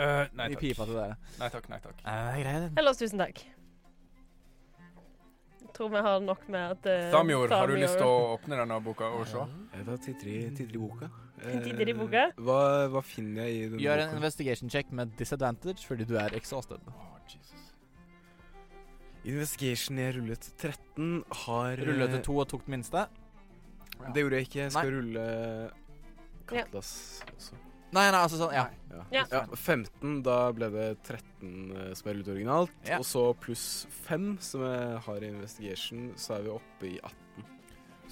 [SPEAKER 4] Eh, nei
[SPEAKER 1] I
[SPEAKER 4] takk.
[SPEAKER 1] pipa til dere.
[SPEAKER 4] Nei takk, nei takk.
[SPEAKER 5] Ja, det er greit, det.
[SPEAKER 3] Ellers tusen takk. Jeg tror vi har nok med at eh,
[SPEAKER 4] Thamjord, har du lyst til
[SPEAKER 3] Thamjord-
[SPEAKER 4] å åpne denne boka og se?
[SPEAKER 2] Eh, Da titter i titter i boka. Eh,
[SPEAKER 3] Titter i boka?
[SPEAKER 2] Hva, hva finner jeg i denne
[SPEAKER 1] Gjør en
[SPEAKER 2] boka?
[SPEAKER 1] investigation check med disadvantage fordi du er exhausted.
[SPEAKER 4] Å, Jesus.
[SPEAKER 2] Investigation jeg rullet 13, har eh,
[SPEAKER 1] Rullet til to og tok den minste.
[SPEAKER 2] Det gjorde jeg ikke. Jeg skal
[SPEAKER 1] Nei.
[SPEAKER 2] rulle
[SPEAKER 3] Ja.
[SPEAKER 2] Katlas også.
[SPEAKER 1] Nei, nei, altså sånn Ja.
[SPEAKER 2] Ja.
[SPEAKER 3] Ja.
[SPEAKER 2] Ja. 15, da ble det 13 eh, som jeg rullet originalt.
[SPEAKER 1] Ja.
[SPEAKER 2] Og så pluss 5, som jeg har i investigation, så er vi oppe i 18.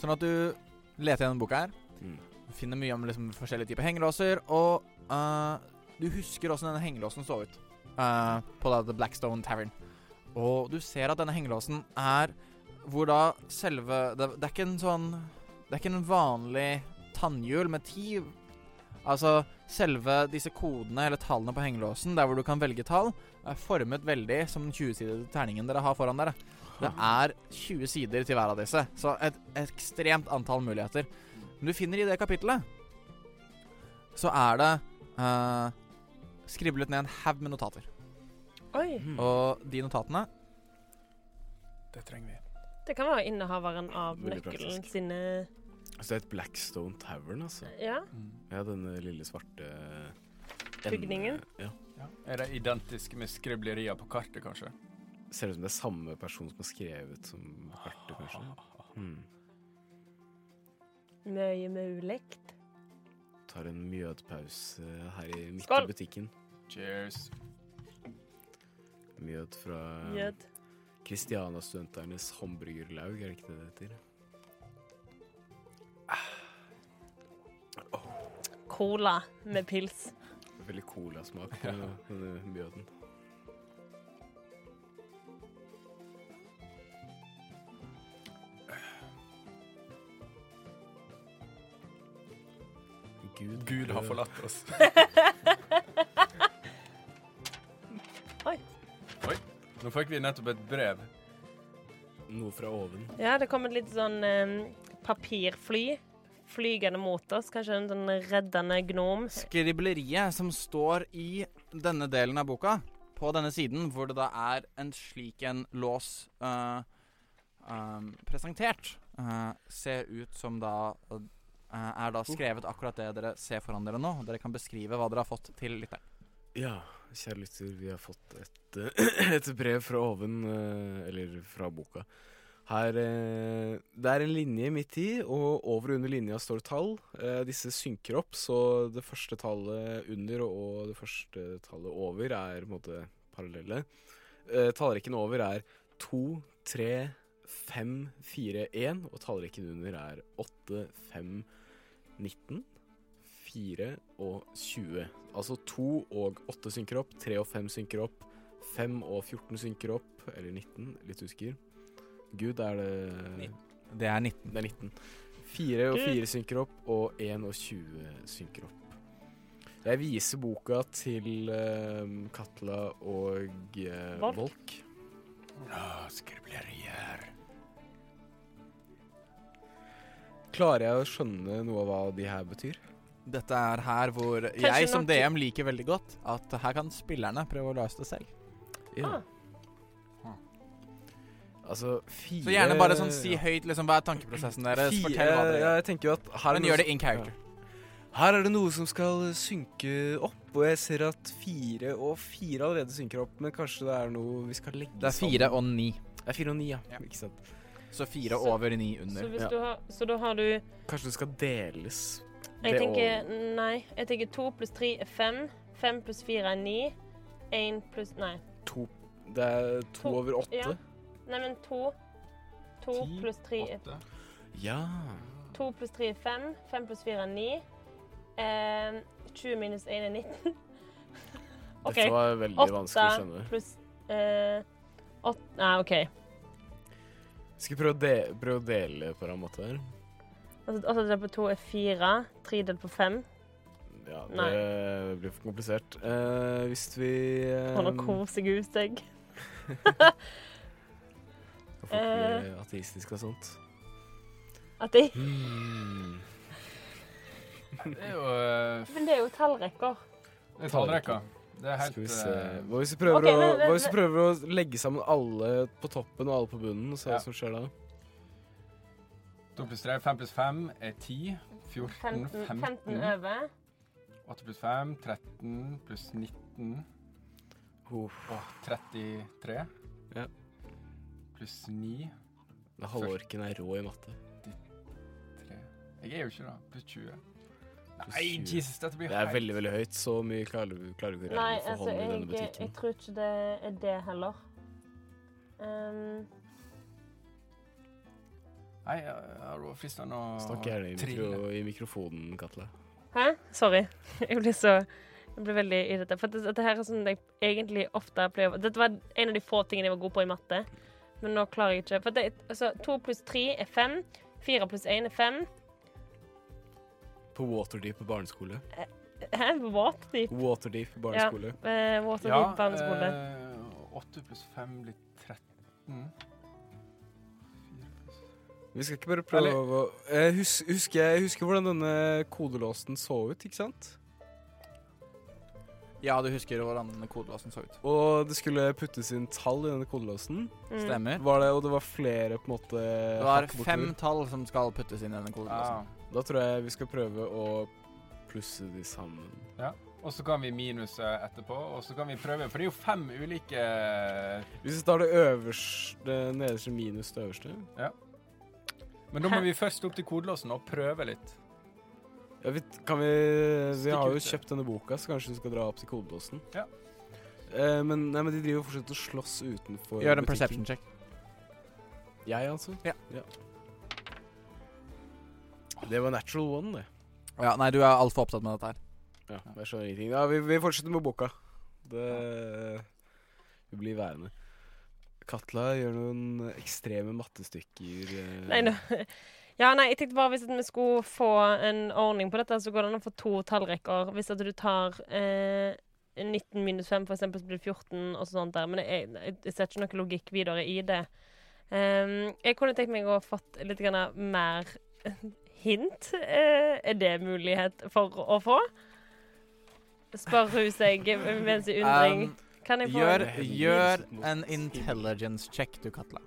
[SPEAKER 1] Sånn at du leter gjennom boka her.
[SPEAKER 2] Mm.
[SPEAKER 1] Finner mye om liksom, forskjellige typer hengelåser. Og eh, du husker åssen denne hengelåsen så ut eh, på da The Blackstone Tavern. Og du ser at denne hengelåsen er hvor da selve Det, det er ikke en sånn Det er ikke en vanlig tannhjul med ti Altså, selve disse kodene, eller tallene på hengelåsen, der hvor du kan velge tall, er formet veldig som den 20-sidede terningen dere har foran dere. Det er 20 sider til hver av disse, så et ekstremt antall muligheter. Men du finner i det kapitlet Så er det eh, skriblet ned en haug med notater.
[SPEAKER 3] Oi.
[SPEAKER 2] Mm.
[SPEAKER 1] Og de notatene
[SPEAKER 4] Det trenger vi.
[SPEAKER 3] Det kan være innehaveren av
[SPEAKER 2] Veldig
[SPEAKER 3] nøkkelen
[SPEAKER 2] praktisk.
[SPEAKER 3] sine
[SPEAKER 2] Så det er et Blackstone Tavern, altså.
[SPEAKER 3] Ja.
[SPEAKER 4] Mm.
[SPEAKER 2] Ja, denne lille svarte enden-
[SPEAKER 3] Bygningen?
[SPEAKER 2] Ja.
[SPEAKER 4] Ja. Er de identiske med skriblerier på kartet, kanskje?
[SPEAKER 2] Ser ut som det er samme person som har skrevet som kartet, kanskje. Hmm.
[SPEAKER 3] Mye mulikt.
[SPEAKER 2] Tar en mjødpause eh, her i midt
[SPEAKER 3] Skål!
[SPEAKER 2] i butikken.
[SPEAKER 4] Cheers.
[SPEAKER 2] Mjød fra
[SPEAKER 3] Jød.
[SPEAKER 2] Kristiana-studenternes hamburgerlaug, er det ikke det det heter?
[SPEAKER 3] Cola med pils.
[SPEAKER 2] Veldig colasmak på denne mjøden. Gud,
[SPEAKER 4] Gud har forlatt oss.
[SPEAKER 3] Oi.
[SPEAKER 4] Oi. Nå fikk vi nettopp et brev.
[SPEAKER 2] Noe fra oven.
[SPEAKER 3] Ja, det kom et litt sånn eh, papirfly flygende mot oss. Kanskje en sånn reddende gnom.
[SPEAKER 1] Skribleriet som står i denne delen av boka, på denne siden, hvor det da er en slik en lås eh, um, presentert, eh, ser ut som da eh, er da skrevet akkurat det dere ser foran dere nå. og Dere kan beskrive hva dere har fått til lytteren.
[SPEAKER 2] Ja, kjære lytter, vi har fått et, eh, *clears throat* et brev fra oven, eh, eller fra boka. Her, eh, det er en linje midt i, og over og under linja står det tall. Eh, Disse synker opp, så det første tallet under og det første tallet over er på en måte parallelle. Eh, Tallrekken over er to, tre, fem, fire, én, og tallrekken under er åtte, fem, 19, 4 og 20. Altså 2 og 8 synker opp, 3 og 5 synker opp, 5 og 14 synker opp, eller 19, litt usikker. Gud, er det
[SPEAKER 1] Det er 19.
[SPEAKER 2] Det er 19. 4 og
[SPEAKER 3] Gud.
[SPEAKER 2] 4 synker opp, og 1 og 20 synker opp. Jeg viser boka til eh, Katla og eh, Volk.
[SPEAKER 3] Volk.
[SPEAKER 4] skriblerier.
[SPEAKER 2] Klarer jeg å skjønne noe av hva de her betyr?
[SPEAKER 1] Dette er her hvor
[SPEAKER 3] Kanskje
[SPEAKER 1] jeg som
[SPEAKER 3] nok-
[SPEAKER 1] DM liker veldig godt at her kan spillerne prøve å løse det selv.
[SPEAKER 3] Ah.
[SPEAKER 2] Altså, fire
[SPEAKER 1] Så gjerne bare sånn si
[SPEAKER 2] Ja.
[SPEAKER 1] høyt liksom hva er tankeprosessen deres,
[SPEAKER 2] Fire-
[SPEAKER 1] fortell hva dere
[SPEAKER 2] ja,
[SPEAKER 1] gjør.
[SPEAKER 2] jeg tenker jo at her er,
[SPEAKER 1] Men
[SPEAKER 2] noe
[SPEAKER 1] gjør det
[SPEAKER 2] som,
[SPEAKER 1] in character.
[SPEAKER 2] her er det noe som skal synke opp, og jeg ser at fire og fire allerede synker opp, men kanskje det er noe vi skal legge
[SPEAKER 1] Det er fire og ni.
[SPEAKER 2] sammen. Det er fire og ni, ja.
[SPEAKER 1] Ja.
[SPEAKER 2] Ikke sant.
[SPEAKER 1] Så fire
[SPEAKER 3] Så-
[SPEAKER 1] over ni
[SPEAKER 3] Så,
[SPEAKER 1] under.
[SPEAKER 3] hvis
[SPEAKER 2] Ja.
[SPEAKER 3] du har, så da har du
[SPEAKER 2] Kanskje det skal deles.
[SPEAKER 3] Jeg
[SPEAKER 2] Det
[SPEAKER 3] tenker
[SPEAKER 2] og-
[SPEAKER 3] Nei. Jeg tenker to pluss tre er fem. Fem pluss fire er ni. Én pluss Nei.
[SPEAKER 2] to, Det er to,
[SPEAKER 3] To,
[SPEAKER 2] over åtte.
[SPEAKER 3] ja. Nei, men to. To
[SPEAKER 4] Ti,
[SPEAKER 3] pluss tre er
[SPEAKER 4] Åtte.
[SPEAKER 2] Ja.
[SPEAKER 3] To pluss tre er fem. Fem pluss fire er ni. Eh, 20 minus 1 er 19. OK.
[SPEAKER 2] Dette var veldig vanskelig å
[SPEAKER 3] Åtte
[SPEAKER 2] skjønne.
[SPEAKER 3] pluss eh, åt- Nei, OK.
[SPEAKER 2] Skal vi prøve å, de prøve å dele på en måte her?
[SPEAKER 3] Altså, åtte delt på to er fire. Tre delt på fem.
[SPEAKER 2] Ja, det
[SPEAKER 3] Nei.
[SPEAKER 2] blir for komplisert. Eh, hvis vi eh,
[SPEAKER 3] Å, nå koser jeg ut seg.
[SPEAKER 2] Folk blir
[SPEAKER 3] Eh.
[SPEAKER 2] ateistiske og sånt.
[SPEAKER 3] At de
[SPEAKER 2] Mm.
[SPEAKER 4] Det er jo eh,
[SPEAKER 3] Men det er jo tallrekker.
[SPEAKER 4] det er tallrekka. Det er helt
[SPEAKER 2] Skal vi se
[SPEAKER 4] eh,
[SPEAKER 2] Hva hvis vi prøver,
[SPEAKER 3] Ok,
[SPEAKER 2] å,
[SPEAKER 3] men- men-
[SPEAKER 2] hva hvis vi prøver å legge sammen alle på toppen og alle på bunnen, og se
[SPEAKER 4] Ja.
[SPEAKER 2] hva som skjer da?
[SPEAKER 4] To pluss tre, fem pluss fem er ti. 14,
[SPEAKER 3] 15, 15
[SPEAKER 4] 15.
[SPEAKER 3] over.
[SPEAKER 4] 8 pluss 5, 13 pluss 19 og 33.
[SPEAKER 2] Ja.
[SPEAKER 4] Pluss 9
[SPEAKER 2] Den halvorken er rå i matte.
[SPEAKER 4] 3. Jeg er jo ikke det. Pluss 20.
[SPEAKER 2] Pluss
[SPEAKER 4] Nei,
[SPEAKER 2] 20.
[SPEAKER 4] Jesus, dette blir
[SPEAKER 2] Det er veldig veldig høyt. Så mye klarer vi klarer vi ikke å
[SPEAKER 3] Nei,
[SPEAKER 2] regne for
[SPEAKER 3] altså,
[SPEAKER 2] hånden i
[SPEAKER 3] jeg,
[SPEAKER 2] denne
[SPEAKER 3] jeg,
[SPEAKER 2] butikken.
[SPEAKER 3] tror ikke det er det heller. Ehm,
[SPEAKER 4] Nei, jeg var fristende å
[SPEAKER 2] Snakk gjerne i,
[SPEAKER 4] trille.
[SPEAKER 2] mikro, i mikrofonen, Katle.
[SPEAKER 3] hæ? Sorry. *laughs* Jeg blir så Jeg blir veldig i dette. For at det, at det her er sånn jeg egentlig ofte pleier å Dette var en av de få tingene jeg var god på i matte, men nå klarer jeg ikke. For det, altså, to pluss tre er fem. Fire pluss én er fem.
[SPEAKER 2] På Waterdeep barneskole.
[SPEAKER 3] Hæ? Waterdeep?
[SPEAKER 2] Waterdeep barneskole.
[SPEAKER 3] Eh, Waterdeep barneskole.
[SPEAKER 4] eh, 8 pluss 5 blir 13.
[SPEAKER 6] Vi skal ikke bare prøve å
[SPEAKER 2] Eh,
[SPEAKER 6] jeg husker, husker, jeg husker hvordan denne kodelåsen så ut, ikke sant?
[SPEAKER 1] Ja, du husker hvordan denne kodelåsen så ut.
[SPEAKER 6] Og det skulle puttes inn tall i denne kodelåsen.
[SPEAKER 3] Mm.
[SPEAKER 1] Stemmer.
[SPEAKER 6] Var det, og det var flere på en måte
[SPEAKER 1] Det var
[SPEAKER 6] hakk bortover.
[SPEAKER 1] fem tall som skal puttes inn i denne kodelåsen.
[SPEAKER 6] Da tror jeg vi skal prøve å
[SPEAKER 2] Plusse de sammen.
[SPEAKER 4] Og så kan vi minuse etterpå, og så kan vi prøve, for det er jo fem ulike
[SPEAKER 6] Hvis vi tar det øverste det nederste minus det øverste
[SPEAKER 4] Men da må vi først opp til kodelåsen og prøve litt.
[SPEAKER 6] ja, vi, Kan vi Vi
[SPEAKER 4] Stikk
[SPEAKER 6] har jo
[SPEAKER 4] ut det.
[SPEAKER 6] kjøpt denne boka, så kanskje vi skal dra opp til kodelåsen.
[SPEAKER 4] Ja.
[SPEAKER 6] Eh, men, nei, men de driver jo fortsatt og slåss utenfor
[SPEAKER 1] Gjør
[SPEAKER 6] butikken.
[SPEAKER 1] en perception check.
[SPEAKER 6] Jeg, altså?
[SPEAKER 1] Ja.
[SPEAKER 6] Det var natural one, det.
[SPEAKER 1] Ja, nei, du er altfor opptatt med dette her.
[SPEAKER 6] Ja, jeg skjønner ingenting. Ja, vi, vi fortsetter med boka. Det Vi blir værende. Katla gjør noen ekstreme mattestykker. eh.
[SPEAKER 3] Nei, nå. Ja, nei, jeg tenkte bare hvis at vi skulle få en ordning på dette, så går det an å få to tallrekker. Hvis at du tar eh, 19 minus 5, for eksempel, så blir det 14, og sånt der. Men jeg, jeg, jeg ser ikke noe logikk videre i det. Ehm, jeg kunne tenkt meg å ha fått litt grann mer hint. Eh, er det mulighet for å få? Spør hun seg mens i undring.
[SPEAKER 1] Um,
[SPEAKER 3] kan jeg få
[SPEAKER 1] gjør,
[SPEAKER 2] Det er helt
[SPEAKER 1] gjør
[SPEAKER 2] motsatt mot
[SPEAKER 1] en intelligence check, du, Katla.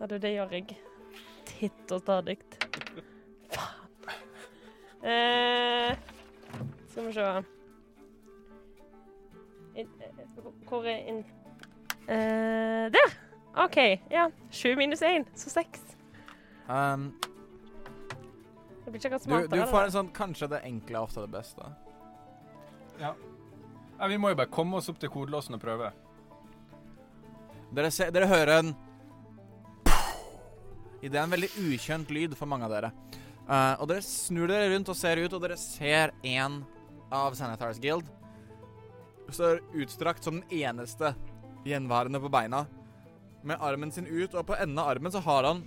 [SPEAKER 3] Ja, du, det gjør jeg. Titt og stadig. Faen. Eh, skal vi se In, eh, Hvor er in... Eh, der! OK. Ja. Sju minus én, så seks.
[SPEAKER 1] Um,
[SPEAKER 3] Jeg blir ikke akkurat
[SPEAKER 1] du,
[SPEAKER 3] smartere.
[SPEAKER 1] du
[SPEAKER 3] av
[SPEAKER 1] får
[SPEAKER 3] det.
[SPEAKER 1] en sånn Kanskje det enkle er ofte det beste.
[SPEAKER 4] Ja, vi må jo bare komme oss opp til kodelåsen og prøve.
[SPEAKER 1] Dere, ser, dere hører en I Det er en veldig ukjent lyd for mange av dere. Eh, og dere snur dere rundt og ser ut, og dere ser en av Sanitars Guild. Står utstrakt som den eneste gjenværende på beina. Med armen sin ut, og på enden av armen så har han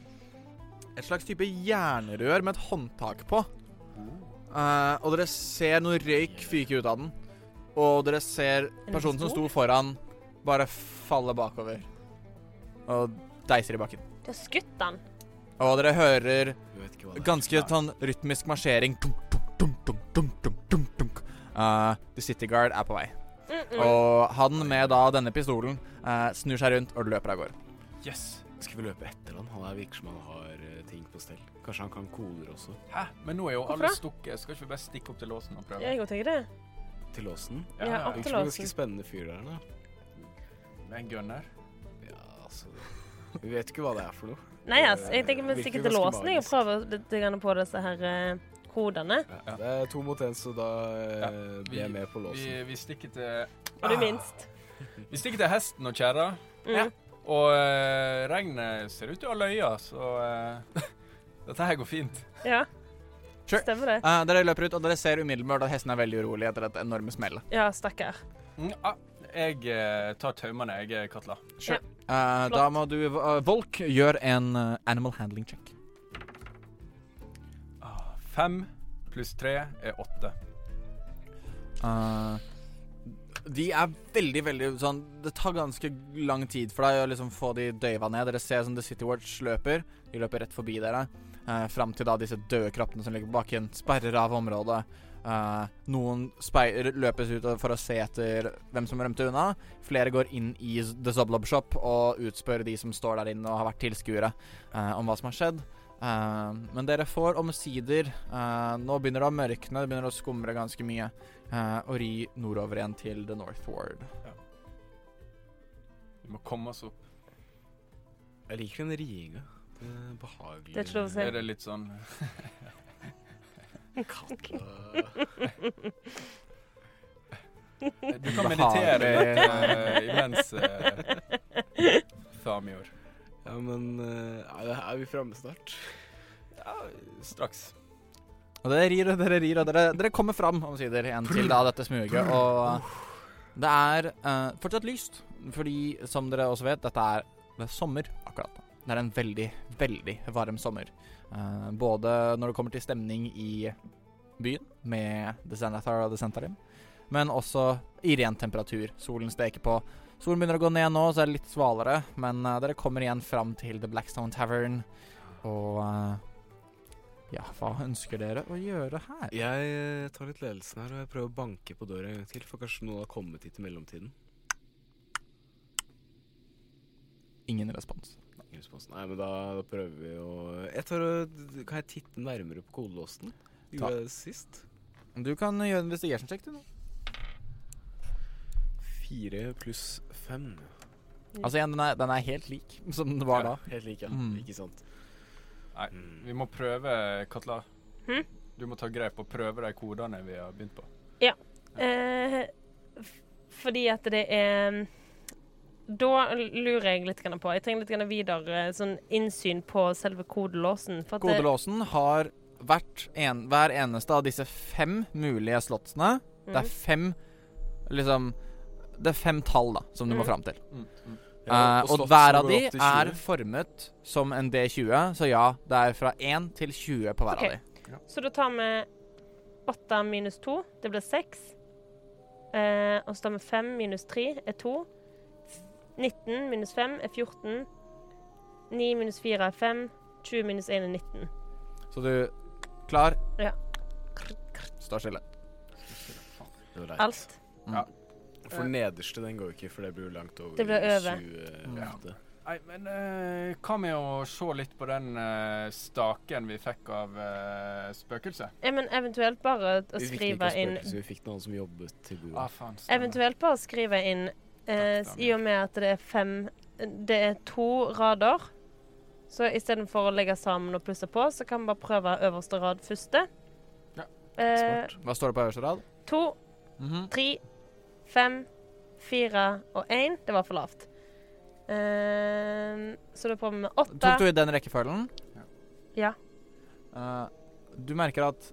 [SPEAKER 1] et slags type jernrør med et håndtak på. Eh, og dere ser noe røyk fyke ut av den. Og dere ser
[SPEAKER 3] En
[SPEAKER 1] personen som
[SPEAKER 3] pistol?
[SPEAKER 1] sto foran, bare falle bakover. Og deiser i bakken.
[SPEAKER 3] Du har skutt den.
[SPEAKER 1] Og dere hører
[SPEAKER 2] Jeg vet ikke hva det er.
[SPEAKER 1] ganske sånn rytmisk marsjering. Dunk, dunk, dunk, dunk, dunk, dunk, dunk. Eh, The City Guard er på vei.
[SPEAKER 3] Mm -mm.
[SPEAKER 1] Og han med da denne pistolen eh, snur seg rundt og løper av gårde.
[SPEAKER 4] Yes.
[SPEAKER 2] Skal vi løpe etter han? Han er virker som han har eh, ting på stell. Kanskje han kan koder også.
[SPEAKER 4] Hæ? Men nå er jo
[SPEAKER 3] Hvorfor
[SPEAKER 4] alle
[SPEAKER 3] det?
[SPEAKER 4] stukket. Skal ikke vi bare stikke opp til låsen og prøve?
[SPEAKER 3] Jeg òg tenker det.
[SPEAKER 2] Til låsen.
[SPEAKER 3] Ja,
[SPEAKER 4] ja.
[SPEAKER 3] opp
[SPEAKER 2] Virker
[SPEAKER 3] til
[SPEAKER 2] som en ganske
[SPEAKER 3] låsen.
[SPEAKER 2] spennende fyr der, da.
[SPEAKER 4] Med en gunner.
[SPEAKER 2] Ja, altså Vi vet ikke hva det er for noe.
[SPEAKER 3] Nei, altså, jeg tenker vi
[SPEAKER 2] Virker
[SPEAKER 3] stikker til
[SPEAKER 2] ganske
[SPEAKER 3] låsen jeg, og
[SPEAKER 2] magisk.
[SPEAKER 3] prøver litt grann på disse her eh, kodene.
[SPEAKER 4] Ja.
[SPEAKER 6] Det er to mot én, så da eh, vi er med på
[SPEAKER 4] Vi,
[SPEAKER 6] låsen.
[SPEAKER 4] vi stikker til
[SPEAKER 3] Og
[SPEAKER 1] Ah.
[SPEAKER 3] du minst.
[SPEAKER 4] Vi stikker til hesten og kjerra.
[SPEAKER 3] Mm.
[SPEAKER 4] Ja. Og eh, regnet ser ut til å ha løyet, så eh, *laughs* dette her går fint.
[SPEAKER 3] ja.
[SPEAKER 1] Sure.
[SPEAKER 3] Stemmer det.
[SPEAKER 1] Eh, dere løper ut, og dere ser umiddelbart at hesten er veldig urolig etter dette enorme smellet.
[SPEAKER 3] Ja, stakkar.
[SPEAKER 4] Mm, ah, jeg eh, tar taumene, jeg, Katla.
[SPEAKER 1] Sure.
[SPEAKER 3] Ja.
[SPEAKER 1] Eh, da må du eh, Volk, gjør en eh, animal handling check.
[SPEAKER 4] Ah, Fem pluss tre er åtte.
[SPEAKER 1] Eh, de er veldig, veldig sånn Det tar ganske lang tid for deg å liksom få de døyva ned. Dere ser som The City Watch løper. De løper rett forbi dere. Uh, fram til da disse døde kroppene som ligger på bakken, sperrer av området. Eh, noen spei- løpes ut for å se etter hvem som rømte unna. Flere går inn i s- The Zoblob Shop og utspør de som står der inne og har vært tilskuere, eh, om hva som har skjedd. Eh, men dere får omsider eh, Nå begynner det å mørkne, det begynner å skumre ganske mye. Eh, og ri nordover igjen til The Northward.
[SPEAKER 4] Vi må komme oss opp.
[SPEAKER 2] Jeg liker den riinga. Det er behagelig.
[SPEAKER 3] Det er ikke lov å
[SPEAKER 4] Er
[SPEAKER 3] si.
[SPEAKER 4] det litt sånn
[SPEAKER 2] Katla.
[SPEAKER 4] Du kan meditere eh, imens, uh, Thamior.
[SPEAKER 6] Ja, men eh, er, er vi framme snart?
[SPEAKER 4] Ja, straks.
[SPEAKER 1] Og dere rir og dere rir, og dere, dere kommer fram omsider igjen til da dette smuget. Og det er eh, fortsatt lyst, fordi som dere også vet, dette er, det er sommer akkurat nå. Det er en veldig, veldig varm sommer. Eh, både når det kommer til stemning i byen med The Xanathar og The Santarim. Men også i ren temperatur. Solen steker på. Solen begynner å gå ned nå, så er det litt svalere. Men eh, dere kommer igjen fram til The Blackstone Tavern. Og eh, ja, hva ønsker dere å gjøre her?
[SPEAKER 2] Jeg eh, tar litt ledelsen her, og jeg prøver å banke på døra en gang til, for kanskje noen har kommet hit i mellomtiden.
[SPEAKER 1] Ingen respons.
[SPEAKER 2] Ingen respons. Nei, men da, da prøver vi å jeg tar og, Kan jeg titte nærmere på kodelåsen?
[SPEAKER 1] Ta.
[SPEAKER 2] Gjorde jeg det sist?
[SPEAKER 1] Du kan gjøre en investigation check, du nå.
[SPEAKER 2] Fire pluss fem.
[SPEAKER 1] Altså igjen, den er, den er helt lik *laughs* som den var da.
[SPEAKER 2] Helt lik, ja.
[SPEAKER 1] Mm.
[SPEAKER 2] Ikke sant.
[SPEAKER 4] Nei.
[SPEAKER 2] Mm.
[SPEAKER 4] Vi må prøve, Katla.
[SPEAKER 3] Hm?
[SPEAKER 4] Du må ta grep og prøve de kodene vi har begynt på.
[SPEAKER 3] Eh, f- fordi at det er Da lurer jeg litt grann på Jeg trenger litt grann videre sånn innsyn på selve kodelåsen. For at det-
[SPEAKER 1] Kodelåsen har vært en, hver eneste av disse fem mulige slottsene. Det er
[SPEAKER 3] Mm.
[SPEAKER 1] fem liksom Det er fem tall da som du må
[SPEAKER 3] Mhm.
[SPEAKER 1] fram til.
[SPEAKER 2] Mm. Ja,
[SPEAKER 1] Eh, og
[SPEAKER 2] slottet
[SPEAKER 1] hver av
[SPEAKER 2] går
[SPEAKER 1] de
[SPEAKER 2] opp til
[SPEAKER 1] er
[SPEAKER 2] 20.
[SPEAKER 1] formet som en D20, så ja, det er fra 1 til 20 på hver
[SPEAKER 3] Ok.
[SPEAKER 1] av de.
[SPEAKER 3] Så da tar vi åtte minus to. Det blir seks. Eh, og så tar vi fem minus tre er to. 19 minus fem er 14. 9 minus fire er fem. 20 minus én er 19.
[SPEAKER 1] Så du Klar?
[SPEAKER 3] Ja.
[SPEAKER 1] Står stille.
[SPEAKER 2] Det var leit.
[SPEAKER 3] Alt. eh,
[SPEAKER 2] For nederste den går jo ikke, for det blir jo langt over eh,
[SPEAKER 3] Det blir over.
[SPEAKER 2] 20
[SPEAKER 1] Mm.
[SPEAKER 2] ofte.
[SPEAKER 4] Nei, men eh, hva med å se litt på den eh, staken vi fikk av eh, spøkelset?
[SPEAKER 3] Ja, men eventuelt
[SPEAKER 2] Vi
[SPEAKER 3] bare å
[SPEAKER 2] fikk den ikke
[SPEAKER 3] skrive
[SPEAKER 2] av
[SPEAKER 3] inn
[SPEAKER 2] spøkelset, vi fikk noen som jobbet til bordet.
[SPEAKER 4] Ah, faen, stemmer.
[SPEAKER 3] Eventuelt bare skrive inn eh,
[SPEAKER 4] Takk,
[SPEAKER 3] s-
[SPEAKER 4] Daniel.
[SPEAKER 3] I og med at det er fem Det er to rader. Så istedenfor å legge sammen og plusse på, så kan vi bare prøve øverste rad første.
[SPEAKER 4] Ja,
[SPEAKER 3] Eh,
[SPEAKER 1] Hva står det på øverste rad?
[SPEAKER 3] to, tre, fem, fire og én. Det var for lavt. Eh, så da prøver vi med åtte.
[SPEAKER 1] Tok du i den rekkefølgen?
[SPEAKER 3] Ja.
[SPEAKER 1] Eh, du merker at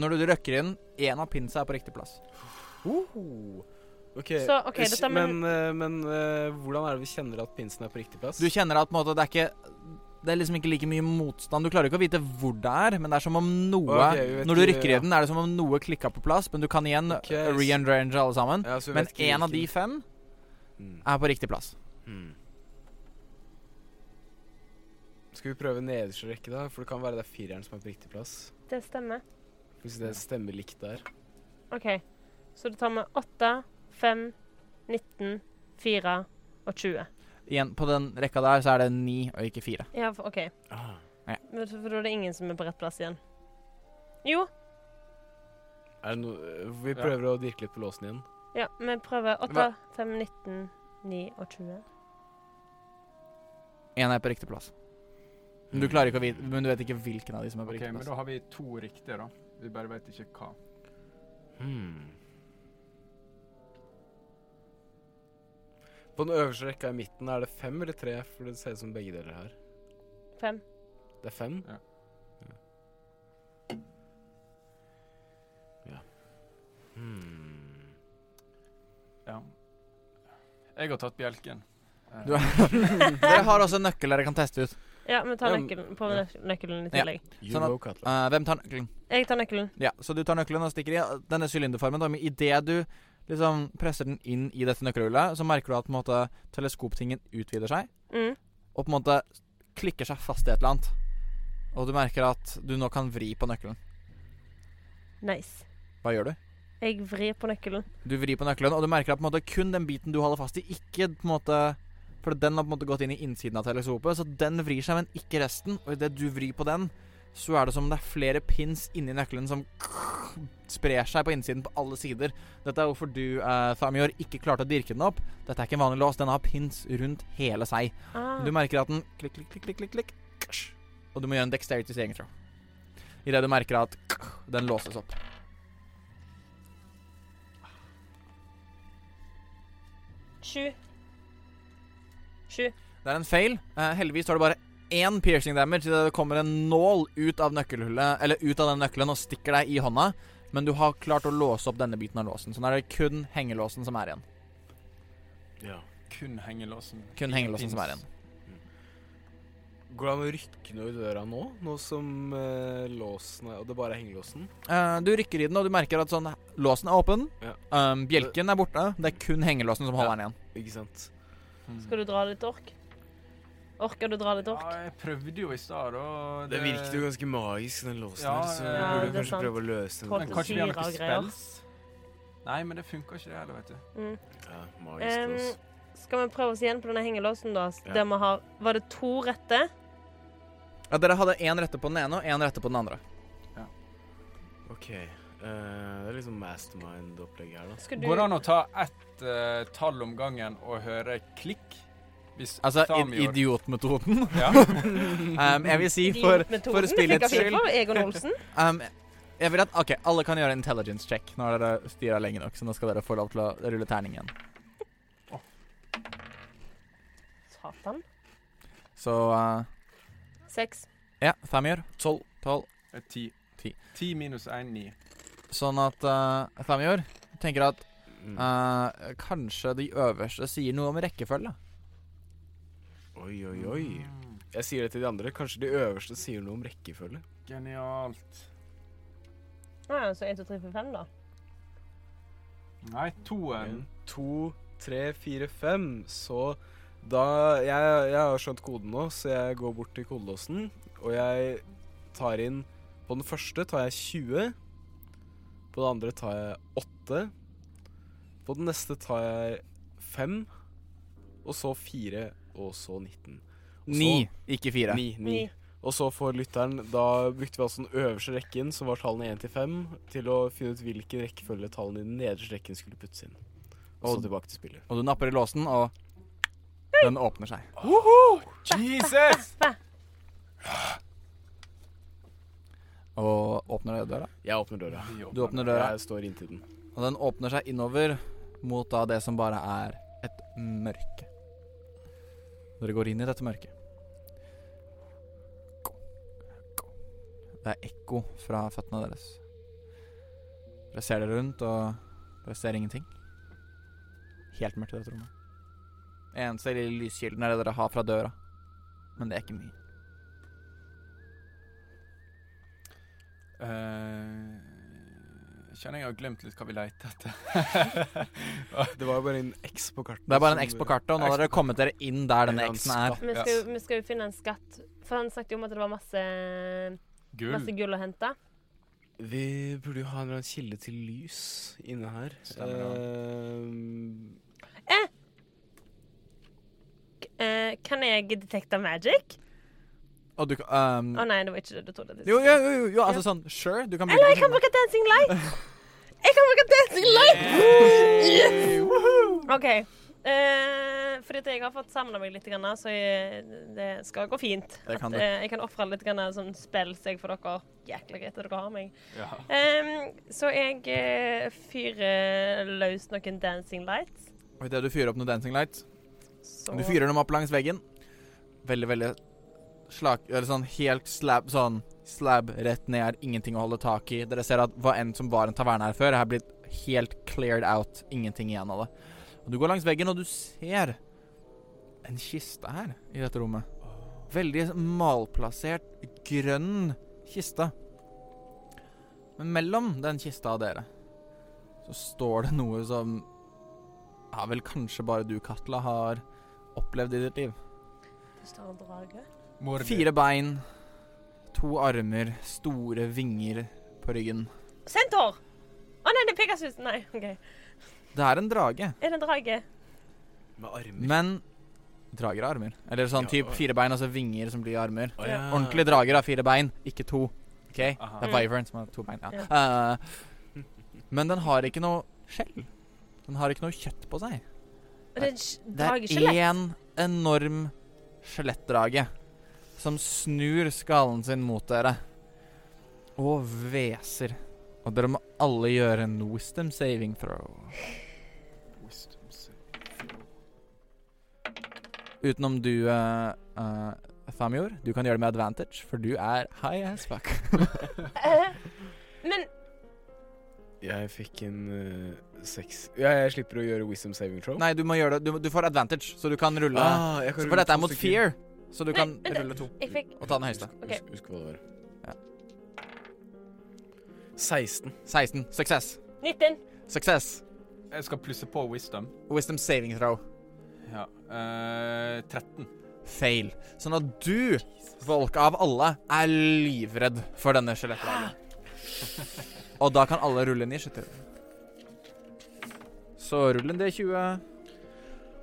[SPEAKER 1] når du røkker inn, én av pinsa er på riktig plass.
[SPEAKER 2] Oho. Ok,
[SPEAKER 3] Så OK, da tar vi
[SPEAKER 2] men, eh, men eh, hvordan er det vi kjenner at pinsen er på riktig plass?
[SPEAKER 1] Du kjenner at på en måte, det er ikke Det er liksom ikke like mye motstand. Du klarer ikke å vite hvor det er, men det er som om noe
[SPEAKER 2] Ok, vi vet
[SPEAKER 1] Når du
[SPEAKER 2] ikke-
[SPEAKER 1] rykker i den, er det som om noe klikka på plass, men du kan igjen
[SPEAKER 2] Ok,
[SPEAKER 1] okay, re-endrange alle sammen.
[SPEAKER 2] Ja, så vi
[SPEAKER 1] Men
[SPEAKER 2] vet ikke
[SPEAKER 1] én av de
[SPEAKER 2] hvilken-
[SPEAKER 1] fem
[SPEAKER 2] Mm.
[SPEAKER 1] er på riktig plass.
[SPEAKER 2] Mm. Skal vi prøve nederste rekke, da? For det kan være det er fireren som er på riktig plass.
[SPEAKER 3] Det stemmer.
[SPEAKER 2] Hvis det stemmer likt der.
[SPEAKER 3] OK. Så da tar vi åtte, fem, 19, fire og 20.
[SPEAKER 1] Igjen, på den rekka der så er det ni og ikke fire.
[SPEAKER 3] Ja, for- OK. Men For for da er det ingen som er på rett plass igjen. Jo.
[SPEAKER 2] Er det no eh, vi
[SPEAKER 4] Ja.
[SPEAKER 2] prøver å dirke litt på låsen igjen.
[SPEAKER 3] Ja, vi prøver 8, 5, 19, 9 og 20.
[SPEAKER 1] Én er på riktig plass. Men du klarer ikke å vite Men du vet ikke hvilken av de som er på
[SPEAKER 4] Ok,
[SPEAKER 1] riktig
[SPEAKER 4] men
[SPEAKER 1] plass.
[SPEAKER 4] da har vi to riktige, da. Vi bare vet ikke hva.
[SPEAKER 2] Hmm. På den øverste rekka i midten, er det fem eller tre? For det ser ut som begge deler her.
[SPEAKER 3] 5.
[SPEAKER 2] Det er fem?
[SPEAKER 4] Ja.
[SPEAKER 2] Ja. Hmm.
[SPEAKER 4] Ja. Jeg har tatt bjelken. Eh,
[SPEAKER 1] Du Dere har også en nøkkel dere kan teste ut.
[SPEAKER 3] Ja, vi tar
[SPEAKER 2] Ja, men-
[SPEAKER 3] nøkkelen på
[SPEAKER 2] ja.
[SPEAKER 3] nøk- nøkkelen i
[SPEAKER 1] Ja.
[SPEAKER 3] tillegg.
[SPEAKER 2] You
[SPEAKER 1] Sånn at-
[SPEAKER 2] know, Katla.
[SPEAKER 1] Eh, hvem tar nøkkelen?
[SPEAKER 3] Jeg tar nøkkelen.
[SPEAKER 1] Ja, så du tar nøkkelen og stikker i denne sylinderformen. da, Men idet du liksom presser den inn i dette nøkkelhullet, så merker du at på en måte, teleskoptingen utvider seg,
[SPEAKER 3] Mm.
[SPEAKER 1] og på en måte klikker seg fast i et eller annet. Og du merker at du nå kan vri på nøkkelen.
[SPEAKER 3] Nice.
[SPEAKER 1] Hva gjør du?
[SPEAKER 3] Jeg vrir på nøkkelen.
[SPEAKER 1] Du vrir på nøkkelen, og du merker at på en måte kun den biten du holder fast i, ikke på en måte For den har på en måte gått inn i innsiden av teleskopet, så den vrir seg, men ikke resten. Og idet du vrir på den, så er det som om det er flere pins inni nøkkelen som sprer seg på innsiden på alle sider. Dette er hvorfor du, eh, Thamjord, ikke klarte å dirke den opp. Dette er ikke en vanlig lås. Den har pins rundt hele seg.
[SPEAKER 3] Ah.
[SPEAKER 1] Du merker at den klikk, klikk, klikk, klikk, klikk, klikk. ksj, Og du må gjøre en dexterity saving throw. Idet du merker at den låses opp.
[SPEAKER 3] Sju. Sju.
[SPEAKER 1] Det er en feil. Eh, heldigvis har du bare én piercing damage idet det kommer en nål ut av nøkkelhullet Eller ut av den nøkkelen og stikker deg i hånda. Men du har klart å låse opp denne biten av låsen. Så nå er det kun hengelåsen som er igjen.
[SPEAKER 2] Ja.
[SPEAKER 4] Kun hengelåsen.
[SPEAKER 1] Kun hengelåsen som er igjen.
[SPEAKER 2] Går det an å rykke noe i døra nå, nå som eh, låsen er Og det bare er hengelåsen?
[SPEAKER 1] Eh, du rykker i den, og du merker at sånn låsen er åpen.
[SPEAKER 2] Ja.
[SPEAKER 1] Um, bjelken er borte. Det er kun hengelåsen som holder den igjen.
[SPEAKER 2] Ikke sant?
[SPEAKER 4] Mm.
[SPEAKER 3] Skal du dra litt ork? Orker du dra litt ork?
[SPEAKER 4] Ja, jeg prøvde jo i stad, og
[SPEAKER 2] Det virket jo ganske magisk, den låsen
[SPEAKER 4] Ja,
[SPEAKER 2] her, så
[SPEAKER 4] ja,
[SPEAKER 2] vi
[SPEAKER 4] ja,
[SPEAKER 2] burde
[SPEAKER 3] det er
[SPEAKER 2] kanskje
[SPEAKER 3] sant.
[SPEAKER 2] prøve å løse
[SPEAKER 3] Tolv
[SPEAKER 4] Men
[SPEAKER 2] den.
[SPEAKER 4] kanskje de har
[SPEAKER 3] Syre
[SPEAKER 4] noen
[SPEAKER 3] og greier.
[SPEAKER 4] spells? Nei, men det funker ikke, det heller, vet du.
[SPEAKER 3] Mm.
[SPEAKER 2] Ja, magisk
[SPEAKER 3] Em,
[SPEAKER 2] lås.
[SPEAKER 3] Skal vi prøve oss igjen på denne hengelåsen, da?
[SPEAKER 2] Ja.
[SPEAKER 3] Der vi har Var det to rette?
[SPEAKER 1] Ja, dere hadde én rette på den ene og én rette på den andre.
[SPEAKER 2] OK. eh, det er liksom mastermind-opplegg her, da.
[SPEAKER 3] Skal du
[SPEAKER 4] Går det an å ta ett eh, tall om gangen og høre klikk? Hvis
[SPEAKER 1] Altså i-
[SPEAKER 4] Samior-
[SPEAKER 1] idiotmetoden.
[SPEAKER 4] Ja.
[SPEAKER 1] *laughs* Um, jeg vil si for for spillets skyld.
[SPEAKER 3] Egon Olsen.
[SPEAKER 1] um, Jeg vil at OK, alle kan gjøre intelligence check når dere styrer lenge nok, så nå skal dere få lov til å rulle terning igjen.
[SPEAKER 3] Satan.
[SPEAKER 1] Så uh,
[SPEAKER 3] Seks.
[SPEAKER 1] ja, Thamior. Tolv. Tolv.
[SPEAKER 4] Eh, Ti.
[SPEAKER 1] Ti.
[SPEAKER 4] Ti minus én, ni.
[SPEAKER 1] Sånn at uh, Thamior tenker at
[SPEAKER 2] Mm.
[SPEAKER 1] uh, kanskje de øverste sier noe om rekkefølge.
[SPEAKER 2] Oi, oi, oi.
[SPEAKER 4] Mm,
[SPEAKER 2] Jeg sier det til de andre. Kanskje de øverste sier noe om rekkefølge.
[SPEAKER 4] Genialt.
[SPEAKER 3] Ah, ja, så én, to, tre, fire, fem, da.
[SPEAKER 4] Nei, toen.
[SPEAKER 2] En, to, tre, fire, fem. Så da jeg, jeg har skjønt koden nå, så jeg går bort til kodelåsen, og jeg tar inn På den første tar jeg 20. På den andre tar jeg 8. På den neste tar jeg 5. Og så 4, og så 19. Og så-
[SPEAKER 1] Ni, ikke fire.
[SPEAKER 2] 9, 9. Og så for lytteren, da brukte vi altså den øverste rekken, som var tallene 1 til 5, til å finne ut hvilken rekkefølge tallene i den nederste rekken skulle puttes inn. Og så
[SPEAKER 1] Og-
[SPEAKER 2] tilbake til spillet.
[SPEAKER 1] Og du napper i låsen, og den åpner seg.
[SPEAKER 4] Jesus!
[SPEAKER 1] Og åpner døra.
[SPEAKER 2] Jeg åpner døra.
[SPEAKER 1] Du åpner døra,
[SPEAKER 2] Jeg står inntil den.
[SPEAKER 1] og den åpner seg innover mot da det som bare er et mørke. Dere går inn i dette mørket. Det er ekko fra føttene deres. Dere ser dere rundt, og dere ser ingenting. Helt mørkt i dette rommet. Eneste lille lyskilden er det dere har fra døra, men det er ikke mye.
[SPEAKER 4] Eh, kjenner jeg har glemt litt hva vi leter etter.
[SPEAKER 2] Det var jo bare en X på kartet.
[SPEAKER 1] Det er bare en X på kartet, og nå har dere kommet dere inn der denne
[SPEAKER 2] En
[SPEAKER 1] X-en er.
[SPEAKER 2] skatt.
[SPEAKER 3] Vi skal, jo- vi skal jo finne en skatt. For han snakket jo om at det var masse,
[SPEAKER 4] Gull.
[SPEAKER 3] masse gull å hente.
[SPEAKER 2] Vi burde jo ha en eller annen kilde til lys inne her.
[SPEAKER 4] Stemmer
[SPEAKER 2] det.
[SPEAKER 3] Eh, kan jeg detekte magic?
[SPEAKER 1] Og du kan
[SPEAKER 3] Å
[SPEAKER 1] um,
[SPEAKER 3] nei, det var ikke det du trodde. at jeg
[SPEAKER 1] Jo, jo,
[SPEAKER 3] skulle si.
[SPEAKER 1] jo, jo, jo altså sånn Sure, du kan bruke
[SPEAKER 3] Eller jeg kan bruke dancing
[SPEAKER 1] *laughs*
[SPEAKER 3] light! Jeg kan bruke dancing light! Yes! OK. Eh, fordi at jeg har fått samla meg litt, grann, så jeg, det skal gå fint.
[SPEAKER 1] Det kan
[SPEAKER 3] At,
[SPEAKER 1] du.
[SPEAKER 3] eh, jeg kan ofre litt grann, sånn spill så jeg får dere jækla greit at dere har meg.
[SPEAKER 4] Ja.
[SPEAKER 3] Ehm, så jeg eh, fyrer løs noen dancing lights.
[SPEAKER 1] Og idet du fyrer opp noen dancing lights
[SPEAKER 3] Så
[SPEAKER 1] Du fyrer dem opp langs veggen. Veldig, veldig slak... Eller sånn helt slab Sånn slab rett ned, er ingenting å holde tak i. Dere ser at hva enn som var en taverne her før, er blitt helt cleared out. Ingenting igjen av det. Og du går langs veggen, og du ser en kiste her i dette rommet. Veldig malplassert, grønn kiste. Men mellom den kista og dere så står det noe som ja, vel kanskje bare du, Katla, har opplevd i ditt liv.
[SPEAKER 3] Det står en drage.
[SPEAKER 4] Mordi.
[SPEAKER 1] Fire bein, to armer, store vinger på ryggen.
[SPEAKER 3] Sentor! Å nei, det er Pegasus. Nei, OK.
[SPEAKER 1] Det er en drage,
[SPEAKER 3] Er det en drage?
[SPEAKER 2] Med armer.
[SPEAKER 1] men drager har armer. Eller sånn
[SPEAKER 2] Ja. Ah.
[SPEAKER 1] type fire bein, altså vinger som blir armer.
[SPEAKER 2] Å, ja.
[SPEAKER 1] Ordentlige drager har fire bein, ikke to. OK? Det
[SPEAKER 4] Aha.
[SPEAKER 1] er Wyvern som har to bein. Ja. Eh, men den har ikke noe skjell. Den har ikke noe kjøtt på seg.
[SPEAKER 3] Er det en sk-
[SPEAKER 1] Det er
[SPEAKER 3] drageskjelett?
[SPEAKER 1] én enorm skjelettdrage som snur skallen sin mot dere og hveser. Og dere må alle gjøre en wisdom saving throw.
[SPEAKER 4] Wisdom save.
[SPEAKER 1] Utenom du, uh, Thamior. Du kan gjøre det med advantage, for du er high as fuck.
[SPEAKER 3] Eh, Men
[SPEAKER 2] Jeg fikk en eh, seks ja, Jeg slipper å gjøre wisdom saving throw.
[SPEAKER 1] Nei, du må gjøre det. Du, du får advantage, så du kan rulle.
[SPEAKER 2] Ah, jeg kan
[SPEAKER 1] så
[SPEAKER 2] rulle
[SPEAKER 1] for dette
[SPEAKER 2] to
[SPEAKER 1] er mot
[SPEAKER 2] stykker.
[SPEAKER 1] fear. så du
[SPEAKER 3] Nei,
[SPEAKER 1] kan
[SPEAKER 3] vent,
[SPEAKER 1] rulle to
[SPEAKER 3] Jeg fikk
[SPEAKER 1] og ta den høyeste.
[SPEAKER 3] Ok.
[SPEAKER 2] Husk, husk hva det var.
[SPEAKER 1] Ja.
[SPEAKER 2] 16.
[SPEAKER 1] 16. Suksess.
[SPEAKER 3] 19.
[SPEAKER 1] Suksess.
[SPEAKER 4] Jeg skal plusse på wisdom.
[SPEAKER 1] Wisdom saving throw.
[SPEAKER 4] Ja. eh, 13.
[SPEAKER 1] Fail. Sånn at du, folk av alle, er livredd for denne skjelettlagen. Og da kan alle rulle inn i skytter. Så rull en D20.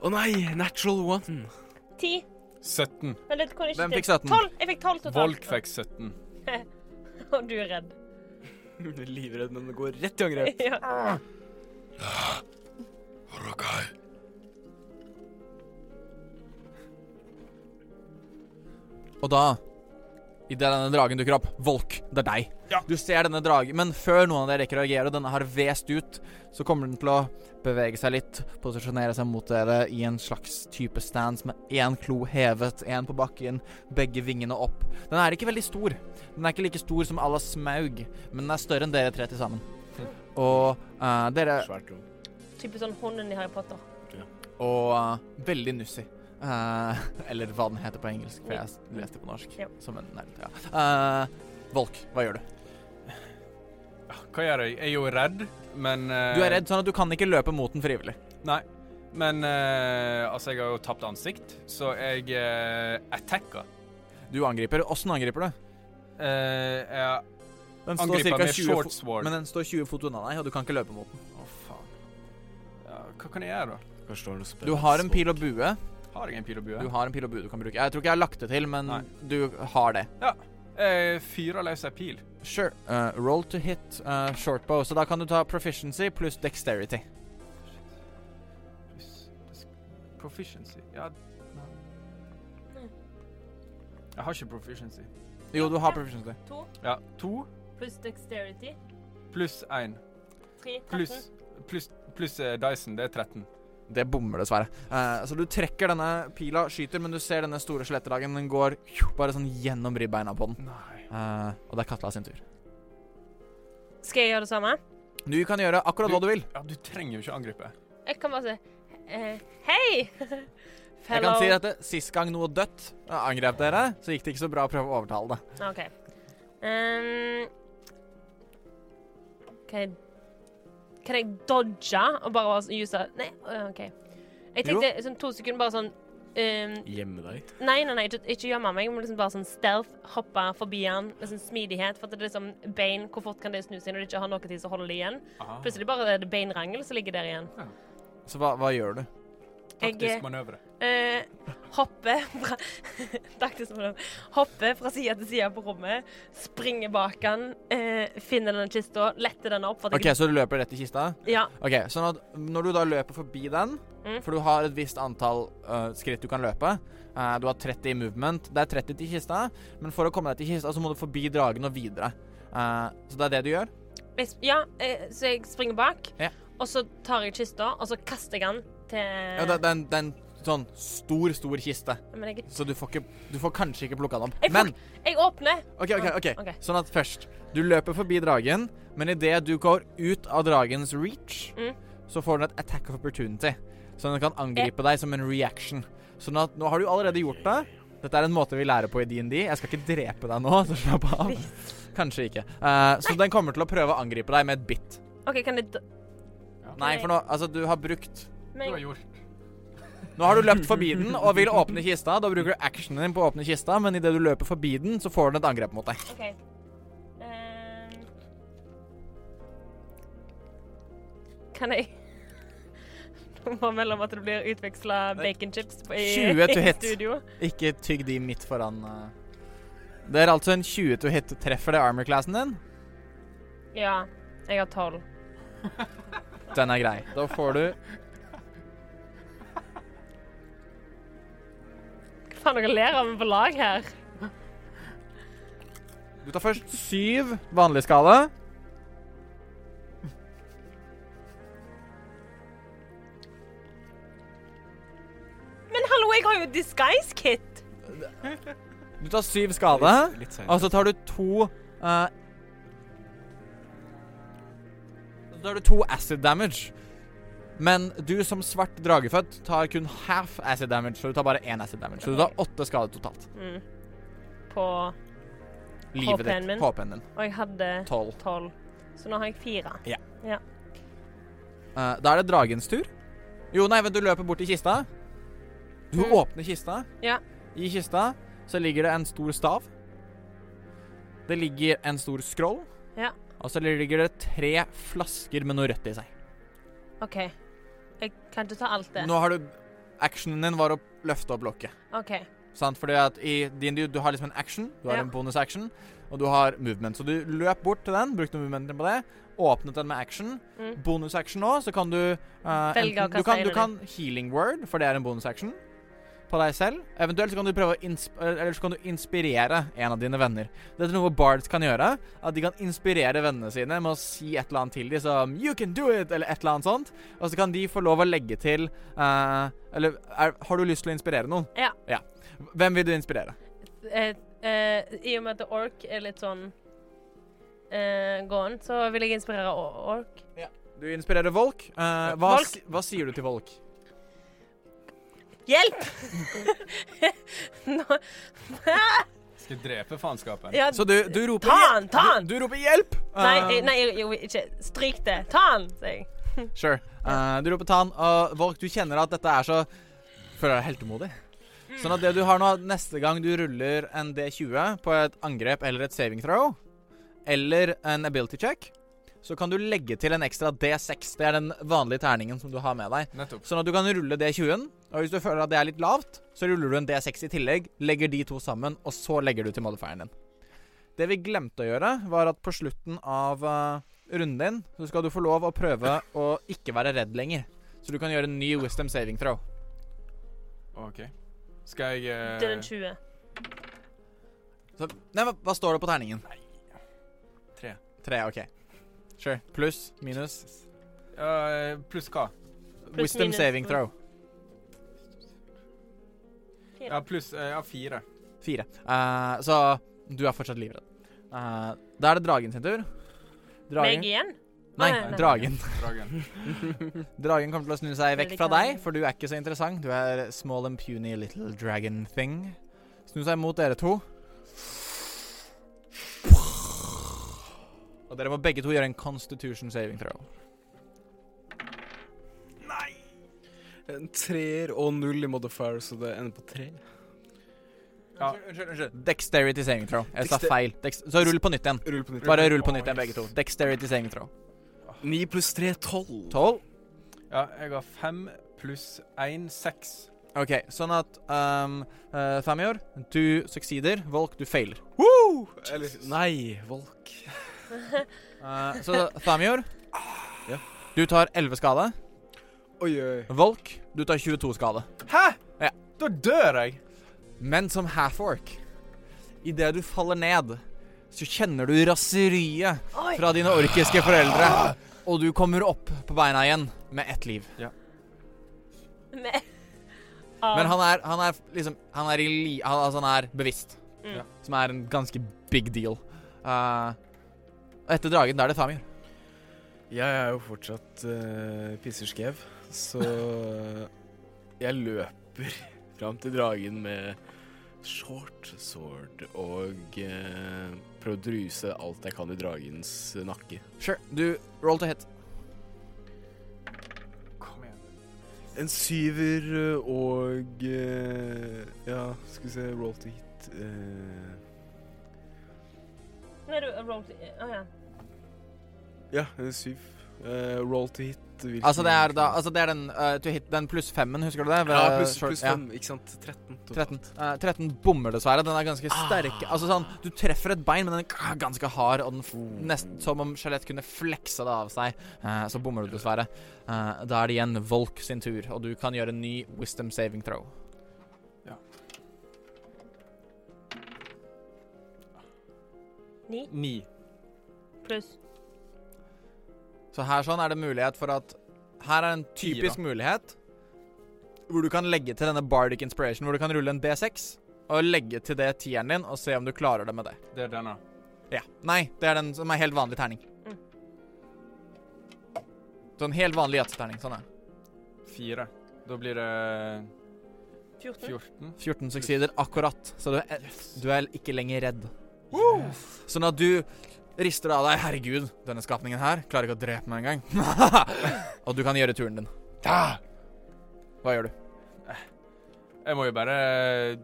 [SPEAKER 2] Å nei! Natural one.
[SPEAKER 6] *laughs*
[SPEAKER 3] 10.
[SPEAKER 4] 17.
[SPEAKER 3] Men det kunne ikke
[SPEAKER 1] Hvem
[SPEAKER 3] til.
[SPEAKER 1] fikk 17?
[SPEAKER 3] 12. Jeg fikk 12 totalt.
[SPEAKER 4] Volk fikk 17.
[SPEAKER 3] Og du er redd.
[SPEAKER 6] Livredd, men det går rett i angrep.
[SPEAKER 3] *laughs* ja.
[SPEAKER 1] Og da, idet denne dragen dukker opp Volk, det er deg. Du ser denne dragen, men før noen av dere rekker å reagere, og denne har vest ut, så kommer den til å bevege seg litt, posisjonere seg mot dere i en slags type stance med én klo hevet, én på bakken, begge vingene opp. Den er ikke veldig stor. Den er ikke like stor som Alas Smaug, men den er større enn dere tre til sammen. Og eh, dere
[SPEAKER 2] Svært rom.
[SPEAKER 3] Typisk sånn hunden i Harry Potter.
[SPEAKER 1] og eh, veldig nussig. Eh, *laughs* eller hva den heter på engelsk, for jeg leste på norsk.
[SPEAKER 3] Ja.
[SPEAKER 1] Som en nerd, ja. Eh, Volk, hva gjør du?
[SPEAKER 4] Ja, Ah, Hva gjør jeg? Jeg er jo redd, men eh,
[SPEAKER 1] Du er redd sånn at du kan ikke løpe mot den frivillig.
[SPEAKER 4] Nei. Men eh, altså, jeg har jo tapt ansikt, så jeg eh, attacker.
[SPEAKER 1] Du angriper. Åssen angriper du?
[SPEAKER 4] Eh, jeg
[SPEAKER 1] Den står
[SPEAKER 4] angriper
[SPEAKER 1] cirka
[SPEAKER 4] med
[SPEAKER 1] 20
[SPEAKER 4] short
[SPEAKER 1] fot,
[SPEAKER 4] sword.
[SPEAKER 1] men den står 20 fot unna deg, og du kan ikke løpe mot den.
[SPEAKER 4] Å, faen. Ja, hva kan jeg gjøre, da?
[SPEAKER 2] Kanskje du har noe spennende.
[SPEAKER 1] Du har en
[SPEAKER 2] så-
[SPEAKER 1] pil og bue.
[SPEAKER 4] Har jeg en pil og bue?
[SPEAKER 1] Du har en pil og bue du kan bruke. Jeg tror ikke jeg har lagt det til, men
[SPEAKER 4] Nei.
[SPEAKER 1] du har det.
[SPEAKER 4] Jeg fyrer løs ei pil.
[SPEAKER 1] Sure. Eh, roll to hit eh, shortbow, så da kan du ta proficiency pluss dexterity.
[SPEAKER 4] Proficiency. Ja Jeg har ikke proficiency.
[SPEAKER 1] Jo, du har proficiency.
[SPEAKER 3] 2
[SPEAKER 4] Ja, to
[SPEAKER 3] pluss dexterity.
[SPEAKER 4] pluss én
[SPEAKER 3] 3.
[SPEAKER 4] pluss pluss pluss eh, Dyson. Det er 13.
[SPEAKER 1] Det bommer, dessverre. Eh, så du trekker denne pila, skyter, men du ser denne store skjelettdragen. Den går bare sånn gjennom ribbeina på den.
[SPEAKER 4] Nei.
[SPEAKER 1] Eh, og det er Katla sin tur.
[SPEAKER 3] Skal jeg gjøre det samme?
[SPEAKER 1] Du kan gjøre akkurat hva du vil.
[SPEAKER 4] Ja, du trenger jo ikke angripe.
[SPEAKER 3] Jeg kan bare si eh, Hei!
[SPEAKER 1] Jeg kan si dette. Sist gang noe dødt eh, angrep dere, så gikk det ikke så bra å prøve å overtale det.
[SPEAKER 3] OK. Ehm, kan jeg Kan jeg dodge og bare være sånn use Nei, øh, OK. Jeg
[SPEAKER 1] Jo.
[SPEAKER 3] tenkte sånn to sekunder bare sånn ehm,
[SPEAKER 2] Gjemme deg.
[SPEAKER 3] Nei, nei, nei, ikke, ikke gjemme meg. Jeg må liksom bare sånn stealth hoppe forbi han med sånn smidighet. For at det er liksom bein, hvor fort kan det snu seg når det ikke har noe tid som holder det igjen?
[SPEAKER 4] Ah,
[SPEAKER 3] Plutselig bare er det beinrangel som ligger der igjen.
[SPEAKER 1] Så hva, hva gjør du?
[SPEAKER 3] Jeg-
[SPEAKER 4] taktisk manøvre.
[SPEAKER 3] Eh, hopper fra *laughs* Taktisk for det. Hopper fra side til side på rommet, springer bak han, eh, finner denne kista, letter den opp for at
[SPEAKER 1] OK, så du løper rett i kista?
[SPEAKER 3] jeg Ja.
[SPEAKER 1] Ok, sånn at Når du da løper forbi den,
[SPEAKER 3] Mm.
[SPEAKER 1] for du har et visst antall øh, skritt du kan løpe eh, Du har 30 i movement. Det er 30 til kista, men for å komme deg til kista så må du forbi dragen og videre. Eh, så det er det du gjør?
[SPEAKER 3] Jeg, sp- ja eh, så jeg springer bak,
[SPEAKER 1] Ja.
[SPEAKER 3] og så tar jeg kista, og så kaster jeg den til
[SPEAKER 1] Ja, det, det, er en, det er en sånn stor, stor kiste,
[SPEAKER 3] Men jeg,
[SPEAKER 1] så du får, ikke, du får kanskje ikke plukka den opp.
[SPEAKER 3] Jeg får-
[SPEAKER 1] Men
[SPEAKER 3] jeg åpner.
[SPEAKER 1] OK, OK. ok
[SPEAKER 3] Ok.
[SPEAKER 1] Sånn at først Du løper forbi dragen, men idet du går ut av dragens reach,
[SPEAKER 3] Mm.
[SPEAKER 1] så får den et attack of opportunity. Så den kan angripe
[SPEAKER 3] Eh.
[SPEAKER 1] deg som en reaction. Sånn at nå har du allerede gjort det. Dette er en måte vi lærer på i DND. Jeg skal ikke drepe deg nå, *laughs* så slapp av. Kanskje ikke. Eh, så den kommer til å prøve å angripe deg med et bitt.
[SPEAKER 3] OK, kan jeg d-
[SPEAKER 1] Nei, for nå Altså, du har brukt
[SPEAKER 4] Du
[SPEAKER 3] men,
[SPEAKER 4] har gjort
[SPEAKER 1] Nå har du løpt forbi den og vil åpne kista. Da bruker du actionen din på å åpne kista, men idet du løper forbi den, så får den et angrep mot deg.
[SPEAKER 3] OK. Ehm. kan jeg *laughs* Må melde om at det blir utveksla baconchips på- i,
[SPEAKER 1] 20 to
[SPEAKER 3] *laughs* i
[SPEAKER 1] hit.
[SPEAKER 3] studio.
[SPEAKER 1] Ikke tygg de midt foran eh. Det er altså en 20 to hit. Treffer det armor-classen din?
[SPEAKER 3] Ja, jeg har 12.
[SPEAKER 1] Den er grei. Da får du
[SPEAKER 3] Hva faen dere ler av meg på lag her?
[SPEAKER 1] Du tar først syv vanlig skade.
[SPEAKER 3] Men hallo, jeg har jo disguise kit!
[SPEAKER 1] Du tar syv skade,
[SPEAKER 2] Litt, litt seint.
[SPEAKER 1] og så tar du to eh, Så tar du to acid damage. Men du som svart dragefødt tar kun half acid damage, så du tar bare én acid damage. Så du tar åtte skader totalt.
[SPEAKER 3] Mm. På
[SPEAKER 1] Livet
[SPEAKER 3] HP-en
[SPEAKER 1] ditt.
[SPEAKER 3] min?
[SPEAKER 1] HP-en din.
[SPEAKER 3] Og jeg hadde
[SPEAKER 1] Tolv.
[SPEAKER 3] tolv. Så nå har jeg fire.
[SPEAKER 1] Eh, da er det dragens tur. Jo, nei, men du løper bort til kista. Du
[SPEAKER 3] Mm.
[SPEAKER 1] åpner kista.
[SPEAKER 3] Ja.
[SPEAKER 1] I kista så ligger det en stor stav. Det ligger en stor skroll.
[SPEAKER 3] Ja.
[SPEAKER 1] Og så ligger det tre flasker med noe rødt i seg.
[SPEAKER 3] OK. Jeg kan ikke ta alt det.
[SPEAKER 1] Nå har du Actionen din var å løfte opp lokket.
[SPEAKER 3] OK.
[SPEAKER 1] Sant? Fordi at i din du, du har liksom en action, du har
[SPEAKER 3] Ja.
[SPEAKER 1] en bonus action, og du har movement. Så du løp bort til den, brukte movementen på det, åpnet den med action.
[SPEAKER 3] Mm.
[SPEAKER 1] Bonus action nå, så kan du eh,
[SPEAKER 3] Velge å
[SPEAKER 1] enten- du,
[SPEAKER 3] kaste
[SPEAKER 1] kan,
[SPEAKER 3] en
[SPEAKER 1] du
[SPEAKER 3] eller-
[SPEAKER 1] kan healing word, for det er en bonus action, på deg selv. Eventuelt så kan du prøve å insp eller så kan du inspirere en av dine venner. Dette er noe bards kan gjøre. At de kan inspirere vennene sine med å si et eller annet til dem som You can do it! Eller et eller annet sånt. Og så kan de få lov å legge til eh, Eller er, har du lyst til å inspirere noen?
[SPEAKER 3] Ja.
[SPEAKER 1] Hvem vil du inspirere?
[SPEAKER 3] Eh, eh, I og med at The Ork er litt sånn eh, gåen, så vil jeg inspirere O- Ork.
[SPEAKER 1] Du inspirerer Volk. Eh, hva,
[SPEAKER 3] Volk.
[SPEAKER 1] s- hva sier du til Volk?
[SPEAKER 3] Hjelp! *laughs* nå,
[SPEAKER 4] Skal jeg drepe faenskapen?
[SPEAKER 3] ja,
[SPEAKER 1] Så du, du roper
[SPEAKER 3] Ta han,
[SPEAKER 1] hjel-
[SPEAKER 3] ta han!
[SPEAKER 1] Du, du roper 'hjelp'! Eh,
[SPEAKER 3] Eh, nei, jeg- nei, jeg, jeg, vil ikke Stryk det. Ta han, sier jeg.
[SPEAKER 1] Sure. Eh, du roper 'ta han', og Volk, du kjenner at dette er så Føler deg heltemodig. Sånn at det du har nå, at neste gang du ruller en D20 på et angrep eller et saving throw, eller en ability check, så kan du legge til en ekstra D6. Det er den vanlige terningen som du har med deg.
[SPEAKER 4] Nettopp.
[SPEAKER 1] Sånn at du kan rulle D20-en, og hvis du føler at det er litt lavt, så ruller du en D6 i tillegg, legger de to sammen, og så legger du til modifieren din. Det vi glemte å gjøre, var at på slutten av eh, runden din, så skal du få lov å prøve å ikke være redd lenger. Så du kan gjøre en ny wisdom saving throw.
[SPEAKER 4] OK. Skal jeg eh,
[SPEAKER 3] Til den 20.
[SPEAKER 1] Så, nei, hva, hva står det på terningen?
[SPEAKER 4] Tre.
[SPEAKER 1] Tre, ok. Sure. Pluss, minus.
[SPEAKER 4] eh, Pluss hva?
[SPEAKER 3] Pluss,
[SPEAKER 1] wisdom
[SPEAKER 3] minus.
[SPEAKER 1] saving throw.
[SPEAKER 4] Ja, pluss eh, ja, fire.
[SPEAKER 1] Fire. Eh, så du er fortsatt livredd. Eh, da er det dragen sin tur.
[SPEAKER 3] Meg igjen?
[SPEAKER 1] Nei,
[SPEAKER 3] Nei, nei, nei.
[SPEAKER 1] dragen. *laughs*
[SPEAKER 4] Dragen.
[SPEAKER 1] Dragen kommer til å snu seg vekk
[SPEAKER 3] Veldig
[SPEAKER 1] fra
[SPEAKER 3] klar.
[SPEAKER 1] deg, for du er ikke så interessant. Du er small and puny little dragon thing. Snu seg mot dere to. Og dere må begge to gjøre en constitution saving throw.
[SPEAKER 6] En treer og null i modifier, så det ender på tre.
[SPEAKER 4] Ja.
[SPEAKER 1] Unnskyld, unnskyld. Dexterity saving throw. Jeg sa
[SPEAKER 6] Dexter-
[SPEAKER 1] feil. Dex så rull på nytt igjen.
[SPEAKER 6] Rull på nytt.
[SPEAKER 1] Bare rull på nytt igjen, begge to. Dexterity saving throw.
[SPEAKER 6] Ni pluss tre, tolv.
[SPEAKER 1] Tolv.
[SPEAKER 4] Ja, jeg har fem pluss én, seks.
[SPEAKER 1] OK, sånn at um, eh, Thamior, du succeeder. Volk, du failer.
[SPEAKER 6] Woo! Eller, nei, Volk.
[SPEAKER 1] Eh, så Thamior,
[SPEAKER 6] Ja.
[SPEAKER 1] du tar 11 skade.
[SPEAKER 6] Oi, oi.
[SPEAKER 1] Volk, du tar 22 skade.
[SPEAKER 4] Hæ?!
[SPEAKER 1] Ja.
[SPEAKER 4] Da dør jeg!
[SPEAKER 1] Men som half-ork, idet du faller ned, så kjenner du raseriet
[SPEAKER 3] Oi.
[SPEAKER 1] fra dine orkiske foreldre. Og du kommer opp på beina igjen med ett liv.
[SPEAKER 3] Med- Ah,
[SPEAKER 1] Men han er, han er liksom Han er, i li, han, altså han er bevisst.
[SPEAKER 3] Mm. Ja.
[SPEAKER 1] Som er en ganske big deal. Eh, og etter dragen, da er det Famir.
[SPEAKER 6] Jeg er jo fortsatt uh, pisserskev, så *laughs* jeg løper *laughs* fram til dragen med short sword og eh, prøver å druse alt jeg kan i dragens nakke.
[SPEAKER 1] Sure, du roll to hit.
[SPEAKER 4] Kom igjen.
[SPEAKER 6] En syver eh, og eh, Ja, skal vi se Roll to hit. eh,
[SPEAKER 3] Nei, du rolled eh, Å ja.
[SPEAKER 6] ja, en syv. Eh, roll to hit. hvilken-
[SPEAKER 1] Altså, det er, da, altså det er den eh, to hit, den pluss femmen, husker du det? Ved
[SPEAKER 6] ja, pluss
[SPEAKER 1] short-
[SPEAKER 6] plus
[SPEAKER 1] ja.
[SPEAKER 6] fem, ikke sant? 13. totalt.
[SPEAKER 1] 13. Eh, 13 bommer dessverre. Den er ganske sterk. Altså sånn, Du treffer et bein, men den er ganske hard, og den f nesten som om skjelett kunne fleksa det av seg. Eh, så bommer du dessverre. Eh, da er det igjen Volk sin tur, og du kan gjøre en ny wisdom saving throw.
[SPEAKER 3] Ni
[SPEAKER 4] Ni.
[SPEAKER 3] pluss
[SPEAKER 1] Så her sånn er det mulighet for at Her er en typisk mulighet hvor du kan legge til denne bardic inspiration, hvor du kan rulle en D6 og legge til det tieren din, og se om du klarer det med det.
[SPEAKER 4] Det er denne.
[SPEAKER 1] Ja. Nei, det er den som er helt vanlig terning.
[SPEAKER 3] Mm.
[SPEAKER 1] Sånn helt vanlig yatzy-terning. Sånn er
[SPEAKER 4] fire. Da blir det
[SPEAKER 3] 14.
[SPEAKER 4] 14.
[SPEAKER 1] 14 suksesser akkurat, så du er, du er ikke lenger redd. Sånn at du rister av deg 'Herregud, denne skapningen her klarer ikke å drepe meg *laughs* engang'. og du kan gjøre turen din. Hva gjør du?
[SPEAKER 4] Jeg må jo bare Det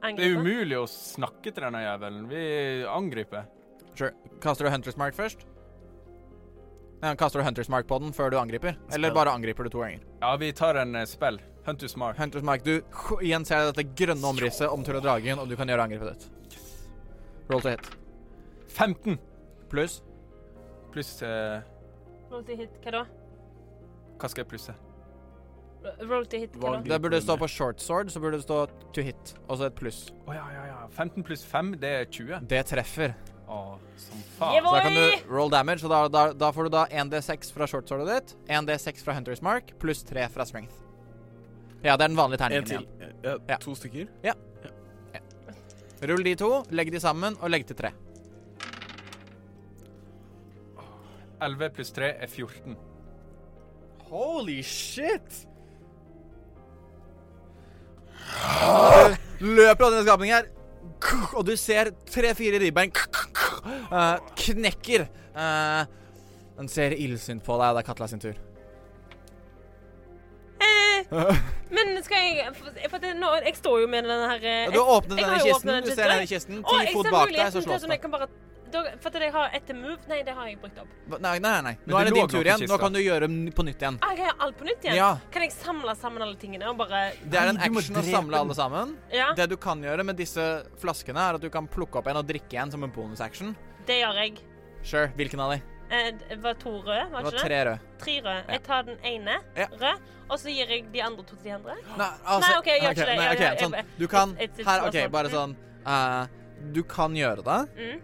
[SPEAKER 4] er
[SPEAKER 3] Angriper.
[SPEAKER 4] umulig å snakke til denne jævelen. Vi angriper.
[SPEAKER 1] Sure. Kaster du Hunter's Mark først? Ja, kaster du Hunter's Mark på den før du angriper? Eller
[SPEAKER 2] Spell.
[SPEAKER 1] bare angriper du to ganger?
[SPEAKER 4] Ja, vi tar en eh, spell. Hunt to smart.
[SPEAKER 1] Hunter's Mark, du igjen ser jeg dette grønne omrisset omtuller dragen, og du kan gjøre angrepet ditt. Roll to hit.
[SPEAKER 4] 15
[SPEAKER 1] Pluss.
[SPEAKER 4] pluss eh,
[SPEAKER 3] Roll to hit. Hva da?
[SPEAKER 4] Hva skal jeg plusse?
[SPEAKER 3] Roll to hit. Hva da?
[SPEAKER 1] Det burde stå på short sword, så burde det stå to hit, og så et pluss.
[SPEAKER 4] Å ja, ja, ja. 15 pluss 5, det er 20.
[SPEAKER 1] Det treffer.
[SPEAKER 4] Å, som
[SPEAKER 3] Jeg
[SPEAKER 4] faen.
[SPEAKER 1] Så da kan
[SPEAKER 3] Oi!
[SPEAKER 1] du roll damage, og da, da, da får du da 1D6 fra short swordet ditt, 1D6 fra Hunter's Mark, pluss 3 fra strength. Ja, det er den vanlige
[SPEAKER 6] En
[SPEAKER 1] terningen
[SPEAKER 6] til.
[SPEAKER 1] igjen.
[SPEAKER 6] Ja,
[SPEAKER 1] Ja.
[SPEAKER 6] to stykker.
[SPEAKER 1] Rull de to, legg de sammen, og legg til 3.
[SPEAKER 4] 11 pluss 3 er 14.
[SPEAKER 1] Holy shit! Du løper av denne skapningen her, og du ser tre-fire ribbein eh, knekker. Eh, Den ser illsint på deg. Det er Katla sin tur.
[SPEAKER 3] Eh, men skal jeg For, for det, nå, jeg står jo med den her eh,
[SPEAKER 1] Du har åpnet
[SPEAKER 3] jeg
[SPEAKER 1] denne
[SPEAKER 3] har jo
[SPEAKER 1] kisten.
[SPEAKER 3] åpnet den
[SPEAKER 1] Du
[SPEAKER 3] kisten.
[SPEAKER 1] ser denne kisten.
[SPEAKER 3] Å,
[SPEAKER 1] Ti
[SPEAKER 3] jeg
[SPEAKER 1] fot
[SPEAKER 3] ser
[SPEAKER 1] bak deg,
[SPEAKER 3] muligheten
[SPEAKER 1] så
[SPEAKER 3] til
[SPEAKER 1] slås
[SPEAKER 3] sånn
[SPEAKER 1] det.
[SPEAKER 3] jeg kan bare da- For at jeg har ett til move. Nei, det har jeg brukt opp.
[SPEAKER 1] Nei, nei, nei.
[SPEAKER 4] Men
[SPEAKER 1] Nå
[SPEAKER 4] det
[SPEAKER 1] er det
[SPEAKER 4] lå
[SPEAKER 1] din tur
[SPEAKER 4] noe i
[SPEAKER 1] igjen. Nå
[SPEAKER 4] kista.
[SPEAKER 1] kan du gjøre den på nytt igjen.
[SPEAKER 3] Ah, jeg kan gjøre alt på nytt igjen?
[SPEAKER 1] Ja,
[SPEAKER 3] Kan jeg samle sammen alle tingene og bare
[SPEAKER 1] Det er en
[SPEAKER 4] Nei, du må
[SPEAKER 1] action å
[SPEAKER 4] drepe
[SPEAKER 1] samle
[SPEAKER 4] den.
[SPEAKER 1] alle sammen.
[SPEAKER 3] Ja, det,
[SPEAKER 1] Det du kan gjøre med disse flaskene, er at du kan plukke opp en og drikke en som en bonusaction.
[SPEAKER 3] gjør jeg.
[SPEAKER 1] Sure, hvilken av de?
[SPEAKER 3] Eh, det var to røde, var
[SPEAKER 1] Det
[SPEAKER 3] det
[SPEAKER 1] var
[SPEAKER 3] ikke det?
[SPEAKER 1] tre røde.
[SPEAKER 3] Tre røde. Jeg tar den ene
[SPEAKER 1] Ja.
[SPEAKER 3] rød, og så gir jeg de andre to til de andre.
[SPEAKER 1] Nei, altså,
[SPEAKER 3] Nei, ok, jeg gjør
[SPEAKER 1] ok,
[SPEAKER 3] ikke det.
[SPEAKER 1] nei,
[SPEAKER 3] Jeg-
[SPEAKER 1] ok,
[SPEAKER 3] jeg-
[SPEAKER 1] sånn,
[SPEAKER 3] jeg-
[SPEAKER 1] du kan
[SPEAKER 3] it's- it's
[SPEAKER 1] Her,
[SPEAKER 3] bare
[SPEAKER 1] OK,
[SPEAKER 3] sånn.
[SPEAKER 1] bare sånn eh, Du kan gjøre det.
[SPEAKER 3] Mm.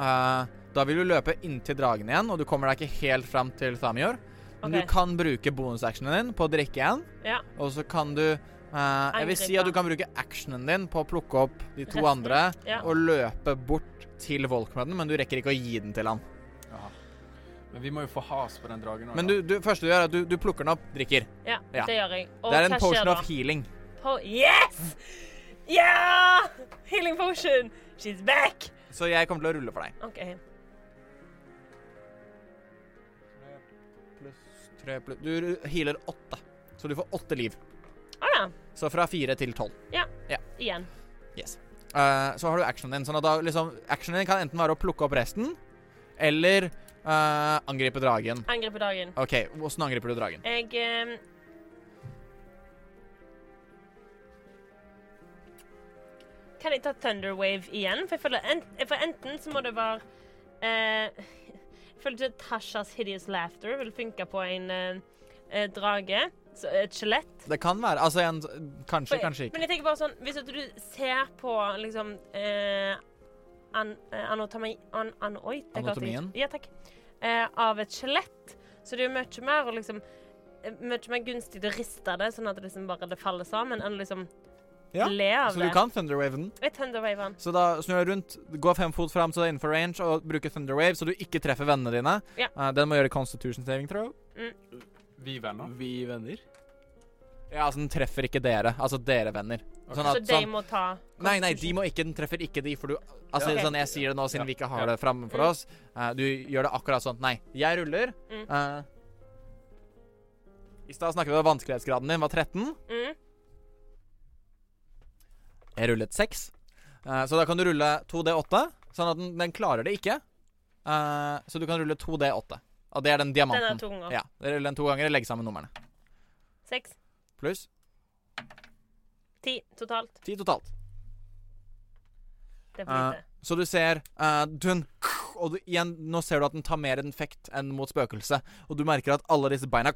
[SPEAKER 1] Eh, da vil du løpe inntil dragen igjen, og du kommer deg ikke helt fram til Thamior. Men
[SPEAKER 3] Ok.
[SPEAKER 1] du kan bruke bonusactionen din på å drikke en,
[SPEAKER 3] Ja.
[SPEAKER 1] og så kan du eh, Jeg vil si
[SPEAKER 3] Angripe.
[SPEAKER 1] at du kan bruke actionen din på å plukke opp de to
[SPEAKER 3] Resten.
[SPEAKER 1] andre
[SPEAKER 3] Ja.
[SPEAKER 1] og løpe bort til Volk med den, men du rekker ikke å gi den til han.
[SPEAKER 4] Men vi må jo få has på den dragen. nå,
[SPEAKER 1] Men
[SPEAKER 4] da.
[SPEAKER 1] du, du, første du gjør, er at du, du plukker den opp, drikker.
[SPEAKER 3] ja,
[SPEAKER 1] Ja.
[SPEAKER 3] det gjør jeg. Og
[SPEAKER 1] det er en
[SPEAKER 3] hva skjer
[SPEAKER 1] potion
[SPEAKER 3] da?
[SPEAKER 1] of healing.
[SPEAKER 3] Po yes! Ja! Healing potion! She's back!
[SPEAKER 1] Så jeg kommer til å rulle for deg.
[SPEAKER 3] OK.
[SPEAKER 1] Pluss tre pluss Du ru- healer åtte. Så du får åtte liv.
[SPEAKER 3] Å ja.
[SPEAKER 1] Så fra fire til tolv.
[SPEAKER 3] Igjen.
[SPEAKER 1] Yes. Eh, så har du actionen din. Sånn at da liksom Actionen din kan enten være å plukke opp resten, eller eh, angripe dragen.
[SPEAKER 3] Angrep på dagen.
[SPEAKER 1] OK, åssen angriper du dragen?
[SPEAKER 3] Jeg eh, Kan jeg ta Thunderwave igjen? For jeg føler ent for enten så må det være eh, Jeg føler ikke Tashas Hideous Laughter vil funke på en eh, eh, drage. Så et skjelett.
[SPEAKER 1] Det kan være Altså en Kanskje,
[SPEAKER 3] For-
[SPEAKER 1] kanskje ikke.
[SPEAKER 3] Men jeg tenker bare sånn Hvis at du ser på liksom eh, an, eh, anatomi, an, an, oi, det klarte jeg
[SPEAKER 1] Anatomien?
[SPEAKER 3] ikke. Ja, takk. Eh, av et skjelett. Så det er jo mye mer å liksom eh, Mye mer gunstig å riste det, sånn at det liksom bare det faller sammen, enn å liksom
[SPEAKER 1] Ja,
[SPEAKER 3] le av
[SPEAKER 1] Så du
[SPEAKER 3] det.
[SPEAKER 1] kan Sånn thunderwave den.
[SPEAKER 3] Jeg thunderwaver den.
[SPEAKER 1] Så da snur du rundt, gå fem fot fram så det er innenfor range, og bruker thunderwave så du ikke treffer vennene dine.
[SPEAKER 3] Ja.
[SPEAKER 1] Eh, den må gjøre constitution saving throw.
[SPEAKER 4] Vi venner.
[SPEAKER 6] Vi venner.
[SPEAKER 1] Ja, altså den treffer ikke dere. Altså dere venner.
[SPEAKER 4] Ok.
[SPEAKER 1] Sånn
[SPEAKER 3] Så
[SPEAKER 1] at
[SPEAKER 3] de
[SPEAKER 1] sånn
[SPEAKER 3] må ta
[SPEAKER 1] Nei, nei, de må ikke, den treffer ikke de, for du Altså,
[SPEAKER 3] Ja.
[SPEAKER 1] sånn jeg sier det nå, siden
[SPEAKER 4] Ja.
[SPEAKER 1] vi ikke
[SPEAKER 4] Ja.
[SPEAKER 1] har det framfor
[SPEAKER 3] Mm.
[SPEAKER 1] oss. eh, du gjør det akkurat sånn. Nei, jeg ruller.
[SPEAKER 3] Mm.
[SPEAKER 1] eh, I stad snakket vi om vanskelighetsgraden din var 13.
[SPEAKER 3] mm.
[SPEAKER 1] Jeg rullet 6. Eh, så da kan du rulle 2D8, sånn at den, den klarer det ikke. Eh, så du kan rulle 2D8. Og det er den
[SPEAKER 3] Den er
[SPEAKER 1] diamanten.
[SPEAKER 3] to ganger.
[SPEAKER 1] Ja, dere ruller den to ganger og legger sammen numrene.
[SPEAKER 3] Seks.
[SPEAKER 1] Pluss
[SPEAKER 3] Ti totalt.
[SPEAKER 1] 10 totalt.
[SPEAKER 3] Det er for
[SPEAKER 1] Eh,
[SPEAKER 3] lite.
[SPEAKER 1] Så du ser eh, dun, Og du, igjen, nå ser du at den tar mer infekt enn mot spøkelse. Og du merker at alle disse beina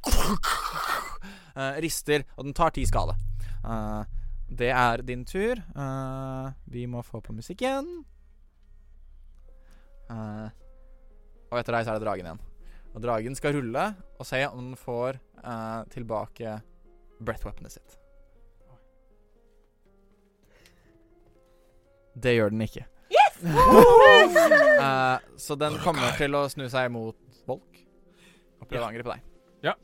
[SPEAKER 1] eh, rister, og den tar ti skade. Eh, det er din tur. Eh, vi må få på musikk igjen. Eh, og etter deg så er det dragen igjen. Og dragen skal rulle og se om den får eh, tilbake breath weaponet sitt. Det gjør den ikke. Eh, så den kommer til å snu seg mot Volk og prøve å angripe deg.
[SPEAKER 4] Ja.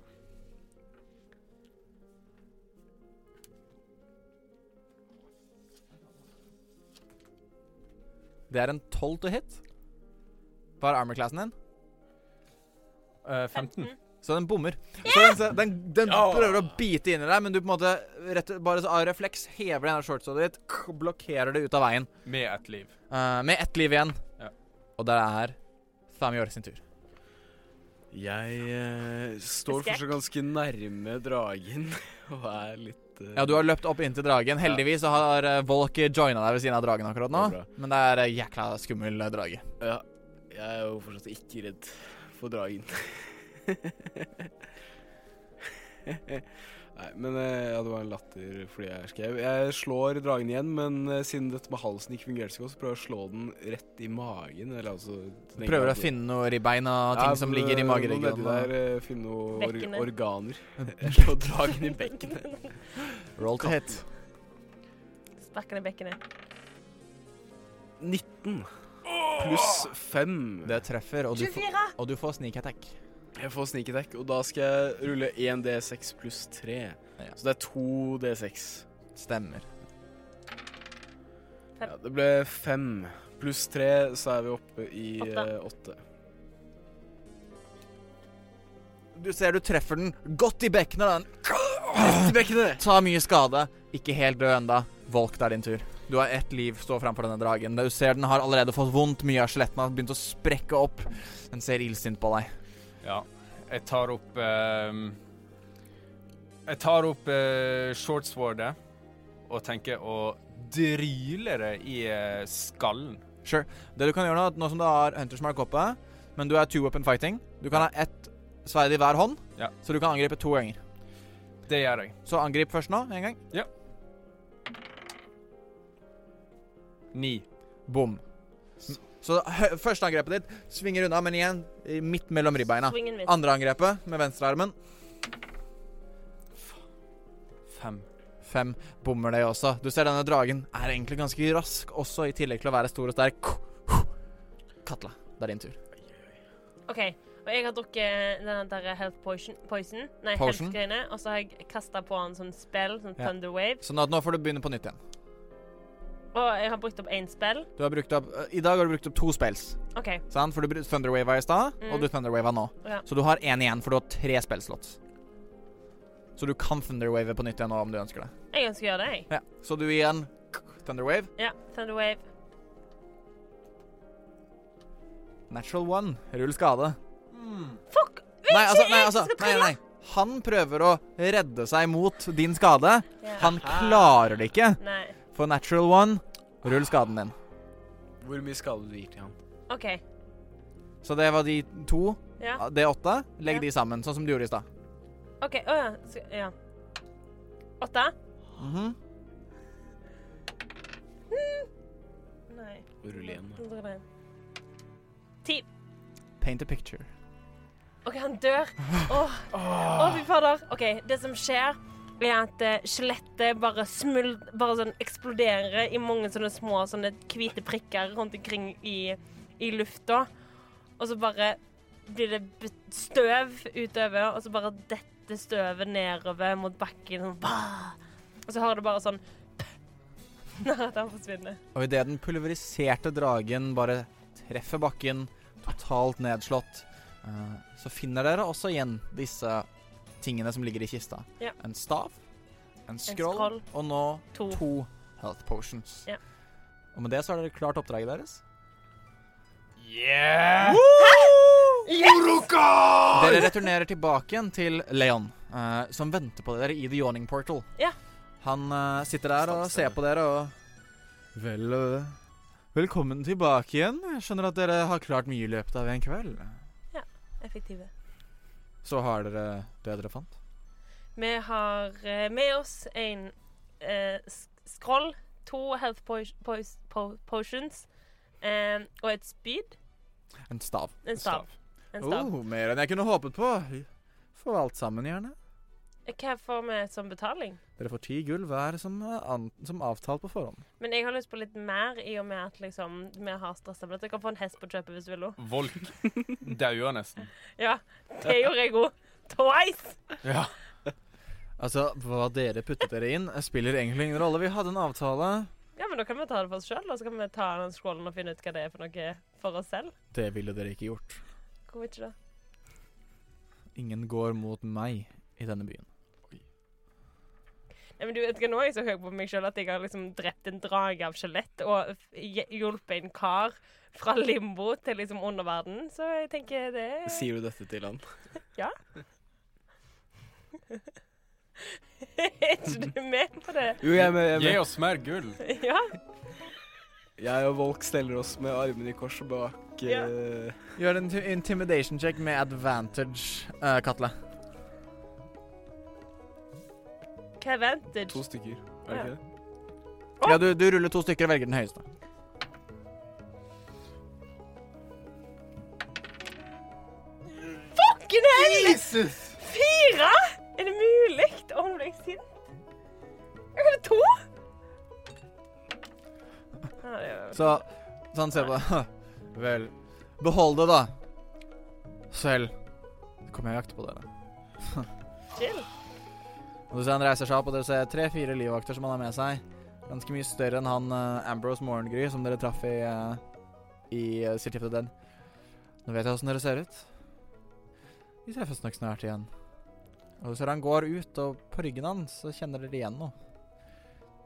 [SPEAKER 1] Det er en 12 to hit. Hva er armor-classen din?
[SPEAKER 4] Eh, 15.
[SPEAKER 3] Mm.
[SPEAKER 1] Så den bommer. Så den, så den, den prøver å bite inn i deg, men du på en måte rett, bare så av refleks hever den shortstodet ditt, k- blokkerer det ut av veien.
[SPEAKER 4] Med ett liv.
[SPEAKER 1] Eh, med ett liv igjen.
[SPEAKER 4] Ja.
[SPEAKER 1] Og der er Thamior sin tur.
[SPEAKER 6] Jeg eh, står
[SPEAKER 3] Skrekk.
[SPEAKER 6] fortsatt ganske nærme dragen *laughs* og er litt eh,
[SPEAKER 1] Ja, du har løpt opp inntil dragen. Heldigvis så har eh, Volk joina deg ved siden av dragen akkurat nå.
[SPEAKER 6] Det er bra.
[SPEAKER 1] Men det er eh, jækla skummel eh, drage.
[SPEAKER 6] Ja, jeg er jo fortsatt ikke redd for dragen. *laughs* Nei, men eh, ja, det var en latter fordi jeg er skrev. Jeg slår dragen igjen, men eh, siden dette med halsen ikke fungerte så godt, så prøver jeg å slå den rett i magen. Eller altså den
[SPEAKER 1] Prøver å
[SPEAKER 6] egentlig-
[SPEAKER 1] finne noe ribbein og ting
[SPEAKER 6] Ja,
[SPEAKER 1] som
[SPEAKER 6] men,
[SPEAKER 1] ligger
[SPEAKER 6] eh,
[SPEAKER 1] i
[SPEAKER 6] noe nedi
[SPEAKER 1] mageregionen. og-
[SPEAKER 6] der, eh, Finne noen
[SPEAKER 3] Bekkenet.
[SPEAKER 6] or
[SPEAKER 1] *laughs*
[SPEAKER 6] organer. *laughs* Jeg slår dragen i bekkenet.
[SPEAKER 1] Roll to hit.
[SPEAKER 3] Sparker ned bekkenet.
[SPEAKER 6] 19 pluss 5.
[SPEAKER 1] Det treffer, og du, får,
[SPEAKER 3] 24!
[SPEAKER 1] og du får sneak attack.
[SPEAKER 6] Jeg får sneak attack, og da skal jeg rulle 1 D6 pluss 3.
[SPEAKER 1] Ja.
[SPEAKER 6] Så det er 2 D6.
[SPEAKER 1] Stemmer.
[SPEAKER 3] Fem.
[SPEAKER 6] Ja, det ble 5 pluss 3, så er vi oppe i eh,
[SPEAKER 3] Åtte.
[SPEAKER 6] 8.
[SPEAKER 1] Du ser du treffer den godt i bekkenet. da. Den
[SPEAKER 6] Rett i bekkenet!
[SPEAKER 1] tar mye skade. Ikke helt død enda. Volk, det er din tur. Du har ett liv stå framfor denne dragen. Du ser den har allerede fått vondt. Mye av skjelettene har begynt å sprekke opp. Den ser illsint på deg.
[SPEAKER 4] Ja. Jeg tar opp ehm, Jeg tar opp eh, shortswordet og tenker å dryle det i eh, skallen.
[SPEAKER 1] Det du kan gjøre Nå er at nå som du har Hunters Mark oppe, men du er two weapon fighting Du kan ha ett sverd i hver hånd,
[SPEAKER 4] Ja.
[SPEAKER 1] så du kan angripe to ganger.
[SPEAKER 4] Det gjør jeg.
[SPEAKER 1] Så angrip først nå, en gang.
[SPEAKER 4] Ni.
[SPEAKER 1] Bom. Så hø- første angrepet ditt svinger unna, men igjen i- midt mellom ribbeina.
[SPEAKER 3] Swingen mitt.
[SPEAKER 1] Andre angrepet med venstrearmen.
[SPEAKER 4] Fem.
[SPEAKER 1] Fem bommer det også. Du ser denne dragen er egentlig ganske rask også, i tillegg til å være stor og sterk. Katla, det er din tur.
[SPEAKER 3] OK. Og jeg har drukket den der health potion, poison Nei,
[SPEAKER 1] Potion?
[SPEAKER 3] health-greiene. Og så har jeg kasta på en sånn spill, sånn
[SPEAKER 1] Ja.
[SPEAKER 3] thunder wave.
[SPEAKER 1] Sånn at nå får du begynne på nytt igjen.
[SPEAKER 3] Og jeg har brukt opp én spill.
[SPEAKER 1] Du har brukt opp, eh, I dag har du brukt opp to spells.
[SPEAKER 3] OK.
[SPEAKER 1] Sant? For du brukte Thunderwave i stad,
[SPEAKER 3] Mm.
[SPEAKER 1] og du Thunderwave nå.
[SPEAKER 3] Ja.
[SPEAKER 1] Så du har én igjen, for du har tre spillslott. Så du kan Thunderwave på nytt igjen nå om du ønsker det.
[SPEAKER 3] Jeg ønsker å gjøre det, jeg.
[SPEAKER 1] Ja. Så du igjen Thunderwave.
[SPEAKER 3] Ja. Thunder wave.
[SPEAKER 1] Natural one. Rull skade.
[SPEAKER 3] Fuck! Ikke
[SPEAKER 1] Nei, altså, nei,
[SPEAKER 3] jeg
[SPEAKER 1] altså,
[SPEAKER 3] som skal
[SPEAKER 1] nei, nei. Han prøver å redde seg mot din skade.
[SPEAKER 3] Ja.
[SPEAKER 1] Han klarer det ikke.
[SPEAKER 3] Nei.
[SPEAKER 1] For natural one, rull skaden din.
[SPEAKER 6] Hvor mye skade du gir til han?
[SPEAKER 3] OK.
[SPEAKER 1] Så det var de to.
[SPEAKER 3] Ja.
[SPEAKER 1] Det er åtte. Legg
[SPEAKER 3] Ja.
[SPEAKER 1] de sammen, sånn som du gjorde i stad.
[SPEAKER 3] OK. Å ja. Skal- ja. Åtte?
[SPEAKER 1] Mhm.
[SPEAKER 3] Nei.
[SPEAKER 6] Rull igjen. da.
[SPEAKER 3] Hundre og en.
[SPEAKER 1] Paint a picture.
[SPEAKER 3] OK, han dør. Åh, Å, fy fader. OK, det som skjer, er at eh, skjelettet bare smul... Bare sånn eksploderer i mange sånne små sånne hvite prikker rundt omkring i, i lufta. Og så bare blir det b- støv utover, og så bare detter støvet nedover mot bakken. Sånn, bah! Og så hører du bare sånn *laughs* Når at han forsvinner.
[SPEAKER 1] Og idet den pulveriserte dragen bare treffer bakken, totalt nedslått, eh, så finner dere også igjen disse tingene som ligger i kista.
[SPEAKER 3] Ja.
[SPEAKER 1] En stav, en scroll,
[SPEAKER 3] scroll.
[SPEAKER 1] og nå
[SPEAKER 3] To.
[SPEAKER 1] to health potions.
[SPEAKER 3] Ja.
[SPEAKER 1] Og med det så har dere klart oppdraget deres.
[SPEAKER 4] Yeah!
[SPEAKER 1] Dere returnerer tilbake igjen til Leon, eh, som venter på dere i The Yawning Portal.
[SPEAKER 3] Ja.
[SPEAKER 1] Han eh, sitter der og
[SPEAKER 6] Stappstemme.
[SPEAKER 1] ser på dere og Vel, eh, velkommen tilbake igjen. Jeg skjønner at dere har klart mye i løpet av en kveld.
[SPEAKER 3] Effektive.
[SPEAKER 1] Så har dere det dere fant.
[SPEAKER 3] Vi har eh, med oss en eh, sk- scroll, to health po po po potions eh, og et spyd.
[SPEAKER 1] En stav.
[SPEAKER 3] En stav. En stav.
[SPEAKER 1] Oh, mer enn jeg kunne håpet på. Få alt sammen, gjerne.
[SPEAKER 3] Hva får vi som betaling?
[SPEAKER 1] Dere får ti gull hver som, eh, an som avtalt på forhånd.
[SPEAKER 3] Men jeg har lyst på litt mer, i og med at liksom, vi har stressa med dette. Du kan få en hest på kjøpet hvis du vil. også.
[SPEAKER 4] Volk dauer nesten.
[SPEAKER 3] Ja, det *laughs* gjorde jeg òg. Twice!
[SPEAKER 4] Ja.
[SPEAKER 1] Altså, hva dere puttet dere inn, spiller egentlig ingen rolle. Vi hadde en avtale.
[SPEAKER 3] Ja, men da kan vi ta det for oss sjøl, og så kan vi ta den skålen og finne ut hva det er for noe for oss selv.
[SPEAKER 1] Det ville dere ikke gjort.
[SPEAKER 3] Hvorfor ikke det?
[SPEAKER 1] Ingen går mot meg i denne byen.
[SPEAKER 3] Nei, men du vet ikke, Nå er jeg så høy på meg sjøl at jeg har liksom drept en drage av skjelett og f- hj- hjulpet en kar fra limbo til liksom underverden, så jeg tenker det er-
[SPEAKER 6] Sier du dette til han?
[SPEAKER 3] *laughs* Er ikke du med på det?
[SPEAKER 6] Jo, jeg, jeg, jeg,
[SPEAKER 4] Gi oss mer gull.
[SPEAKER 3] Ja.
[SPEAKER 6] jeg og Volk steller oss med armene i kors bak
[SPEAKER 3] Ja.
[SPEAKER 6] eh,
[SPEAKER 1] Gjør en t- intimidation check med advantage, eh, Katle.
[SPEAKER 3] Hva er vantage?
[SPEAKER 6] to stykker. Er det
[SPEAKER 3] Ja.
[SPEAKER 6] ikke det?
[SPEAKER 1] Ja, du, du ruller to stykker og velger den høyeste.
[SPEAKER 3] Fucking hell! Fire? Er det mulig? Å, nå ble jeg sint. Jeg hadde
[SPEAKER 1] *laughs*
[SPEAKER 3] to. Ja, det er-
[SPEAKER 1] Så, så han ser på deg. *laughs* Vel, behold det, da. Selv. Så kommer jeg og jakter på dere.
[SPEAKER 3] Chill.
[SPEAKER 1] Og du ser Han reiser seg opp, og dere ser tre-fire livvakter som han har med seg. Ganske mye større enn han eh, Ambrose Morgengry som dere traff i, eh, i eh, City of the Dead. Nå vet jeg åssen dere ser ut. Vi treffes nok snart igjen. Og du ser han går ut, og på ryggen hans så kjenner dere igjen noe.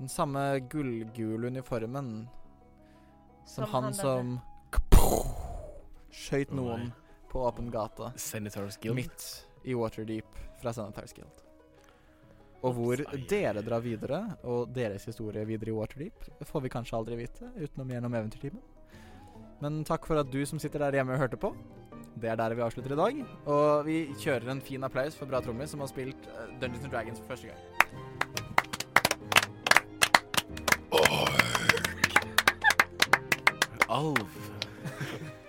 [SPEAKER 1] Den samme gullgule uniformen som, han, som skøyt
[SPEAKER 2] Å,
[SPEAKER 1] noen
[SPEAKER 2] nei.
[SPEAKER 1] på åpen gate
[SPEAKER 2] Senators Guild.
[SPEAKER 1] midt i Waterdeep fra Senators Guild. Og hvor
[SPEAKER 2] Ai, ai, ai.
[SPEAKER 1] dere drar videre, og deres historie videre i Waterdeep, får vi kanskje aldri vite utenom gjennom Eventyrtimen. Men takk for at du som sitter der hjemme og hørte på. Det er der vi avslutter i dag. Og vi kjører en fin applaus for Bra Trommis, som har spilt eh, Dungeons and Dragons for første gang.
[SPEAKER 2] Alv.